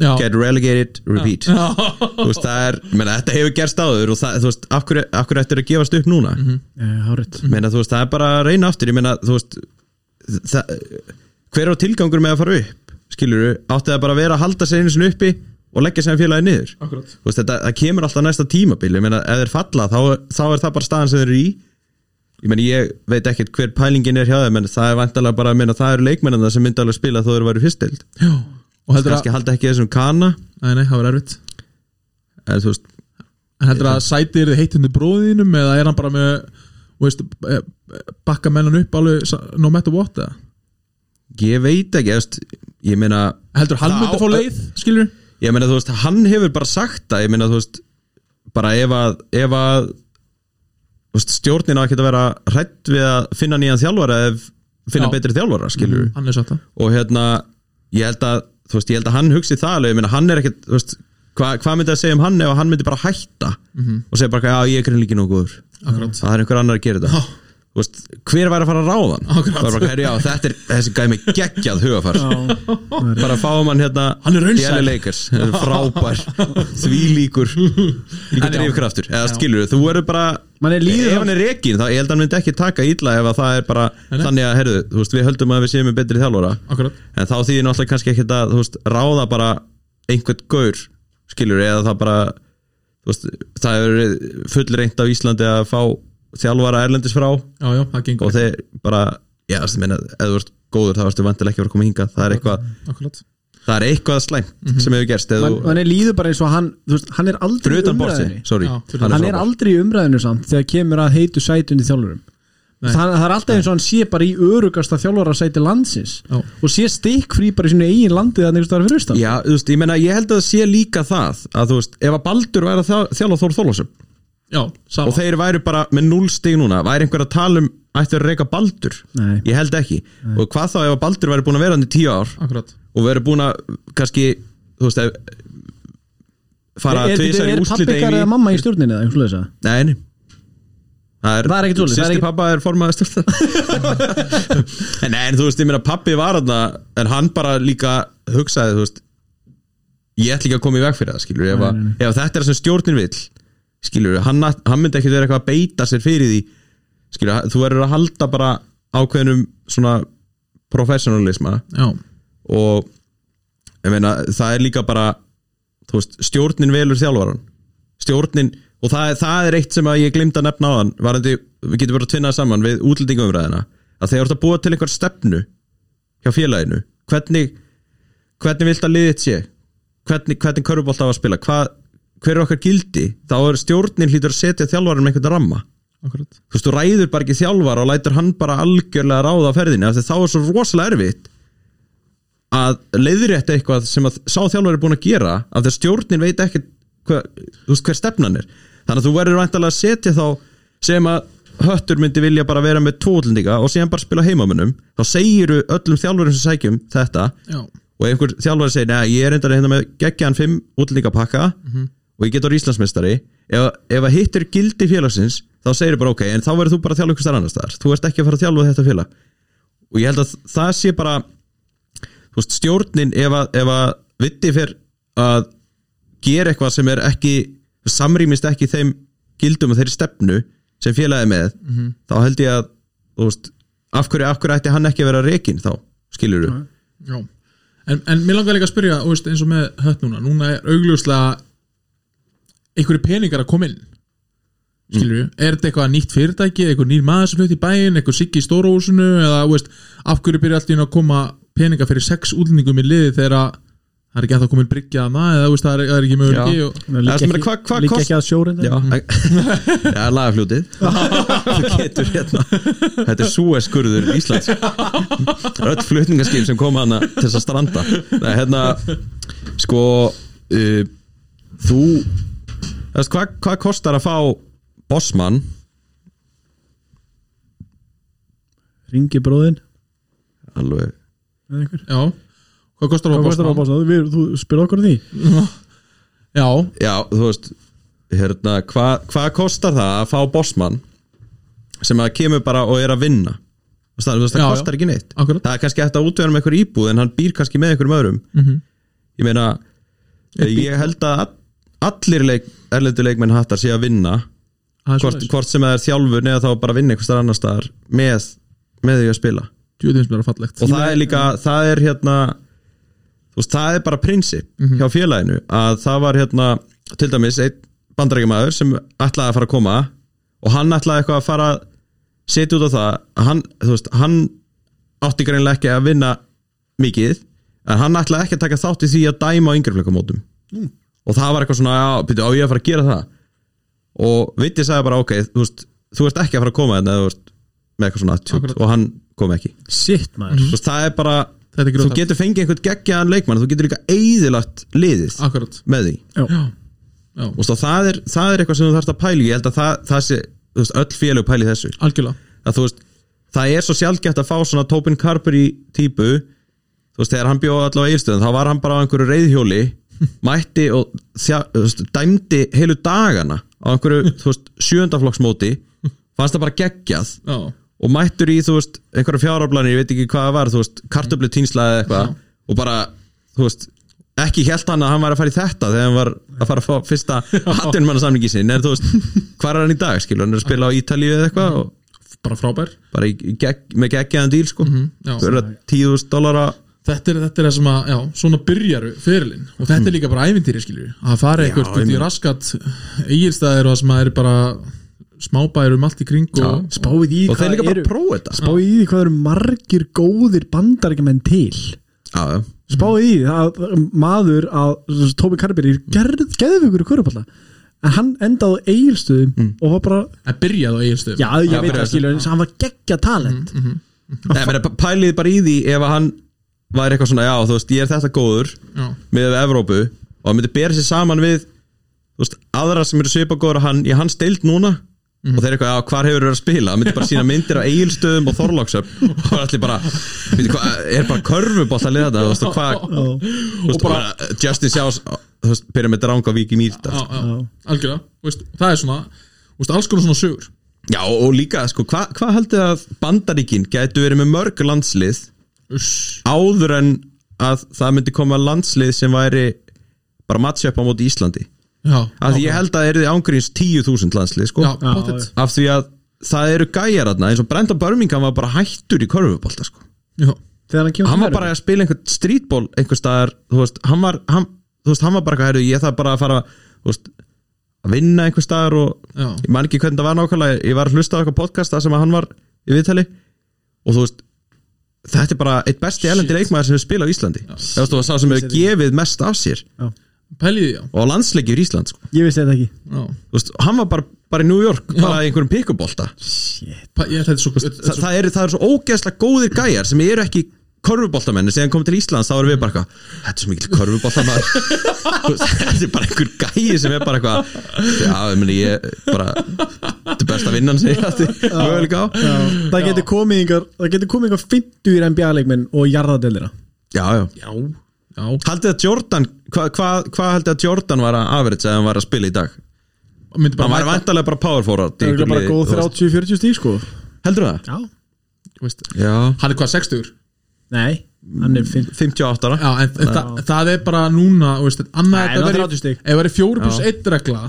B: já,
C: get relegated, repeat
B: Já.
C: þú veist, það er, menna, þetta hefur gerst áður og það, þú veist, af hverju, af hverju ættir að gefast upp núna
B: Mhm.
A: Eh, hárrétt.
C: meina, þú veist, það er bara að reyna aftur ég meina, þú veist það, hver á tilgangur með að fara upp skilur við, átti það bara að vera að halda sér einu sinni uppi og leggja sér félagi niður
B: Akkurat.
C: þú veist, þetta, það kemur alltaf næsta tímabil ég meina, ef þeir falla, þá, þá er það bara staðan sem þeir eru í ég meina, ég veit ekkert hver pælingin er hjá þeim, en það er vantalega bara að meina, það eru leikmennina sem myndi alveg spila þó þeir væri fyrstild,
B: já og heldur að
C: kannski halda ekki þessum kana
B: nei, nei, það var erfitt
C: en þú veist,
B: en heldur að sæti er þið heitundu bróðinum eða er hann bara með þú veist, eh, bakka mennan upp alveg sa- no matter what eða?
C: ég veit ekki, ég veist, ég meina
B: heldur að hann
C: Það
B: myndi
C: á-
B: að fá leið skilur
C: ég meina þú veist, hann hefur bara sagt það ég meina þú veist, bara ef að ef að þú veist, stjórnin á ekki að vera hrætt við að finna nýjan þjálfara ef finna
B: Já. Mm.
C: betri þjálfara, skilur
B: hann er satt það
C: og hérna, ég held að þú veist, ég held að hann hugsi það alveg, ég meina hann er ekkert þú veist, hva- hvað myndi að segja um hann ef hann myndi bara hætta og segja bara, já, ég er grinn líki nógu góður
B: Mhm. Akkurat.
C: það er einhver annar að gera þetta Þú veist, hver væri að fara að ráða hann
B: Akkurat.
C: Það er bara, já, þetta er þessi gæmi geggjað hugafar bara fáum hann hérna
B: Hann er raunsær.
C: DL Lakers, frábær því líkur líka drifkraftur, eða skilur þú verður bara
A: Manni líður-
C: ef hann er rekin, þá ég held að hann myndi ekki taka illa ef að það er bara þannig að, herðu, þú veist, við höldum að við séum með betri þjálfara
B: Akkurat.
C: en þá þýðir náttúrulega kannski ekki að, þú veist, ráða bara einhvern gaur, skilur eða það bara, þú veist það er fullreint á Íslandi að fá þjálfara erlendis frá og
B: já, já, það gengur
C: þeir bara, já, þú meina, ef þú ert góður þá ertu vantilega ekki að vera að koma hingað, það er eitthvað
B: akkurat
C: það er eitthvað slæmt sem hefur gerst eða
A: Man-
C: þú
A: manni líður bara eins og hann þú veist, hann er aldrei
C: fyrir
A: í
C: utan borsi,
A: umræðinni
C: sorry
B: Já, fyrir
A: hann er
C: frábær.
A: aldrei í umræðinu samt þegar kemur að heitu sæti undir þjálfurum
B: Nei.
A: það, það er alltaf eins og hann sé bara í örugasta þjálfara sæti landsins
B: Já.
A: og sé stikkfrí bara í sínu eigin landi þannig að það er fyrir ustan
C: Já, þú veist, ég meina, ég held að það sé líka það að þú veist, ef að Baldur væri að þjá- þjálfa Þór Þólasum
B: já, sama
C: og þeir væri bara með null stig núna væri einhver að tala um ætti að reyka Baldur
A: Nei.
C: ég held ekki, og hvað þá ef að Baldur væri búin að vera hann í tíu ár
B: akkurat
C: og væri búin að, kannski þú veist, ef, fara
A: er, er,
C: tvisvar
A: er,
C: í
A: er
C: úrslit
A: pappi ykkar eða mamma í stjórninni eða einhvers leisa
C: Nei, nei Það er,
A: Það er ekkert svoleiðis, það er
C: Sýsti
A: ekkert-
C: pappa er formaði stjórn (laughs) En nei, en þú veist, ég meina pappi var þarna En hann bara líka hugsaði, þú veist Ég ætla ekki að koma í veg fyrir það, skilur Ef, að, ef þetta er það sem stjórnin vill Skilur, hann, hann myndi ekkert vera eitthvað að beita sér fyrir því Skilur, þú verður að halda bara ákveðnum svona professionalisma
B: já,
C: og ég meina, það er líka bara þú veist, stjórnin velur þjálfaran stjórnin, og það, er- það er eitt sem að ég glimta að nefna á hann varandi, við getum bara að tvinna það saman við útlendingumræðina að þegar þú ert að búa til einhver stefnu hjá félaginu hvernig, hvernig vilt að liðið þitt sé hvernig, hvernig körfubolt á að spila Hva, hver er okkar gildi þá er stjórnin hlýtur að setja þjálfarum einhvern ramma
B: akkurat
C: þú veist, þú ræður bara ekki þjálfar og lætur hann bara algjörlega ráða ferðinu af því þá er svo rosalega erfitt að leiðrétta eitthvað sem að sá þjálfar er búin að gera af því að stjórnin veit ekki hva, þú veist, hver stefnan er þannig að þú verður væntalega að setja þá sem að höttur myndi vilja bara vera með tóðlendinga og síðan bara spila heimamunum þá segiru öllum þjálfurum sem sækjum þetta
B: já,
C: og ef einhver þjálfari segir, neða, ég er reyndar hérna með geggjan fimm útlendingapakka og ég get orðið Íslandsmeistari ef, ef að hittir gildi félagsins þá segir bara ok, en þá verður þú bara að þjálfa ykkur annars staðar, þú ert ekki að fara að þjálfa þetta félag og ég held að það sé bara þú veist, stjórnin ef að, ef að viti fyrr að gera eitthvað sem er ekki samrýmist ekki þeim gildum og þeirri stefnu sem félagið er með þá held ég að, þú veist af hverju, af hverju ætti hann ekki að vera reikin þá, skilur du?
B: já en, en mér langar líka að spyrja, þú veist, eins og með hött núna núna er augljóslega einhverju peningar að koma inn skilur
C: Mm.
B: við, er þetta eitthvað nýtt fyrirtæki eitthvað nýr maður sem hlut í bæinn, eitthvað siggi í stóruhúsinu eða, þú veist, af hverju byrja alltaf að koma peninga fyrir sex útlendingum í liði þegar að það er ekki að það komin bryggja að maður eða, þú veist, það er, það er ekki möguleiki
C: Já.
B: og,
A: Líka
C: Það sem er,
A: ekki-
C: hvað- hvað
A: líka
C: kost-
A: ekki að sjórið
C: Já, (laughs) ja, lagafljótið Þú getur hérna Þetta er súeskurður Íslands Öll flutningaskip sem kom hana til þess að stranda Nei, hérna Sko uh, Þú Þess, hvað, hvað kostar að fá Bossmann
A: ringi bróðin
C: Alveg
A: eða einhver.
B: já, hvað kostar
A: hvað
B: það
A: kostar á bóðsna, við, þú spyrir okkur að því
B: já,
C: Já, þú veist hérna, hva, Hvað kostar það að fá Bossmann sem að kemur bara og er að vinna Þú veist, það, þú veist, það
B: Já, já.
C: kostar ekki neitt
B: Akkurat.
C: Það er kannski eftir að útvega með einhver íbúð en hann býr kannski með einhverjum öðrum -hmm.
B: Mhm.
C: Ég meina Ég held að all- allir leik, erlendu leikmenn hattar sé að vinna
B: það er
C: hvort,
B: svoleiðis.
C: hvort sem það er þjálfur neða þá bara að vinna einhvers þar annar staðar með, með því að spila
B: Djöfull finnst mér það fallegt.
C: og það er líka, það er hérna þú veist, það er bara prinsip hjá félaginu að það var hérna til dæmis einn bandarækjamaður sem ætlaði að fara að koma og hann ætlaði eitthvað að fara að setja út á það að hann, þú veist, hann átti greinlega ekki að vinna mikið en hann ætlaði ekki að taka þátt í því að dæma á yngrefleikamótum mm. og það var eitthvað svona, já, byrju, á ég að fara að gera það og Viti sagði bara, ok, þú veist þú ert ekki að fara að koma þarna, þú veist, með eitthvað svona attitude
B: Akkurat.
C: og hann kom ekki
A: sitt maður
C: Þú veist, það er bara
B: Þetta er
C: þú
B: grjótart.
C: getur fengið einhvern geggjaðan leikmann þú getur líka eðilagt liðið
B: Akkurat
C: með því
B: Já, já,
C: Þú veist, og það er, það er eitthvað sem þú þarfst að pæla í. ég held að það, það sé, þú veist, öll félög pæli þessu
B: algjörlega
C: að þú veist, það er svo sjálfgætt að fá svona Tobin Carper í típu þú veist, þegar hann bjóði allavega eilstöðum þá var hann bara á einhverju
B: (laughs)
C: reyðhjóli mætti og þjá, þú veist, dæmdi heilu dagana á einhverju, þú veist, sjöndaflokksmóti fannst það bara geggjað
B: Já,
C: og mættur í, þú veist, einhverja fjáraflanir ég veit ekki hvað það var, þú veist, kartöflu eða eitthvað og bara, þú veist ekki held hann að hann var að fara í þetta þegar hann var að fara að fá fyrsta hattunmannasamlingi sinn, en þú veist, hvað er hann í dag skilur, hann er að spila á Ítalíu eða eitthvað og
B: bara frábær
C: bara í, í gegg, með geggjaðan díl, sko, mm
B: já.
C: -hmm, tíðust dólara,
B: Þetta er, þetta er það sem að, já, svona byrjaru fyrirlin og þetta er líka bara ævintýri skilju að fara eitthvað út í
C: einmitt.
B: raskat eigirstæðir og það sem að er bara smábæður um allt í kring og
A: spáið í
C: og þeir líka
A: hvað
C: bara
A: eru
C: að prófa þetta
A: spáið í því hvað eru margir góðir bandarækjumenn til
C: já, já,
A: spáði í því að maður að þessi Tómi Karber er gerð geðvökur í kvörupalla en hann endaði eigilstöðum
C: Mm.
A: og var bara
B: að byrja þá eigirstöð
A: já ég
C: Já,
A: veit
C: byrjaði
A: það skilur en hann var geggja talent
C: Nei, meni, pælið bara í því ef að hann væri eitthvað svona, já, þú veist, ég er þetta góður
B: já,
C: með Evrópu og hann myndi bera sér saman við þú veist, aðra sem eru svipagóður hann, í hans deild núna og þeir eru eitthvað, já, hvar hefur verið að spila hann myndi bara sína myndir á eigilstöðum og þorlóksöp (laughs) og það er allir bara myndi, hva, er bara körfubótt að liða þetta þú veist, og hvað, þú veist, og bara, uh, Justin Sjás þú veist, byrja með dranga vík í
B: já,
C: mýrta
B: já, algjörlega Þú veist, það er svona, þú veist, alls konar svona sögur
C: já, og líka, sko, hvað hva heldur að bandaríkin gætu verið með mörg landslið
B: Uss,
C: áður en að það myndi koma landslið sem væri bara mattsjöpa á móti Íslandi
B: já,
C: að því ég held að það eru ángríns 10.000 landslið sko.
B: já, pottet
C: af því að það eru gæjaratna eins og Brendan Birmingham var bara hættur í korfubólta sko.
B: Já,
A: þegar hann kemur
C: hann
A: til
C: var bara að spila einhvern streetball einhver staðar, þú veist, hann var hann, þú veist, hann var bara eitthvað, heyrðu, ég þarf bara að fara þú veist, að vinna einhver staðar og
B: Já.
C: ég man ekki hvernig það var nákvæmlega ég var að hlusta á eitthvað podcast það sem að hann var í viðtali og þú veist þetta er bara eitt besti elendi leikmaður sem við spila á Íslandi það var sá sem hefur gefið mest af sér
B: Pæliði, já,
C: og á landsleikjur Ísland sko.
A: Ég vissi þetta ekki
B: já.
C: Þú veist, hann var bara, bara í New York
B: Já.
C: bara í einhverjum píkubólta
A: Shit
B: Pæ, Ég ætla þetta er svo
C: Þa, það, eru, það eru svo ógeðslega góðir gæjar sem eru ekki körfuboltamenni sem komið til Íslands þá erum við bara eitthvað, þetta er svo mikil körfuboltamaður (laughs) Þú veist, þetta er bara einhver gæi sem er bara eitthvað já, ég meni, ég bara þetta er besta vinnan sem ég hætti möguleika á
A: Það getur komið yngar Það getur komið yngar 50 í NBA-leikminn og jarðadeldina
C: já, já,
B: Já, já,
C: haldið að Jordan hvað hva, hva haldið að Jordan var að average að hann var að spila í dag
B: myndi bara
C: hann var
B: mæta,
C: vantarlega bara power forward í
A: Það er
C: einhverju
A: bara
C: liði,
A: góð
C: þú veist.
A: 30-40 stík sko
C: heldur það?
A: Já
B: veist,
C: já,
B: Hann er hvað, 60?
A: Nei, hann er 50
C: 58 ára
B: Já, en þa það er bara núna þú veist, annað,
A: Nei,
B: þetta
A: það er
B: væri-
A: 30 stig.
B: Ef það er 4 pluss 1 regla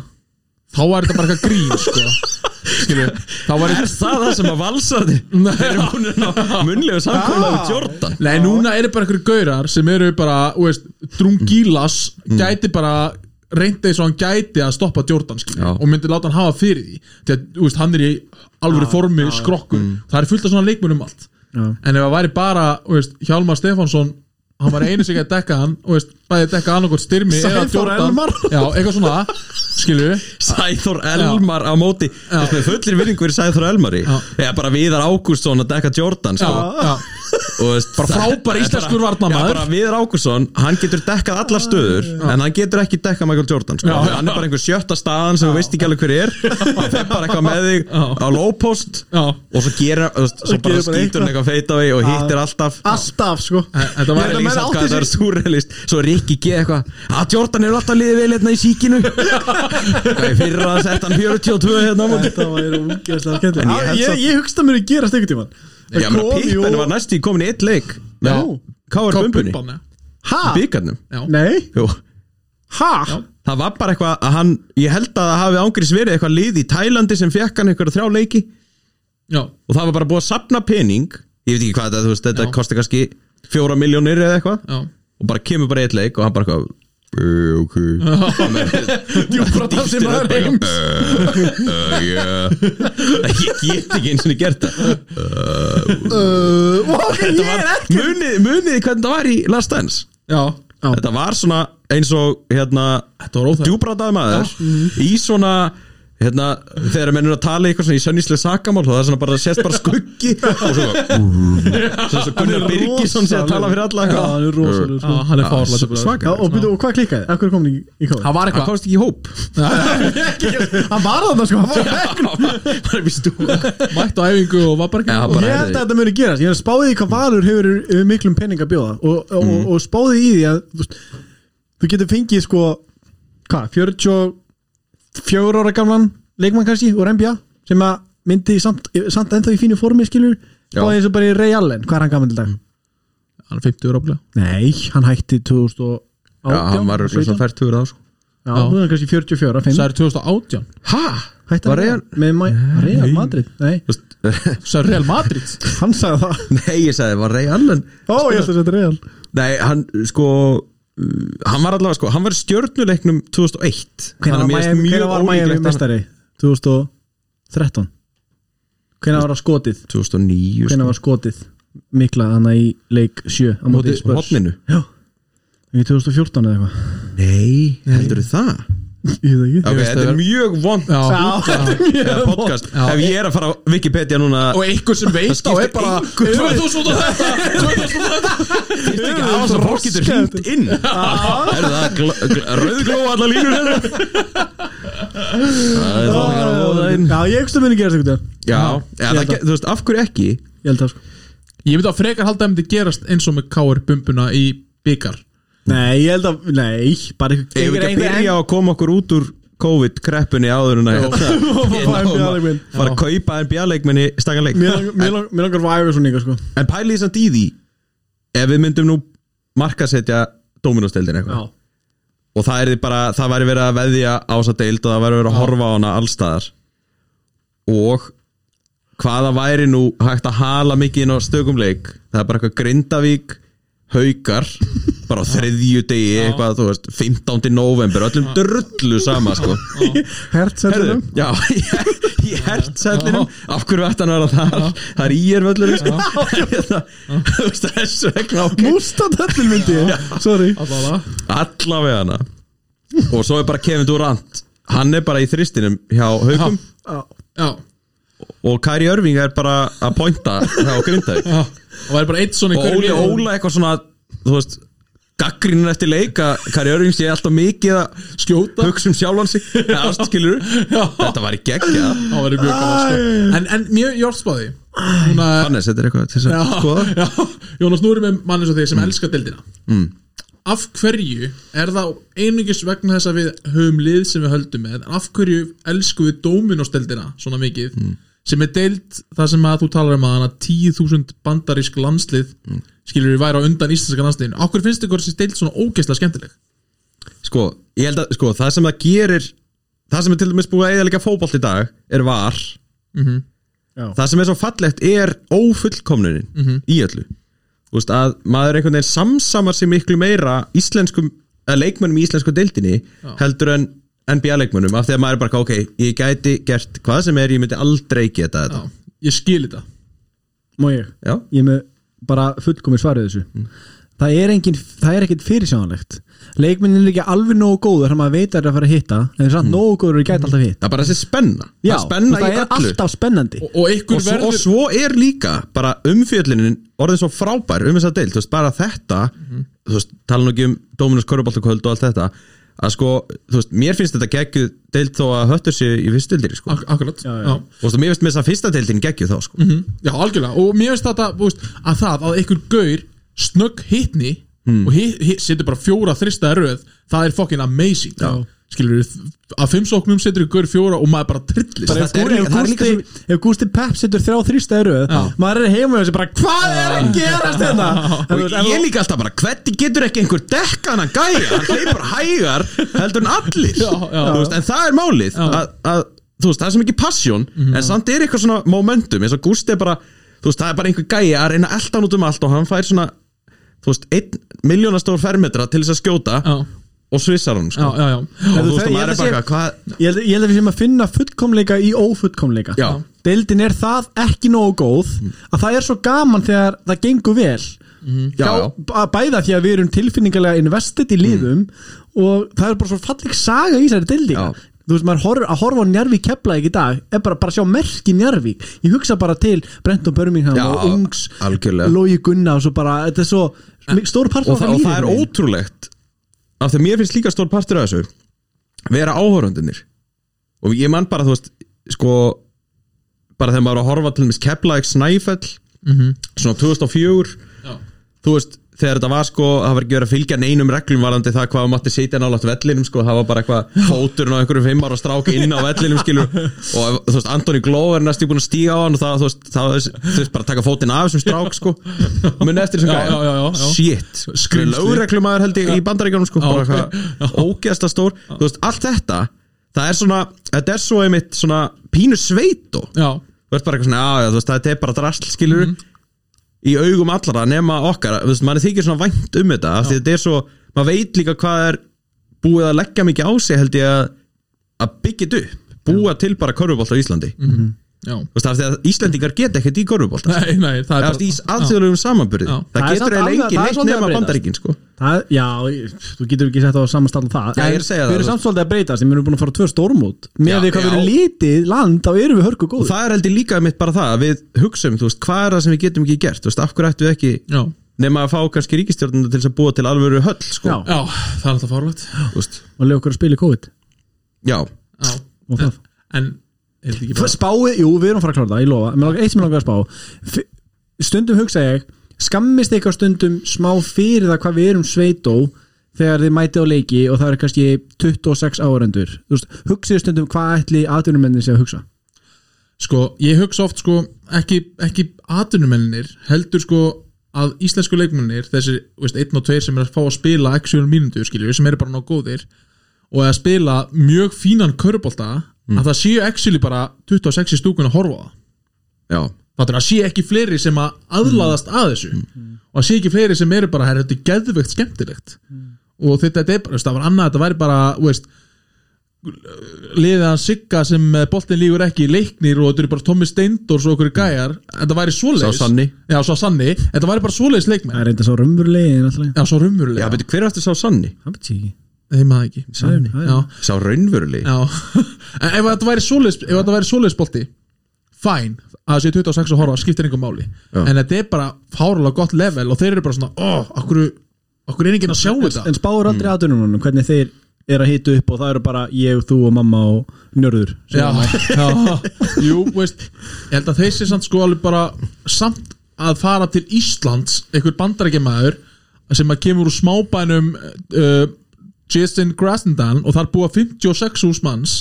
B: Þá var þetta bara eitthvað grín, sko Skilu, þá var
C: er það það sem að valsarði
B: þetta
C: munlegu samkvæmlega um Jordan
B: Nei, núna eru bara einhverju gaurar sem eru bara, þú veist, drungílas
C: Mm.
B: gæti bara reyndi eins og hann gæti að stoppa Jordan skilur,
C: Já.
B: og myndi láta hann hafa fyrir því því að, þú veist, hann er í alvöru formi skrokkur,
C: Mm.
B: það er fullt af svona leikmunum allt
A: Já.
B: en ef það væri bara, þú veist, Hjálmar Stefánsson hann var einu sig að dekka hann og veist, bæði að dekka annarkort styrmi eða
A: Sæþór
B: Jordan,
A: Elmar.
B: já, eitthvað svona skilju,
C: Sæþór Elmar á móti þess með fullir virðingu fyrir Sæþór Elmari
B: Já.
C: eða bara Viðar Ágústsson að dekka Jordan
B: já,
C: sko.
B: já
C: Og veist,
B: Bara
C: það-
B: frábær
C: það er
B: íslenskur
C: bara-
B: varnarmaður.
C: Já, bara Viðar Ágústsson, hann getur dekkað allar stöður en hann getur ekki dekkað Michael Jordan sko.
B: Já.
C: hann er bara einhver sjötta staðan sem þú veist ekki alveg hver er hann fer bara eitthvað með þig
B: Já.
C: á lowpost
B: Já.
C: og svo, gera, þú veist, svo
A: Svo
C: bara
A: gerir bara
C: skýtur hann eitthvað feita vegi og hittir alltaf
A: Alltaf sko
B: þetta
C: Ég
B: var
C: er að
A: menn
C: lýsa
A: átti
C: hvað
A: sig-
C: það er súrrealist Svo er Rikki G eitthvað Að Jordan eru alltaf liðið vel hérna í (laughs) síkinu Hvað er fyrra að setja hann 42 hérna á móti
A: Þetta var úgeðslega
C: En
A: skemmtilega
C: ég
A: ég,
C: held
A: ég,
C: samt-
A: ég, um hugst að mér að gerast einhvern tíman
C: Já, menn að Pippen var næstu í komin í eitt leik
B: Já.
C: Með K.R. Bumbunni
B: Bumban, já.
A: Hæ?
C: Byggarnum
B: Já.
A: Nei?
C: Jú
A: Hæ?
C: Það var bara eitthvað að hann Ég held að það hafi ángriðs verið eitthvað lið í Tælandi sem fekk hann einhverja þrjá leiki
B: já,
C: Og það var bara búið að sapna pening Ég veit ekki hvað þetta, þú veist, þetta
B: Já.
C: kosti kannski Fjóra miljónir eða eitthvað
B: já,
C: Og bara kemur bara í eitt leik og hann bara eitthvað "Eh, Ok
B: djúbrottar sem maður heims
C: uh, yeah. (laughs) ég get ekki eins og gert það
A: Uh,
C: (laughs)
A: ok, ég
C: var,
A: er ekki
C: munið, muniði hvernig það var í Last Dance
B: já,
C: þetta var svona eins og hérna,
B: þetta var óþægt
C: djúbrataði maður í svona hérna, þegar menn eru að tala í eitthvað svona í sönnislega sakamál það er svona bara, sést bara skuggi og svo svona svo Gunnar
A: Hann er
C: Birgisson sé að tala fyrir alla
A: Já, hann er rosalur
B: Já,
C: sko.
B: hann er
C: Já,
B: fárlega
C: svaka.
A: Já, og byrju, og hvað klikkaði? Af hverju kom hann í, í
B: Það
A: kóðan?
B: var
C: hann
B: eitthvað
C: komst ekki í hóp
A: Hann var þarna sko, hann var ekki
C: bara upp í stúku
B: mætt á æfingu og var bara
C: Já,
B: ekki
C: bara-
A: Ég held að þetta muni gerast, ég hef spáðið í hvað Valur hefur yfir miklum penning að bjóða og, og, og, og spáðið í því að þú, veist, þú getur fengið sko hvað, 44 ára gamlan leikmann kannski úr NBA sem að myndi samt, samt ennþá í fínu formi skilur
C: Já.
A: spáðið eins og bara í Ray Allen, hvað er hann gaman til dag?
B: hann er 50 ára áblega
A: Nei, hann hætti 2018
C: já, hann var svona
A: 17.
C: fært hugur á sko.
A: Já, nú er hann kannski 44, 5
B: það er 2018
C: hæ?
A: Hætti
C: Var
A: hann
C: Real-
A: með Ma- Real Madrid? Nei,
B: það er Real Madrid
A: hann sagði það
C: nei, ég sagði, var Ray Allen
A: Ó, ég held að þetta er Real
C: Nei, hann sko uh, hann var allavega sko, hann var í stjörnuleiknum 2001
A: Hvenær
C: Þannig að mér
A: var
C: finnst
A: Miami-
C: mjög
A: hvenær var Miami
C: ólíklegt að-
A: mestari? 2013 Hvenær var það skotið?
C: 2009
A: Hvenær
C: sko,
A: var skotið? Mikla þannig í leik 7 á móti
C: móti
A: Spurs
C: hotninu
A: Já, ekki 2014 eða eitthvað (laughs)
C: Nei, heldur það?
A: Ég veit ekki
C: Ok,
B: veist
C: þetta
B: það
C: er
B: er-
C: mjög vond
B: já.
A: þetta er
C: eh,
A: mjög
C: podcast Ef ég er að fara á Wikipedia núna
B: og einhver sem veit á
C: skiptir
B: er bara
C: engu máli.
B: 2000 og (laughs) þetta 2000 og þetta
C: Það er ekki að það sem fólk getur
A: raskandi.
C: hringt inn Er það rauðglóa allar línur hérna? Það er það að voða inn
A: Já, ég um hugstu minni gerast einhvern veginn
C: Já, ja, það, ge- þú veist, af hverju ekki?
A: Ég held það sko
B: ég myndi að frekar halda að það myndi gerast eins og með K.R. bumbuna í byggar
A: Nei, ég held að, nei, bara einhver-
C: Ef við ekki að byrja á að koma okkur út úr COVID-kreppunni áður en að
A: Fá
C: (laughs)
A: NBA
C: hérna
A: leikmenn.
C: fara að kaupa NBA-leikminni stakka leik
A: Mér lang- mér lang- mér langar vægur svo nýga sko
C: En pælið samt í því Ef við myndum nú markasetja Dóminósteildin
A: Já,
C: eitthvað Og það er bara, það væri verið að veðja á þessa deild Og það væri verið að horfa á hana allstaðar Og Hvaða væri nú hægt að hala mikið inn á stökum leik Það er bara eitthvað Grindavík Haukar bara á þriðju degi eitthvað, þú veist, 15. november öllum drullu sama, sko Herðu,
A: Hertsendurum
C: já, (laughs) í- í hertsellinum af hverju ætti hann að vera þar það er í er völlur sko. (laughs) Hérna, þú veist, þessu vegna ok.
A: Mústatallin myndi ég Sorry
B: Allavega
C: allavega hana og svo er bara Kevin Durant hann er bara í þristinum hjá haugum
B: Já,
C: og Kæri Örving er bara að pointa hjá grindaði
B: já Og væri bara eitt svona í
C: og Óli
B: hverjum liðum.
C: Óla eitthvað svona þú veist gaggrinin eftir leika Kæri Örving sé alltaf mikið að
B: Skjóta
C: hugsa um sjálfan sig eða allt skilur
B: Já.
C: þetta var í geggja
B: Það væri mjög gaman sko En, en mjög jórnsbáði Núna
C: Hannes, þetta er eitthvað til þess að skoða
B: (laughs) já, Jónas, nú erum við mann eins og
C: Mm.
B: þig sem elskar deildina Af hverju er það einungis vegna þess að við höfum lið sem við höldum með en af hverju elskum við Dominos deildina svona mikið
C: Mm.
B: sem er deild það sem að þú talar um að hana 10.000 bandarísk landslið
C: Mm.
B: skilur við væri á undan íslenska landsliðinu Af hverju finnst ykkur þessi deild svona ógeðslega skemmtileg?
C: sko, ég held að sko, það sem það gerir það sem er til dæmis búið að eða líka fótbolt í dag er var
A: Mhm. Já. Mhm.
C: það sem er svo fallegt er ófullkomnunin í öllu Þú veist, að maður einhvern veginn samsamar sér miklu meira íslenskum eða leikmönnum í íslensku deildinni heldur en NBA leikmönnum af því að maður er bara ok, ég gæti gert hvað sem er, ég myndi aldrei geta
B: Já,
C: þetta
B: ég skil þetta
A: Má ég
C: já,
A: Ég er með bara fullkomi svarið þessu
C: Mm.
A: Það er, engin, það er ekkit fyrirsjánalegt Leikminnin er ekki alveg nógu góður Þannig að maður veit að það er að fara að hitta En það er samt nógu góður og gæti alltaf hitt
C: það er bara þessi spenna
A: Já,
C: Mm. það er spenna
A: það
C: í
A: er
C: öllu
A: alltaf spennandi
B: Og, og ykkur
C: og svo, og
B: verður
C: svo er líka bara umfjöllinin orðin svo frábær um þessa deild, þú veist, bara þetta
B: Mhm.
C: þú veist, tala nú ekki um Dominus Köruboltaköld og allt þetta, að sko þú veist, mér finnst þetta geggju deild þó að höttur sér í fyrstu deildir, sko
B: Ak Akkurat,
A: Já, já.
B: já.
C: og þú veist, mér finnst með þess að fyrsta deildin geggju þá, sko
B: Mhm, Já, algjörlega og mér finnst þetta þú veist, að það að einhver gaur snögg hittni
C: Hmm.
B: og hit, hit, setur bara fjóra þrista röð það er fucking amazing já. skilur við að fimm sóknum setur einhver gaur fjóra og maður bara trillist
A: Bara
C: Það
A: ef,
C: er
A: Gústi,
C: líka-
A: ef,
C: það er líka
A: Gústi, ef Gústi Pep setur þrjá þrýsta eru
B: Já.
A: maður er heima og þessi bara hvað er að gerast hérna?" þetta
C: (laughs) og ég líka alltaf bara, hvernig getur ekki einhver dekkana gæja, hann hleypur hægar heldur en allir
B: Já, já.
C: Þú veist, en það er málið að, að, þú veist, það er svo mikið passion en samt er eitthvað svona momentum eins og Gústi er bara, þú veist, það er bara einhver gæja að reyna að elta hann út um allt og hann fær svona þú veist, einn miljónastór fermetra til þess að skjóta
B: já,
C: og svissar hann sko.
B: já, já, já.
A: Þú
C: og þú
A: það-
C: veist, og
A: ég held
C: maður
A: að
C: er bara
A: sé-
C: eitthvað, hvað
A: ég held, ég held að við séum að finna fullkomleika í ófullkomleika
C: Já. Mm.
A: deildin er það ekki nógu góð að það er svo gaman þegar það gengur vel
C: Já, já. Mm.
A: Gá, bæða því að við erum tilfinningalega investið í liðum og það er bara svo falleg saga í þessari deildinga
C: Já.
A: þú veist maður horf, að horfa á Njarvík keflaðið í dag er bara, bara að sjá merki Njarvík ég hugsa bara til Brenton Birmingham
C: Já,
A: og Ungs,
C: algjörlega.
A: Logi Gunnars og bara, þetta er svo stór part
C: og, það, og það er
A: lífi.
C: ótrúlegt af því að mér finnst líka stór partur af þessu vera áhórundinir og ég man bara, þú veist, sko bara þegar maður er að horfa til þess Keflæk Snæfell svona 2004
B: Mhm. Já.
C: þú veist, þegar þetta var sko það var ekki verið að fylgja neinum reglum varandi það hvað maður mátti setja nálaft vellinum sko, það var bara eitthvað fóturinn á einhverjum fimmar og strák inn á vellinum skilur og ef- þú veist, Antoni Gló er næstu búin að stíga á hann og það, þú veist, það þú veist, bara taka fótinn af þessum strák sko muni eftir þessum
B: Já, já, já, já, já.
C: shit,
B: Skrýmsli.
C: lögreglumæður held ég í bandaríkjónum sko, bara eitthvað ógeðsla stór, þú veist, allt þetta það er svona, þetta er svo einmitt svona pínu sveito
B: já,
C: þú veist bara eitthvað svona, já, já, þú veist, þetta er bara drasl skilur
A: Mhm.
C: í augum allara nema okkar, þú veist, manni þykir svona vænt um þetta af því þetta er svo, maður veit líka hvað er búið að leggja mikið á sig held ég að, að byggja þetta upp búa til bara korfubolt á Íslandi
A: Mhm.
B: já.
C: þú veist, af því að Íslandingar geta ekkert í korfubolt
B: Nei, nei, það er
C: Það er í alþjóðlegum samanburði
B: Já.
C: Það
A: Það er
C: getur
A: samt
C: eiginlega
A: alveg-
C: engin
A: það er
C: neitt
A: svolítið að
C: nema
A: breytast.
C: bandaríkin sko.
A: Það, já, ég- þú getur ekki sett á samanstall það
C: Já, ég er
A: En
C: að segja það,
A: Við erum
C: þú
A: samt svolítið að breytast, við erum búin að fara á tvö stórmót Með
C: Já,
A: því hvað við
C: já.
A: erum lítið land, þá erum við hörku
C: Og
A: góð
C: það er heldur líka mitt bara það að Við hugsaum, þú veist, hvað er það sem við getum ekki gert Þú veist, af hverju ættum við ekki
B: já,
C: Nema að fá kannski ríkistjórnum til þess að búa til alvöru höll sko.
A: Já,
B: já, það er alltaf farlegt
C: Þú veist,
A: og leið okkur að spila í COVID
C: já,
B: Já,
A: og það
B: en er þetta ekki bara
A: Spáið, jú, við erum að fara að klára það, ég lofa Mér langar- Eitt sem ég langar að spá F- Stundum hugsa ég, skammist eitthvað stundum smá fyrir það hvað við erum sveitó Þegar þið mætið á leiki og það er kannski 26 áhörendur Þú veist, Hugsið stundum hvað ætli atvinnumennin sé að hugsa
B: Sko, ég hugsa oft sko ekki, ekki atunumennir heldur sko að íslensku leikmennir þessir, veist, einn og tveir sem er að fá að spila actual mínundur, skiljum, sem eru bara ná góðir og að spila mjög fínan körbolta, að það séu actually bara 26 í stúkun að horfa á það
C: já Mm.
B: Fattur, að sé ekki fleiri sem að aðlaðast að þessu og það sé ekki fleiri sem eru bara "Herra, þetta er geðveikt skemmtilegt
C: Mm.
B: og þetta, þetta er bara, þú veist, það var annað þetta væri bara, þú veist liðið að sigga sem eh, boltinn lígur ekki í leiknir og þetta eru bara Tommy Steindors og okkur gæjar þetta væri svoleiðis
C: Mm. Sá sanni.
B: já, sá sanni þetta væri bara svoleiðis
A: Það
B: leikmenn
A: er reynda svo raunverulegi en alltaf
B: já, svo raumurlega
C: Já, betur, hver er aftur sá sanni?
A: Það veit ég ekki
B: Nei, maður ekki
A: Sæfni,
B: já,
C: Sá raunvörulegi
B: já. En ef þetta væri svoleiðis ef þetta væri svoleiðis bolti fæn, að það sé 26 og horfa skiptir engum máli,
C: Já.
B: en þetta er bara fárulega gott level og þeir eru bara svona oh, okkur, okkur er enginn að sjá þetta
A: En spáur aldrei mm. aðdunum hvernig þeir eru að hita upp og það eru bara ég, þú og mamma og njörður sem
B: já, já, jú, veist ég held að þeir sé samt sko alveg bara samt að fara til Íslands einhver bandarækjamaður sem að kemur úr smábænum uh, Jason Grasendal og þar búa 56 hús manns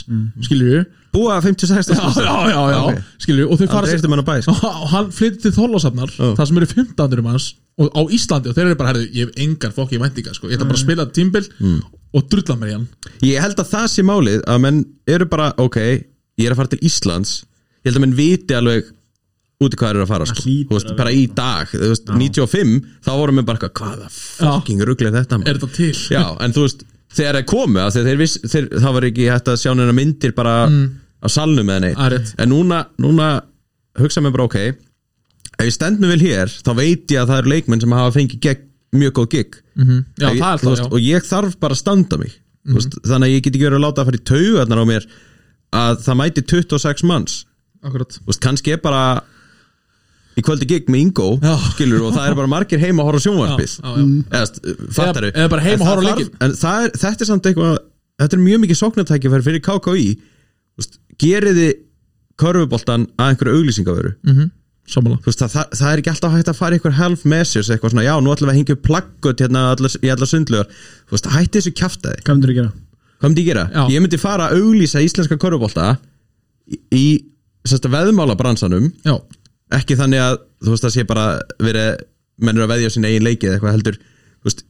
B: skilju,
C: Búa 56
B: já, já, já, já
C: Ok.
B: skilju, og þau fara
C: Andri eftir mann á bæ sko.
B: og hann flytti til Þorlásafnar
C: Já.
B: þar sem eru 1500 manns og á Íslandi og þeir eru bara, herðu, ég hef engar fokki væntinga, sko, ég ætla
C: Mm.
B: bara að spila tímbil og drulla mér í hann
C: Ég held að það sé málið að menn eru bara, ok, ég er að fara til Íslands Ég held að menn viti alveg út í hvað þeir eru að fara sko.
A: Það hlýtur
C: Þú
A: að
C: veist,
A: vera
C: bara í dag, þú veist, 95 þá vorum við bara eitthvað, hvaða fucking rugglega þetta maður?"
B: er þetta til?
C: Já, en þú veist, þegar þeir komu af því að þeir viss, þeir, það var ekki hægt að sjá neina myndir bara á salnum
B: Það er
C: eða
B: Mm. Ah, rétt.
C: neitt en núna, núna hugsa mér bara ok ef ég stend mér vel hér, þá veit ég að það eru leikmenn sem hafa fengið gegn, mjög góð gig
B: Mhm. Já,
C: Ef ég-
B: það er
C: þú
B: alltaf,
C: veist,
B: já Mhm.
C: og ég þarf bara að standa mig mm veist, þannig að ég get ekki verið að láta að fara í taugarnar á mér að það mæti 26 manns
B: Akkurat
C: Þú veist, kannski er bara í kvöldi gig með Ingo
B: Já.
C: skilur, og það er bara margir heima að horfa á sjónvarpið
B: Já, já, já.
C: Eða, þú veist, fattaru
B: Eða- eða bara heima
C: En
B: að
C: það
B: horfa á
C: þarf-
B: leikinn.
C: en það er, þetta er samt eitthvað þetta er mjög mikið sóknartækifæri fyrir KKI Þú veist, gerið þið körfuboltan að einhverju auglýsingavöru
B: Mhm. Sammála
C: Þú veist, það, það, það er ekki alltaf hægt að fara í einhver half measures eitthvað svona, já, nú ætlum við að hengja upp plaggut hérna allar, í alla sundlugar Þú veist, hætti þessu kjaftaði
A: Hvað myndir þú gera?
C: Hvað myndi ég gera?
B: Já.
C: Ég myndi fara að auglýsa íslenska körfubolta í, í sérst, veðmálabransanum
B: Já,
C: ekki þannig að þú veist það sé bara verið mennur að veðja á sín eigin leiki eða eitthvað heldur þú veist,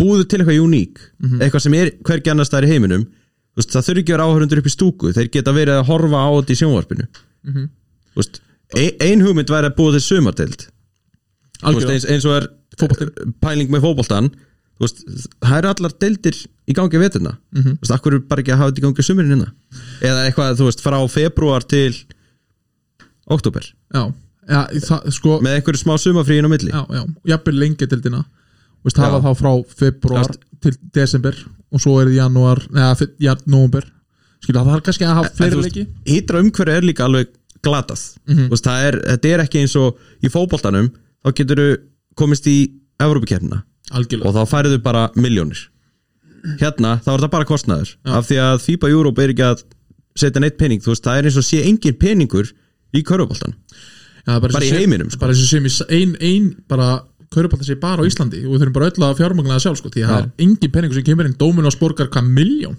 C: búðu til eitthvað uník eitthvað sem er hvergi annars það er í heiminum þú veist, það þurfi ekki að vera áhörundur upp í stúku þeir geta verið að horfa á þetta í sjónvarpinu þú veist, e- ein hugmynd væri að búa til sumardeild Þú veist,
B: algjörða
C: eins, eins og er
B: Fótboltinn.
C: pæling með fótboltan þú veist, það eru allar deildir í gangi veturna, þú veist, akkur er bara ekki að hafa þetta í gangi sumurinn hérna eða eitthvað, þú veist, frá februar til oktober
B: Já, já, það, sko
C: með einhverju smá sumafríin á milli
B: Já, já, jafnvel lengi til dina Veist,
C: Já.
B: hafa þá frá februar
C: Allt.
B: til desember og svo er það janúar eða janúber Skilja, það er kannski að hafa fleiri leiki Mhm.
C: hýtra umhverju er líka alveg glatað þú veist, það er, þetta er ekki eins og í fótboltanum, þá getur þú komist í Evrópukefnina og
B: Algjörlega
C: þá færðu bara miljónir hérna, þá er það bara kostnaður af því að FIBA Europe er ekki að setja neitt pening, þú veist, það er eins og sé engin peningur í körfuboltan
B: Já,
C: bara
B: þessi
C: í
B: sem-
C: heiminum, sko.
B: Bara þessi sem í s- ein, ein bara Kauruballin sé bara á Íslandi og við þurfum bara öll að fjármagna það sjálf sko, því að það er engin penningur sem kemur inn Dóminos borgar hvað miljón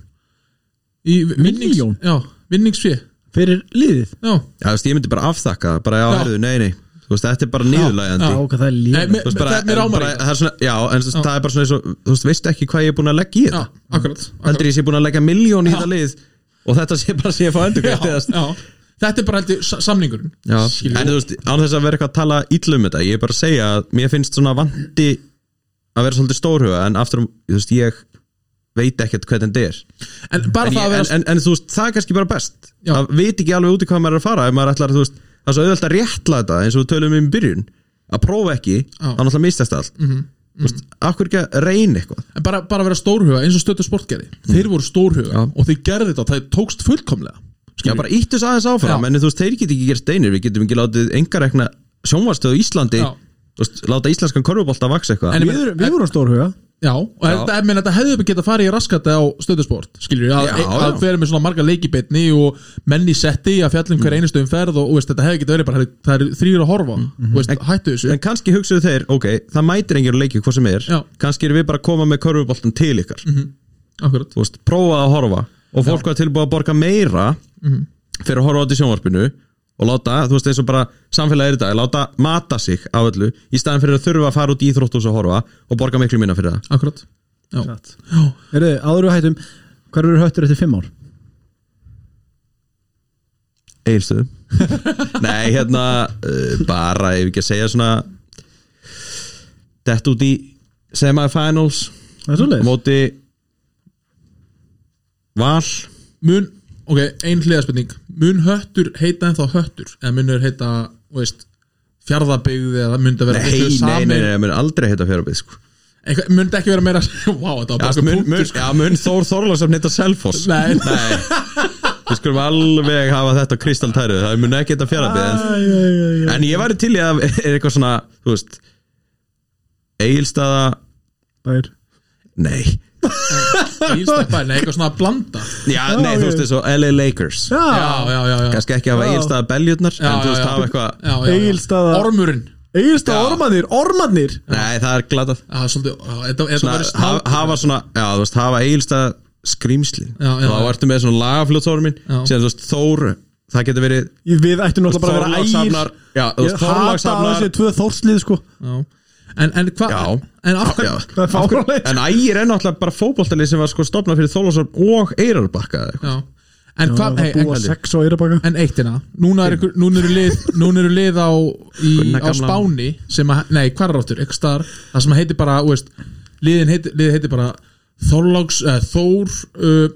A: Milljón?
B: Já, vinningsfé
A: Fyrir liðið?
B: Já,
C: Já, þú veist, ég myndi bara afþakka, bara já,
B: Já.
C: herðu, nei, nei þú veist, þetta er bara
A: Já,
C: niðurlægjandi
A: ok, það er
B: Nei,
A: liðið
B: me-
C: Þú veist, bara,
B: það- mér
C: en
B: ámar
C: bara,
B: í það.
C: það er svona, já, en þú veist, það er bara svona eins og þú veist, veist ekki hvað ég er búin að leggja í
B: já,
C: þetta
B: akkurat, akkurat.
C: Andrés er búin að leggja miljón í þetta lið og þetta sé bara sé að fá endur
B: já, já. Þetta er bara heldur samningurinn Skilju.
C: en þú veist, án þess að vera eitthvað að tala illa um þetta ég er bara að segja að mér finnst svona vandi að vera svolítið stórhuga en aftur, á- þú veist, ég veit ekkert hvernig þetta er
B: En bara
C: en,
B: það að
C: ég, en,
B: vera
C: en, en þú veist, það er kannski bara best
B: Já.
C: það veit ekki alveg út í hvað maður er að fara ef maður ætlar, að, þú veist, það er svo auðvelt að réttla þetta eins og við tölum um í byrjun að prófa ekki, þá náttúrulega mistast allt mm
B: Mhm.
C: -hmm. þú veist, akkur ekki að reyna eitthvað
B: En bara, bara vera stórhuga eins og stöttu sportgerði
C: Mm.
B: Þeir voru stórhuga og þeir gerði þetta og það tókst fullkomlega
C: Já, bara íttu þess aðeins áfram,
B: Mhm. Já.
C: en þú veist, þeir geta ekki gerst einir, við getum ekki látið engar ekna sjónvarstöðu í Íslandi,
B: Já.
C: þú veist, láta íslenskan korfubolt að vaksa eitthvað.
B: En-
C: En,
A: Við erum- við vorum stórhuga
B: Já, og þetta, ég meina, þetta hefði bara getað farið í raskata á stöðusport Skiljur, að,
C: Já,
B: e- að
C: já.
B: vera með svona marga leikibitni og menni setti að fjallum
C: Mm.
B: hver einustu umferð og, og veist, þetta hefði getað verið bara herri, það eru þrýra að horfa
C: mm-hmm.
B: og veist, hættu þessu
C: kannski hugsuðu þeir, ok, það mætir enginn á leikið hvað sem er,
B: Já.
C: kannski erum við bara að koma með korfuboltan til ykkar,
B: Akkurat,
C: þú veist, prófaði að horfa og fólk var tilbúið að borga meira Mhm. fyrir að horfa á þetta í sjónvarpinu og láta, þú veist, eins og bara samfélagið er í dag, láta mata sig á öllu í staðan fyrir að þurfa að fara út í íþróttus að horfa og borga miklu minna fyrir það.
B: akkurat Já,
A: Eru þið, áður við hættum Hvar verður höttur eftir fimm ár?
C: Egilstöðum (laughs) eh, Nei, hérna, uh, bara ef ekki að segja svona dett út í semifinals
A: Það er
C: á
A: svolítið
C: móti Val
B: mun, ok, ein hliðaspurning mun höttur heita en þá höttur eða munur heita, þú veist fjarðabyggð eða mun það vera
C: Nei, nei, nei, nei, mun aldrei heita fjárabið sko.
B: nei. mun það ekki vera meira (laughs) wow, þetta var
C: Já,
B: bara
C: mun,
B: punktur,
C: mun,
B: sko.
C: já, mun Þór Þorlásöfn heita Selfoss
B: Nei. (laughs)
C: Nei Við skulum alveg hafa þetta kristaltæru Það mun ekki heita fjárabið en, en ég væri til í að er eitthvað svona Þú veist Egilstaða
A: Bær.
C: Nei
B: Ílstappa, nei, eitthvað svona að blanda já,
C: Já, nei, þú veist þessu LA Lakers
A: Já,
B: já, já, já.
C: Kannski ekki hafa
A: Já.
C: Egilstaða beljurnar
B: Já,
C: En þú veist
B: já, já.
C: hafa eitthvað
B: Já, já, já.
A: Egilsstaða-
B: Ormurinn
A: Egilsta
C: Já.
A: ormanir, ormanir
C: Nei, það er glatað
B: Já, það er svolítið, já, þetta- þetta
C: svona,
B: væri
C: hafa,
B: snákur.
C: hafa svona, já þú veist, hafa eigilstað skrýmsli
B: Já, já,
C: þá
B: já.
C: ertu með svona lagafljótsárum minn
B: Já.
C: síðan þú veist Þóru, það getur verið
A: Ég- Við ættum náttúrulega bara að vera ægir
C: Þorlákshafnar já, þú
A: Ég
C: veist,
A: hata að
C: Þorlákshafnar
A: þessi tvö þórslið sko
B: Já. en, en hvað
C: Já.
B: en af
C: Já.
B: hverju
A: Það er fáránlegt
C: en ægir er náttúrulega bara fótboltalið sem var sko stopnað fyrir Þorlákshafn og Eirarbakka eða eitthvað.
B: Já. en hvað,
A: Það
B: hey,
A: búa
B: en,
A: sex og eirabaka
B: en eittina núna er ykkur, núna eru lið, núna eru lið á, í,
C: Gunna
B: á
C: gamla.
B: Spáni sem að, nei, hvað er áttur, ekki starf það sem heitir bara, þú veist, liðin heitir, liðin heitir bara Þorláks, uh, Þór uh,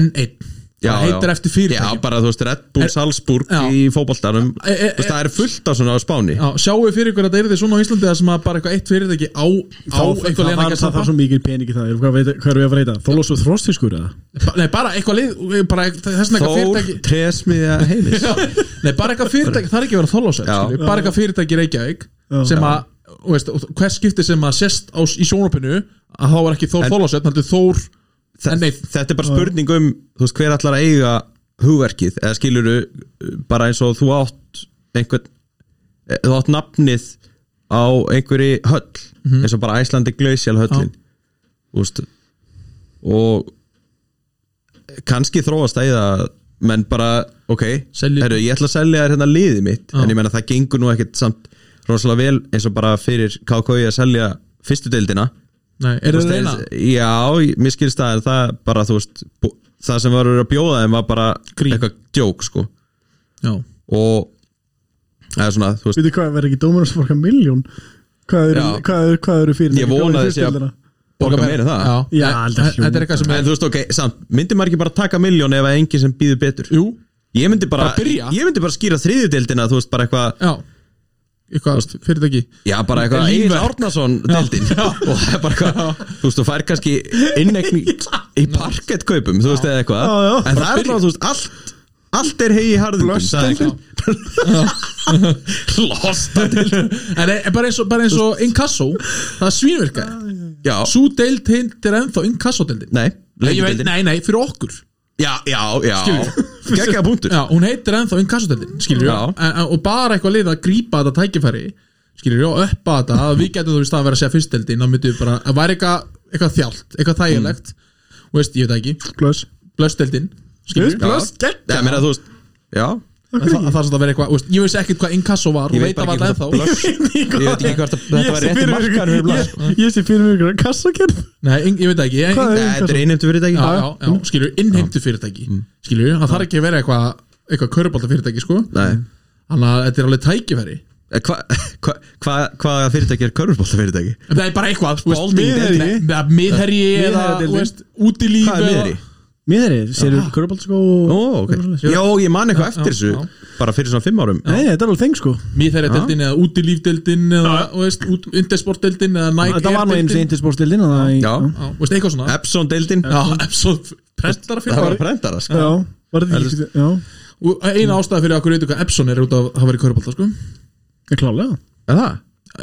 B: N1
C: Já,
B: það heitir
C: já.
B: eftir
C: já,
B: fyrirtækjum
C: bara þú veist Red Bull Salzburg
B: Já.
C: í fótboltanum þú
B: E- e-
C: veist, það er fullt af svona á Spáni
B: Já, sjáu fyrir ykkur að það er þið svona á Íslandi það sem að bara eitthvað eitt fyrirtæki á, á eitthvað
A: það
B: liðan
A: var
B: ekki að
A: það var svo mikið peningi það Hvað veit- hvað er við að fara í það? Þólos og þróstiskur eða?
B: stoppa Nei, bara eitthvað lið, bara þess vegna eitthvað
C: Þór,
B: fyrirtæki
C: Tresmiðja Heimis
B: Já, Nei, bara eitthvað fyrirtæki, það er ekki að vera þólásæð
C: Já.
B: bara eitthvað fyrirtæki í Reykjavík
A: Já.
B: sem að, þú veist, og hvers skipti sem að sést á, í sjónopinu að þá er ekki Þór
C: En-
B: þólásæð, þannig Þór En nei.
C: þetta er bara spurning um þú veist, hver allar að eiga hugverkið eða skilur bara eins og þú átt einhvern eh, þú átt nafnið á einhverju höll
B: Mhm.
C: eins og bara Æslandi Glacial höllin úst, og kannski þróast að eða menn bara, ok,
B: Selji-
C: heru, ég ætla að selja þér hérna liðið mitt, en ég menna það gengur nú ekkert samt rosalega vel eins og bara fyrir KKi að selja fyrstu deildina
B: Nei, er
C: Þú
B: það reyna?
C: veist, Já, mér skilst það en það bara, þú veist, bú- það sem var verið að bjóða þeim var bara
B: Grín.
C: eitthvað djók, sko
B: Já,
C: og það er svona, þú veist,
A: Veitu hvað, verður ekki dómarinn sem fórka miljón? Hvað eru,
C: Já.
A: hvað eru, hvað eru fyrir
C: Ég vona að sé að- borga meira en það
B: Já,
A: Já,
B: En-
A: aldrei
B: en- Þetta er eitthvað sem
C: En
B: er,
C: þú veist, ok, samt, myndi maður ekki bara taka miljón ef að enginn sem býður betur
B: jú,
C: Ég myndi bara,
B: Bara byrja.
C: ég myndi bara skýra þriðjudeldina, þú veist, bara eitthvað
B: já eitthvað fyrirtæki
C: Já, bara eitthvað
B: Lífverk.
C: Egil Árnason deildin og það er bara eitthvað, þú veist, þú fær kannski innegni í parkettkaupum þú veist, eða eitthvað,
A: Já, já.
C: en það er allavega, þú veist, allt allt er hegi í harðingum sagði einhver. Losta deildin
B: En er- er bara eins og, bara eins og inkasso, það svínvirkaði
C: Já,
B: Sú deild heitir ennþá inkassodeildin
C: nei,
B: Nei, ég veit-
C: leikjadeildin.
B: nei, nei, fyrir okkur
C: Já, já, já
B: Skilur.
C: Gekkja punktur
B: Já, hún heitir ennþá inkassodeldin, skilur
C: Já.
B: við En- en- Og bara eitthvað lið að grípa þetta tækifæri Skilur við, og uppa þetta að Við getum þú veist að vera að segja fyrstdeldin Þá myndum við bara, að væri eitthvað, eitthvað þjált Eitthvað þægilegt, og veist, ég veit það ekki
A: Glöss
B: Blöstdeldin, skilur við
C: Já.
A: Blöss,
C: Já,
A: geggja
C: meina, þú veist Já,
B: Að það að það sem það verið eitthvað, þú veist, ég veist ekkert hvað inkasso var
C: Ég
B: Og
C: veit
B: veit það
C: bara
B: var
C: ekki
A: (laughs)
B: ennþá
C: hvað blöss- Ég veit ekki hvort að- þetta var rétti markaður fyrir Blöss.
A: Ég- Ég sé fyrir mér ykkur að kassakerð
B: Nei, in- ég veit það ekki, ég,
A: Hvað er-
C: Nei, þetta er einhemtu fyrirtæki
B: já, já, já, skilur, innheimtu fyrirtæki
C: Mm.
B: skilur, það þarf ekki að vera eitthvað eitthvað körubolta sko
C: Nei.
B: þannig að þetta er alveg tækifæri
C: Eh, Hva, (laughs) hva, hva, hvaða fyrirtæki er körfurbólta fyrirtæki?
B: það er bara eitthvað, þú veist,
A: Miðherji.
B: miðherji Nei, miðherji eða,
A: Miðherjadeildin.
B: þú veist, út í líf
C: Hvað er miðri?
A: Mér er þið, séru körbáltskó
C: Ó, ok Já, ég man eitthvað
B: já,
C: eftir þessu
B: já.
C: Bara fyrir svona fimm árum
A: Nei, þetta er alveg þeng sko
B: miðherja deildin eða út í líf deildin eða, þú veist, undirsport deildin eða Nike
A: Þetta var nú eins og intisportildin
C: Já,
B: Já, þú veist, eitthvað svona
C: Epson deildin
B: Já, Epson prentara
C: Það var
B: fyrir
C: að prentara, sko
A: Já, var þetta ekki Já,
B: Og eina ástæða fyrir okkur veitu hvað Epson er út af að hafa verið körubolta sko
A: ég klálega
C: Er það?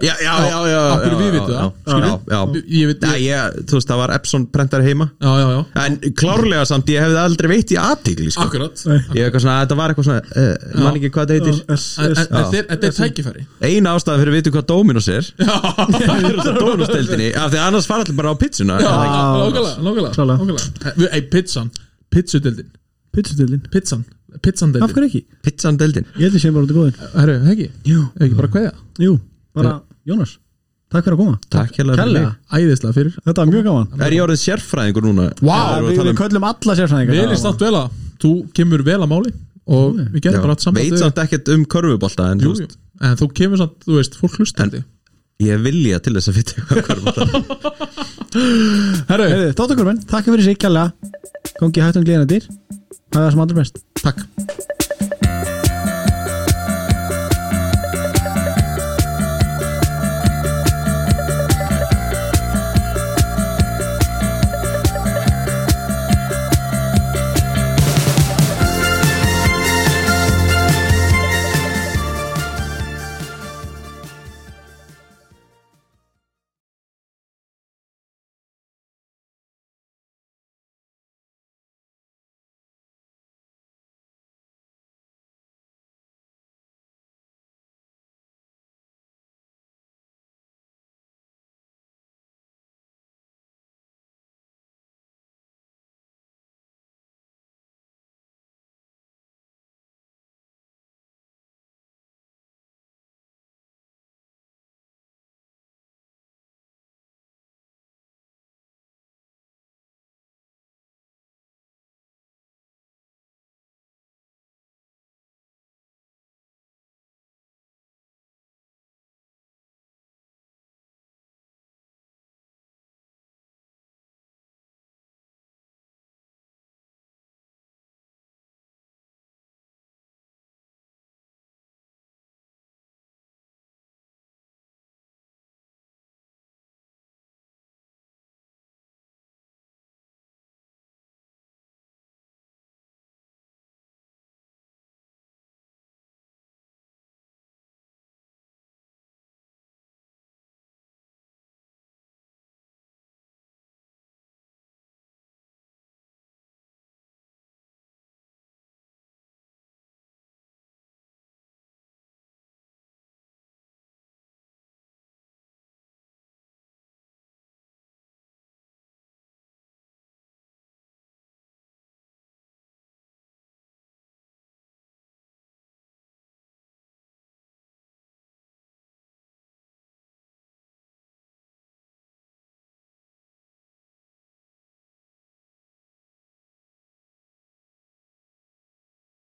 C: Já, já, já, já
B: Af
C: já,
B: hverju við
C: já,
B: vitum það,
C: já, Já, já
B: Ég veit,
C: Nei,
B: ég,
C: ég, þú veist, það var Epson prentari heima
B: já, já, já,
C: En klárlega samt, ég hefði aldrei veitt í aðtigli, sko
B: akkurat
A: Nei.
C: Ég hef eitthvað svona, þetta var eitthvað svona uh, Man ekki hvað þetta
B: En-
C: heitir
B: en-
A: Þetta
B: en Þetta er- þetta er
A: (laughs)
B: tækifæri
C: Eina ástæðan fyrir að vita hvað Dominos
B: (laughs)
C: er (laughs)
B: Já,
C: Það er þetta Dominos-deildinni Af því að annars fara allir bara á pizzuna
B: Já,
C: er það ekki?
B: nákvæmlega, nákvæmlega
A: Klálega.
B: nákvæmlega. Eh, Við- Ei, pizzan, pizzudildin
A: Pizzutildin
B: Pizzan, pizzandildin
A: Af hverju ekki?
C: Pizzan-deildin
A: Ég held ég sé bara út í góðin
B: Herru, heggi,
A: Jú,
B: ekki bara kveðja
A: jú, bara Jónas Takk fyrir að koma
C: Takk hérlega fyrir
A: Kærlega.
C: mig.
B: Æðislega fyrir
A: Þetta var mjög gaman
C: Er ég orðin sérfræðingur núna?
A: Já,
C: Þegar
A: við, við
C: við erum að tala um-
A: köllum alla sérfræðingar
B: Vel er státt vel að þú kemur vel að máli Og við getum
C: um-
B: bara átt
C: Já,
B: samband
C: Veit
B: við-
C: samt ekkert um körfubolta en, þú
B: Jú,
C: veist,
B: jú. En þú kemur samt, þú veist, fólk hlustandi
C: Ég vilja til þess að vita um hvað
B: (laughs)
C: körfubolta
B: Herru,
A: Þáttakörfinn, takk fyrir sig kjærlega Kongi hættum gleðina dyr Það er það sem aldrei best
B: takk